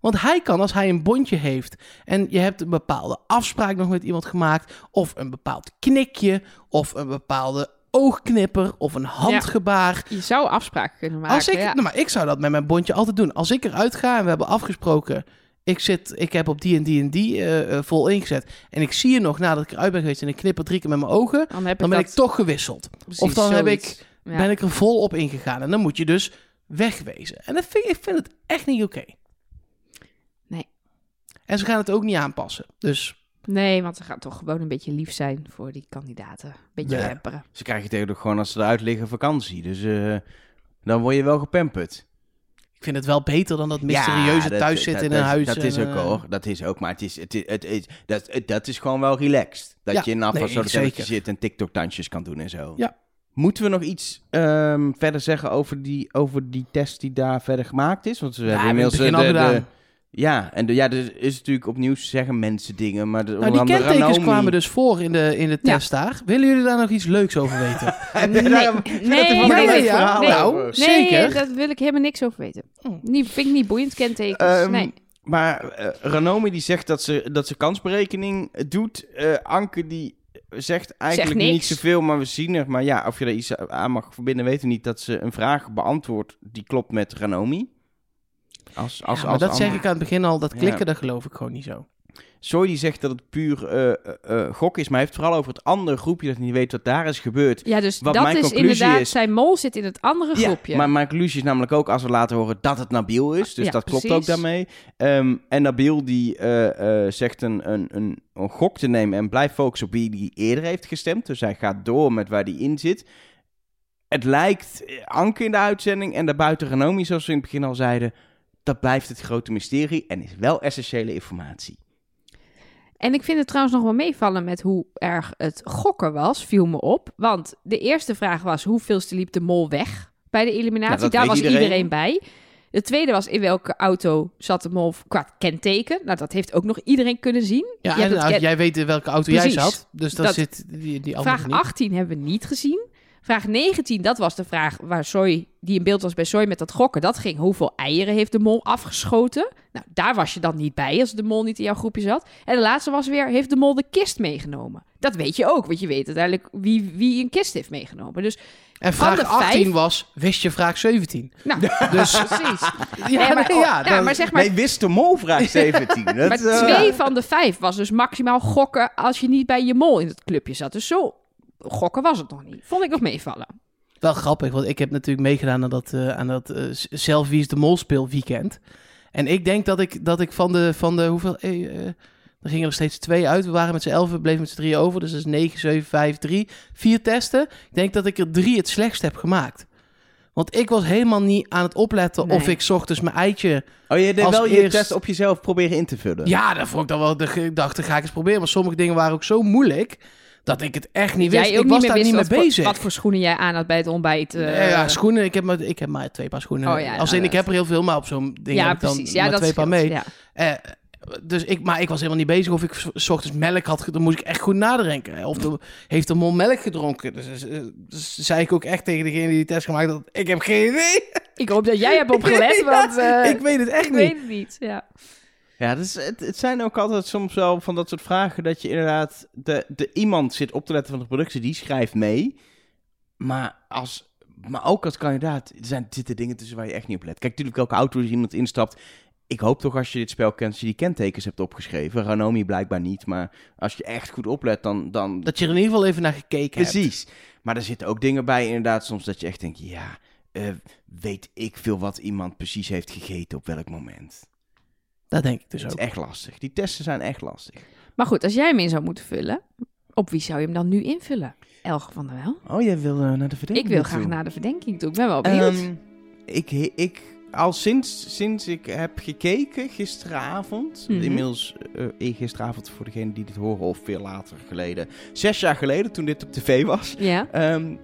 Speaker 3: Want hij kan, als hij een bondje heeft en je hebt een bepaalde afspraak nog met iemand gemaakt, of een bepaald knikje, of een bepaalde oogknipper, of een handgebaar.
Speaker 1: Je zou afspraken kunnen maken.
Speaker 3: Als ik,
Speaker 1: ja.
Speaker 3: nou, maar ik zou dat met mijn bondje altijd doen. Als ik eruit ga en we hebben afgesproken... Ik, zit, ik heb op die en die en die eh, eh, vol ingezet... en ik zie je nog nadat ik eruit ben geweest... en ik knipper drie keer met mijn ogen...
Speaker 1: Dan, heb
Speaker 3: dan ben
Speaker 1: dat
Speaker 3: ik toch gewisseld.
Speaker 1: precies
Speaker 3: of dan heb
Speaker 1: zoiets.
Speaker 3: ik,
Speaker 1: Ja.
Speaker 3: ben ik er vol op ingegaan. En dan moet je dus wegwezen. En dat vind, ik vind het echt niet oké.
Speaker 1: Nee.
Speaker 3: En ze gaan het ook niet aanpassen. Dus
Speaker 1: Nee, want ze gaan toch gewoon een beetje lief zijn voor die kandidaten. Beetje
Speaker 2: Ja.
Speaker 1: remperen.
Speaker 2: Ze krijgen tegenwoordig gewoon als ze eruit liggen vakantie. Dus eh, dan word je wel gepamperd.
Speaker 3: ik vind het wel beter dan dat mysterieuze
Speaker 2: Ja, dat-
Speaker 3: thuis zitten
Speaker 2: dat-
Speaker 3: in een
Speaker 2: dat-
Speaker 3: huis.
Speaker 2: Dat is
Speaker 3: en,
Speaker 2: ook
Speaker 3: eh,
Speaker 2: hoor, dat is ook. Maar het is, het is, het is, dat, het- dat is gewoon wel relaxed. Dat
Speaker 3: Ja,
Speaker 2: je in een
Speaker 3: nee,
Speaker 2: afvalsodelletje
Speaker 3: zeker.
Speaker 2: zit en TikTok-dansjes kan doen en zo.
Speaker 3: Ja.
Speaker 2: Moeten we nog iets ehm, verder zeggen over die, over die test die daar verder gemaakt is? Want we
Speaker 3: Ja,
Speaker 2: hebben
Speaker 3: we
Speaker 2: inmiddels
Speaker 3: hebben
Speaker 2: eh,
Speaker 3: het
Speaker 2: de,
Speaker 3: begin al
Speaker 2: de,
Speaker 3: gedaan.
Speaker 2: Ja, en de, ja, dus is natuurlijk opnieuw zeggen mensen dingen, maar de,
Speaker 3: Nou, die
Speaker 2: onder andere
Speaker 3: kentekens
Speaker 2: Naomi-
Speaker 3: kwamen dus voor in de, in de
Speaker 1: Ja.
Speaker 3: test daar. Willen jullie daar nog iets leuks over
Speaker 2: [LAUGHS]
Speaker 3: weten?
Speaker 1: Nee,
Speaker 2: [LAUGHS] Daarom-
Speaker 1: nee,
Speaker 2: dat is wel een
Speaker 1: nee,
Speaker 2: leuk
Speaker 1: nee,
Speaker 2: verhaal
Speaker 1: nee.
Speaker 2: over.
Speaker 3: Nou,
Speaker 1: Nee,
Speaker 3: zeker.
Speaker 1: daar wil ik helemaal niks over weten.
Speaker 3: Oh.
Speaker 1: Niet, vind ik niet boeiend,
Speaker 3: Dus
Speaker 1: kentekens.
Speaker 2: Ehm,
Speaker 1: nee.
Speaker 2: Maar eh, Ranomi die zegt dat ze, dat ze kansberekening doet. Eh, Anke die zegt eigenlijk
Speaker 1: niks.
Speaker 2: niet zoveel, maar we zien er. Maar ja, of je er iets aan mag verbinden, weten we niet. Dat ze een vraag beantwoordt die klopt met Ranomi. Als, als,
Speaker 3: Ja, maar
Speaker 2: als
Speaker 3: dat zeg
Speaker 2: antwoord.
Speaker 3: ik aan het begin al, dat
Speaker 2: Ja.
Speaker 3: klikken, dat geloof ik gewoon niet zo.
Speaker 2: Soy die zegt dat het puur eh, eh, eh, gok is, maar hij heeft het vooral over het andere groepje dat hij niet weet wat daar is gebeurd.
Speaker 1: Ja, dus
Speaker 2: wat
Speaker 1: dat
Speaker 2: mijn
Speaker 1: is
Speaker 2: conclusie
Speaker 1: inderdaad,
Speaker 2: is-
Speaker 1: zijn mol zit in het andere groepje.
Speaker 2: Maar mijn conclusie is namelijk ook als we laten horen dat het Nabil is. Dus
Speaker 1: Ja,
Speaker 2: dat klopt
Speaker 1: precies.
Speaker 2: ook daarmee. Ehm, en Nabil die eh, eh, zegt een, een, een, een gok te nemen en blijft focussen op wie die eerder heeft gestemd. Dus hij gaat door met waar die in zit. Het lijkt eh, Anke in de uitzending en daarbuiten Renomi, zoals we in het begin al zeiden. Dat blijft het grote mysterie en is wel essentiële informatie.
Speaker 1: En ik vind het trouwens nog wel meevallen met hoe erg het gokken was, viel me op. Want de eerste vraag was, hoeveelste liep de mol weg bij de eliminatie?
Speaker 2: Ja, Nou, dat
Speaker 1: Daar
Speaker 2: weet
Speaker 1: was
Speaker 2: iedereen.
Speaker 1: iedereen. bij. De tweede was, in welke auto zat de mol qua kenteken? Nou, dat heeft ook nog iedereen kunnen zien.
Speaker 3: Ja,
Speaker 1: Jij
Speaker 3: en
Speaker 1: hebt het
Speaker 3: nou,
Speaker 1: ken-
Speaker 3: jij weet in welke auto
Speaker 1: Precies.
Speaker 3: jij zat. Dus dat,
Speaker 1: Dat-
Speaker 3: zit die, die andere
Speaker 1: Vraag
Speaker 3: niet.
Speaker 1: 18 hebben we niet gezien. Vraag 19, dat was de vraag waar Soy, die in beeld was bij Soy met dat gokken, dat ging. Hoeveel eieren heeft de mol afgeschoten? Nou, daar was je dan niet bij als de mol niet in jouw groepje zat. En de laatste was weer, heeft de mol de kist meegenomen? Dat weet je ook, want je weet uiteindelijk wie, wie een kist heeft meegenomen. Dus,
Speaker 3: En
Speaker 1: Van
Speaker 3: vraag
Speaker 1: de
Speaker 3: 18
Speaker 1: vijf-
Speaker 3: was, wist je vraag 17?
Speaker 1: nou,
Speaker 3: Dus
Speaker 1: precies.
Speaker 3: [LAUGHS] ja,
Speaker 1: Nee, maar,
Speaker 3: nee, ja,
Speaker 1: ja,
Speaker 3: dan-
Speaker 1: maar zeg maar,
Speaker 2: nee, wist de mol
Speaker 1: [LAUGHS]
Speaker 2: vraag 17. Dat,
Speaker 1: maar
Speaker 2: eh,
Speaker 1: twee van de vijf was dus maximaal gokken als je niet bij je mol in het clubje zat. Dus zo gokken was het nog niet. Vond ik nog meevallen.
Speaker 3: Wel grappig, want ik heb natuurlijk meegedaan aan dat, eh, aan dat eh, s- zelf wie is de mol speelweekend. En ik denk dat ik, dat ik van de, van de hoeveel, eh, eh, er gingen er steeds twee uit. We waren met z'n elf, we bleven met z'n drie over. Dus dat is 9, 7, 5, 3, vier testen. Ik denk dat ik er drie het slechtst heb gemaakt. Want ik was helemaal niet aan het opletten
Speaker 1: Nee.
Speaker 3: of ik 's ochtends mijn eitje...
Speaker 2: Oh, je deed
Speaker 3: Als
Speaker 2: wel je
Speaker 3: eerst-
Speaker 2: test op jezelf proberen in te vullen.
Speaker 3: Ja, dat vond ik dan wel... de- Ik dacht, dat ga ik eens proberen. Maar sommige dingen waren ook zo moeilijk... dat ik het echt niet
Speaker 1: Jij
Speaker 3: wist.
Speaker 1: ook
Speaker 3: Ik was
Speaker 1: meer
Speaker 3: daar
Speaker 1: wist
Speaker 3: niet mee
Speaker 1: wat voor-
Speaker 3: bezig.
Speaker 1: Wat voor schoenen jij aan had bij het ontbijt. eh,
Speaker 3: Nee, ja, schoenen. Ik heb, maar, ik heb maar twee paar schoenen.
Speaker 1: Oh ja,
Speaker 3: Als in,
Speaker 1: ja,
Speaker 3: ik heb er heel veel, maar op zo'n ding
Speaker 1: ja,
Speaker 3: heb ik dan
Speaker 1: precies. Ja,
Speaker 3: maar
Speaker 1: dat
Speaker 3: twee paar
Speaker 1: scheelt,
Speaker 3: mee. [LAUGHS]
Speaker 1: ja.
Speaker 3: Eh, dus ik, maar ik was helemaal niet bezig of ik s- s ochtends melk had. ge- Dan moest ik echt goed nadenken. Of de- heeft de mol melk gedronken? Dus, eh, eh, dus zei ik ook echt tegen degene die die test gemaakt had. Ik heb geen idee.
Speaker 1: Ik hoop dat jij hebt opgelet,
Speaker 3: [LAUGHS] Ja,
Speaker 1: want eh,
Speaker 3: ik weet het echt
Speaker 1: ik
Speaker 3: niet.
Speaker 1: weet het niet. Ja.
Speaker 2: Ja, dus het, het zijn ook altijd soms wel van dat soort vragen dat je inderdaad de, de iemand zit op te letten van de productie, die schrijft mee. Maar, als, maar ook als kandidaat er zijn, zitten dingen tussen waar je echt niet op let. Kijk, natuurlijk elke auto die iemand instapt. Ik hoop toch als je dit spel kent, als je die kentekens hebt opgeschreven. Ranomi blijkbaar niet, maar als je echt goed oplet, dan... dan
Speaker 3: Dat je er in ieder geval even naar gekeken hebt.
Speaker 2: precies. Maar er zitten ook dingen bij inderdaad soms dat je echt denkt, ja, eh, weet ik veel wat iemand precies heeft gegeten op welk moment.
Speaker 3: Dat denk ik
Speaker 2: Dus
Speaker 3: dus
Speaker 2: het
Speaker 3: ook.
Speaker 2: is echt lastig. Die testen zijn echt lastig.
Speaker 1: Maar goed, als jij hem in zou moeten vullen, op wie zou je hem dan nu invullen? Elge van der Wel?
Speaker 2: Oh, jij wil eh, naar de verdenking
Speaker 1: Ik wil
Speaker 2: toe.
Speaker 1: graag naar de verdenking toe. Ik ben wel benieuwd.
Speaker 2: Ehm, ik, ik, al sinds, sinds ik heb gekeken gisteravond,
Speaker 1: Mhm.
Speaker 2: inmiddels eh, eh, gisteravond voor degenen die dit horen of veel later geleden, zes jaar geleden toen dit op tv was,
Speaker 1: ja.
Speaker 2: ehm,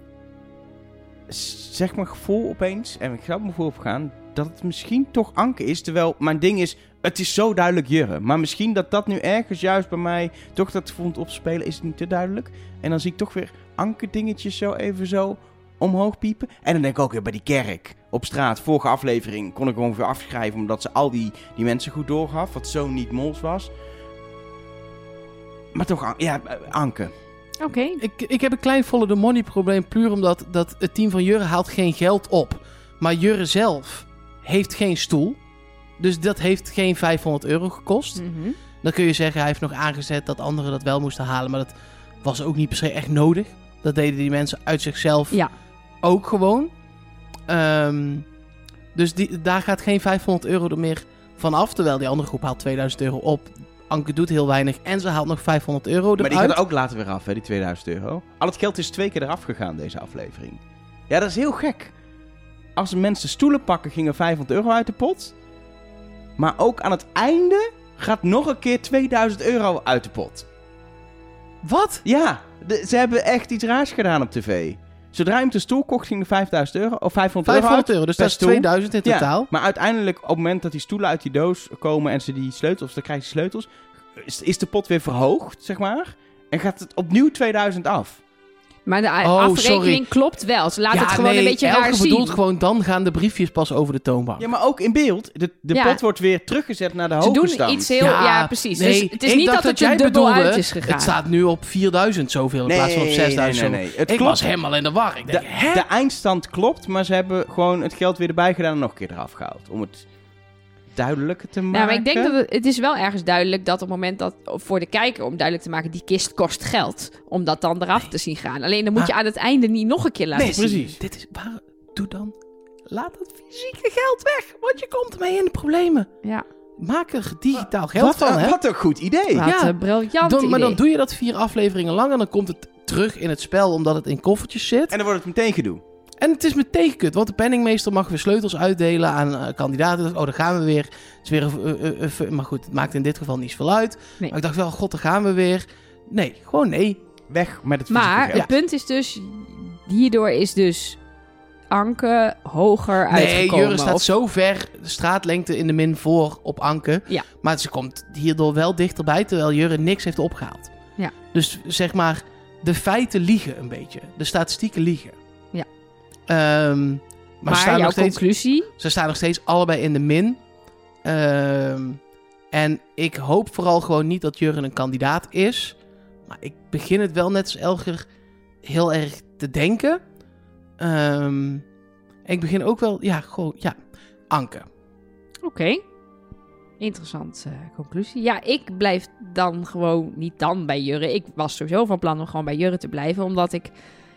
Speaker 2: s- zeg maar gevoel opeens, en ik ga op mijn gevoel opgaan, dat het misschien toch Anke is, terwijl mijn ding is, het is zo duidelijk Jurre, maar misschien dat dat nu ergens juist bij mij toch dat vond opspelen, is het niet te duidelijk. En dan zie ik toch weer Anke dingetjes zo even zo omhoog piepen. En dan denk ik ook weer bij die kerk op straat. Vorige aflevering kon ik gewoon weer afschrijven omdat ze al die, die mensen goed doorgaf, wat zo niet mols was. Maar toch, An- ja, eh, Anke.
Speaker 1: Oké.
Speaker 3: Ik, ik heb een klein follow the money probleem puur omdat dat het team van Jurre haalt geen geld op. Maar Jurre zelf heeft geen stoel. Dus dat heeft geen 500 euro gekost.
Speaker 1: Mhm.
Speaker 3: Dan kun je zeggen, hij heeft nog aangezet dat anderen dat wel moesten halen. Maar dat was ook niet per se echt nodig. Dat deden die mensen uit zichzelf
Speaker 1: Ja.
Speaker 3: ook gewoon. Ehm, dus die, daar gaat geen 500 euro er meer van af. Terwijl die andere groep haalt 2000 euro op. Anke doet heel weinig en ze haalt nog 500 euro eruit.
Speaker 2: Maar die gaat er ook later weer af, hè, die 2000 euro. Al het geld is twee keer eraf gegaan deze aflevering. Ja, dat is heel gek. Als de mensen stoelen pakken, gingen 500 euro uit de pot. Maar ook aan het einde gaat nog een keer 2000 euro uit de pot.
Speaker 3: Wat?
Speaker 2: Ja, de- ze hebben echt iets raars gedaan op tv. Zodra je hem te stoel kocht, ging er 5000 euro of 500, euro uit.
Speaker 3: 500 euro, dus dat is
Speaker 2: per stoel.
Speaker 3: 2000 in
Speaker 2: Ja,
Speaker 3: totaal.
Speaker 2: Maar uiteindelijk, op het moment dat die stoelen uit die doos komen en ze die sleutels, dan krijg je sleutels, is, is de pot weer verhoogd, zeg maar. En gaat het opnieuw 2000 af.
Speaker 1: Maar de
Speaker 3: Oh,
Speaker 1: afrekening
Speaker 3: sorry.
Speaker 1: klopt wel. Ze laten
Speaker 3: ja,
Speaker 1: het gewoon
Speaker 3: nee,
Speaker 1: een beetje
Speaker 3: Elke
Speaker 1: raar zien.
Speaker 3: bedoelt gewoon, dan gaan de briefjes pas over de toonbank.
Speaker 2: Ja, maar ook in beeld. De, de
Speaker 1: Ja.
Speaker 2: pot wordt weer teruggezet naar de
Speaker 1: Ze
Speaker 2: hoogte
Speaker 1: doen
Speaker 2: stand.
Speaker 1: iets heel... Ja,
Speaker 3: Ja,
Speaker 1: precies.
Speaker 3: nee,
Speaker 1: dus het is
Speaker 3: ik
Speaker 1: niet
Speaker 3: dacht
Speaker 1: dat het
Speaker 3: dat
Speaker 1: er
Speaker 3: jij
Speaker 1: dubbel
Speaker 3: bedoelde,
Speaker 1: uit is gegaan.
Speaker 3: Het staat nu op 4000 zoveel in plaats van op 6000
Speaker 2: Nee,
Speaker 3: zoveel.
Speaker 2: nee, nee. Het
Speaker 3: Ik
Speaker 2: klopt.
Speaker 3: was helemaal in de war. Ik
Speaker 2: De,
Speaker 3: denk, hè?
Speaker 2: de eindstand klopt, maar ze hebben gewoon het geld weer erbij gedaan en nog een keer eraf gehaald. Om het duidelijker te maken.
Speaker 1: Nou, maar ik denk dat het, het is wel ergens duidelijk dat op het moment dat voor de kijker om duidelijk te maken, die kist kost geld. Om dat dan eraf te zien gaan. Alleen dan moet je
Speaker 3: Ah.
Speaker 1: aan het einde niet nog een keer laten
Speaker 2: Nee,
Speaker 1: zien.
Speaker 2: precies.
Speaker 3: Dit is, waar, doe dan, laat dat fysieke geld weg, want je komt ermee in de problemen.
Speaker 1: Ja,
Speaker 3: Maak er digitaal geld
Speaker 2: Wat,
Speaker 3: van,
Speaker 2: een-
Speaker 3: hè?
Speaker 2: wat een goed idee.
Speaker 1: wat
Speaker 3: Ja.
Speaker 1: een briljant
Speaker 3: Dan, maar dan
Speaker 1: idee.
Speaker 3: doe je dat vier afleveringen lang en dan komt het terug in het spel omdat het in koffertjes zit.
Speaker 2: En dan wordt het meteen gedoe.
Speaker 3: En het is meteen gekut, want de penningmeester mag weer sleutels uitdelen aan eh, kandidaten. Oh, daar gaan we weer. Het is weer een- eh, eh, eh, ver- maar goed, het maakt in dit geval niets veel uit.
Speaker 1: Nee.
Speaker 3: Maar ik dacht wel, god, daar gaan we weer. Nee, gewoon nee.
Speaker 2: Weg met het fysieke
Speaker 1: Maar
Speaker 2: geld.
Speaker 1: het punt is dus, hierdoor is dus Anke hoger
Speaker 3: Nee,
Speaker 1: uitgekomen.
Speaker 3: Jure staat
Speaker 1: Of-
Speaker 3: zo ver de straatlengte in de min voor op Anke.
Speaker 1: Ja.
Speaker 3: Maar ze komt hierdoor wel dichterbij, terwijl Jure niks heeft opgehaald.
Speaker 1: Ja.
Speaker 3: Dus zeg maar, de feiten liegen een beetje. De statistieken liegen.
Speaker 1: Ja.
Speaker 3: Ehm, maar
Speaker 1: maar
Speaker 3: ze staan,
Speaker 1: jouw
Speaker 3: nog steeds,
Speaker 1: conclusie?
Speaker 3: ze staan nog steeds allebei in de min. Ehm, en ik hoop vooral gewoon niet dat Jurgen een kandidaat is. Maar ik begin het wel net als Elger heel erg te denken. Ehm, en ik begin ook wel, ja, gewoon, ja, Anke.
Speaker 1: Oké. Interessante eh, conclusie. Ja, ik blijf dan gewoon niet dan bij Jurre. Ik was sowieso van plan om gewoon bij Jurre te blijven, omdat ik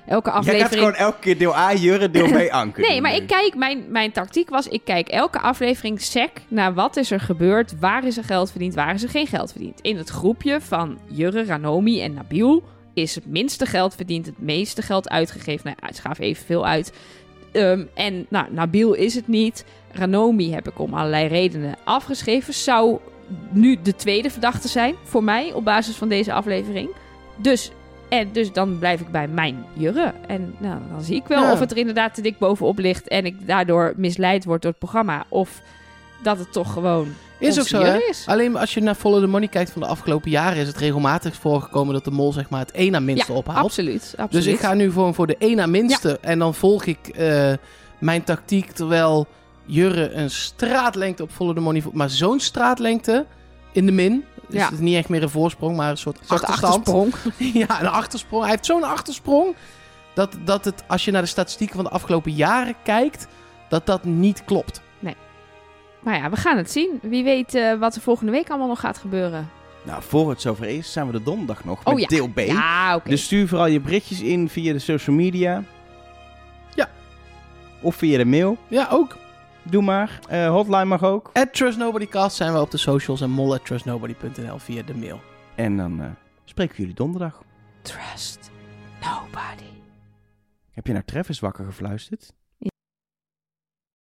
Speaker 1: elke
Speaker 2: Jij gaat
Speaker 1: aflevering...
Speaker 2: gewoon elke keer deel A, Jurre, deel
Speaker 1: [LAUGHS]
Speaker 2: B, Anker.
Speaker 1: Nee, maar ik kijk, mijn, mijn tactiek was, ik kijk elke aflevering sec naar wat is er gebeurd, waar is er geld verdiend, waar is er geen geld verdiend. In het groepje van Jurre, Ranomi en Nabil is het minste geld verdiend, het meeste geld uitgegeven. Nou, ja, ze gaven evenveel uit. Ehm, en nou, Nabil is het niet. Ranomi heb ik om allerlei redenen afgeschreven. Zou nu de tweede verdachte zijn voor mij op basis van deze aflevering. Dus, en dus dan blijf ik bij mijn jurre. En nou, dan zie ik wel
Speaker 3: Ja.
Speaker 1: of het er inderdaad te dik bovenop ligt en ik daardoor misleid word door het programma. Of dat het toch gewoon
Speaker 3: Is
Speaker 1: onze
Speaker 3: ook zo,
Speaker 1: jurre
Speaker 3: hè?
Speaker 1: is.
Speaker 3: Alleen als je naar Follow the Money kijkt van de afgelopen jaren... is het regelmatig voorgekomen dat de mol zeg maar het één na minste ophaalt.
Speaker 1: Absoluut, absoluut.
Speaker 3: Dus ik ga nu gewoon voor de één na minste. En dan volg ik eh, mijn tactiek. Terwijl Jurre een straatlengte op Follow the Money... vo- Maar zo'n straatlengte in de min. Dus
Speaker 1: Ja.
Speaker 3: het is niet echt meer een voorsprong, maar een soort,
Speaker 1: Een soort
Speaker 3: achterstand.
Speaker 1: achtersprong.
Speaker 3: [LAUGHS] ja, een achtersprong. Hij heeft zo'n achtersprong... Dat, dat het, als je naar de statistieken van de afgelopen jaren kijkt... dat dat niet klopt.
Speaker 1: Maar ja, we gaan het zien. Wie weet eh, wat er volgende week allemaal nog gaat gebeuren.
Speaker 2: Nou, voor het zover is, zijn we de donderdag nog
Speaker 1: Oh
Speaker 2: met
Speaker 1: ja.
Speaker 2: deel B.
Speaker 1: Ja, oké.
Speaker 2: Dus stuur vooral je berichtjes in via de social media.
Speaker 3: Ja.
Speaker 2: Of via de mail.
Speaker 3: Ja, ook.
Speaker 2: Doe maar. Eh, hotline mag ook.
Speaker 3: At TrustNobodyCast zijn we op de socials en mol at trustnobody.nl via de mail.
Speaker 2: En dan eh, spreken we jullie donderdag.
Speaker 1: Trust nobody.
Speaker 2: Heb je naar Travis wakker gefluisterd?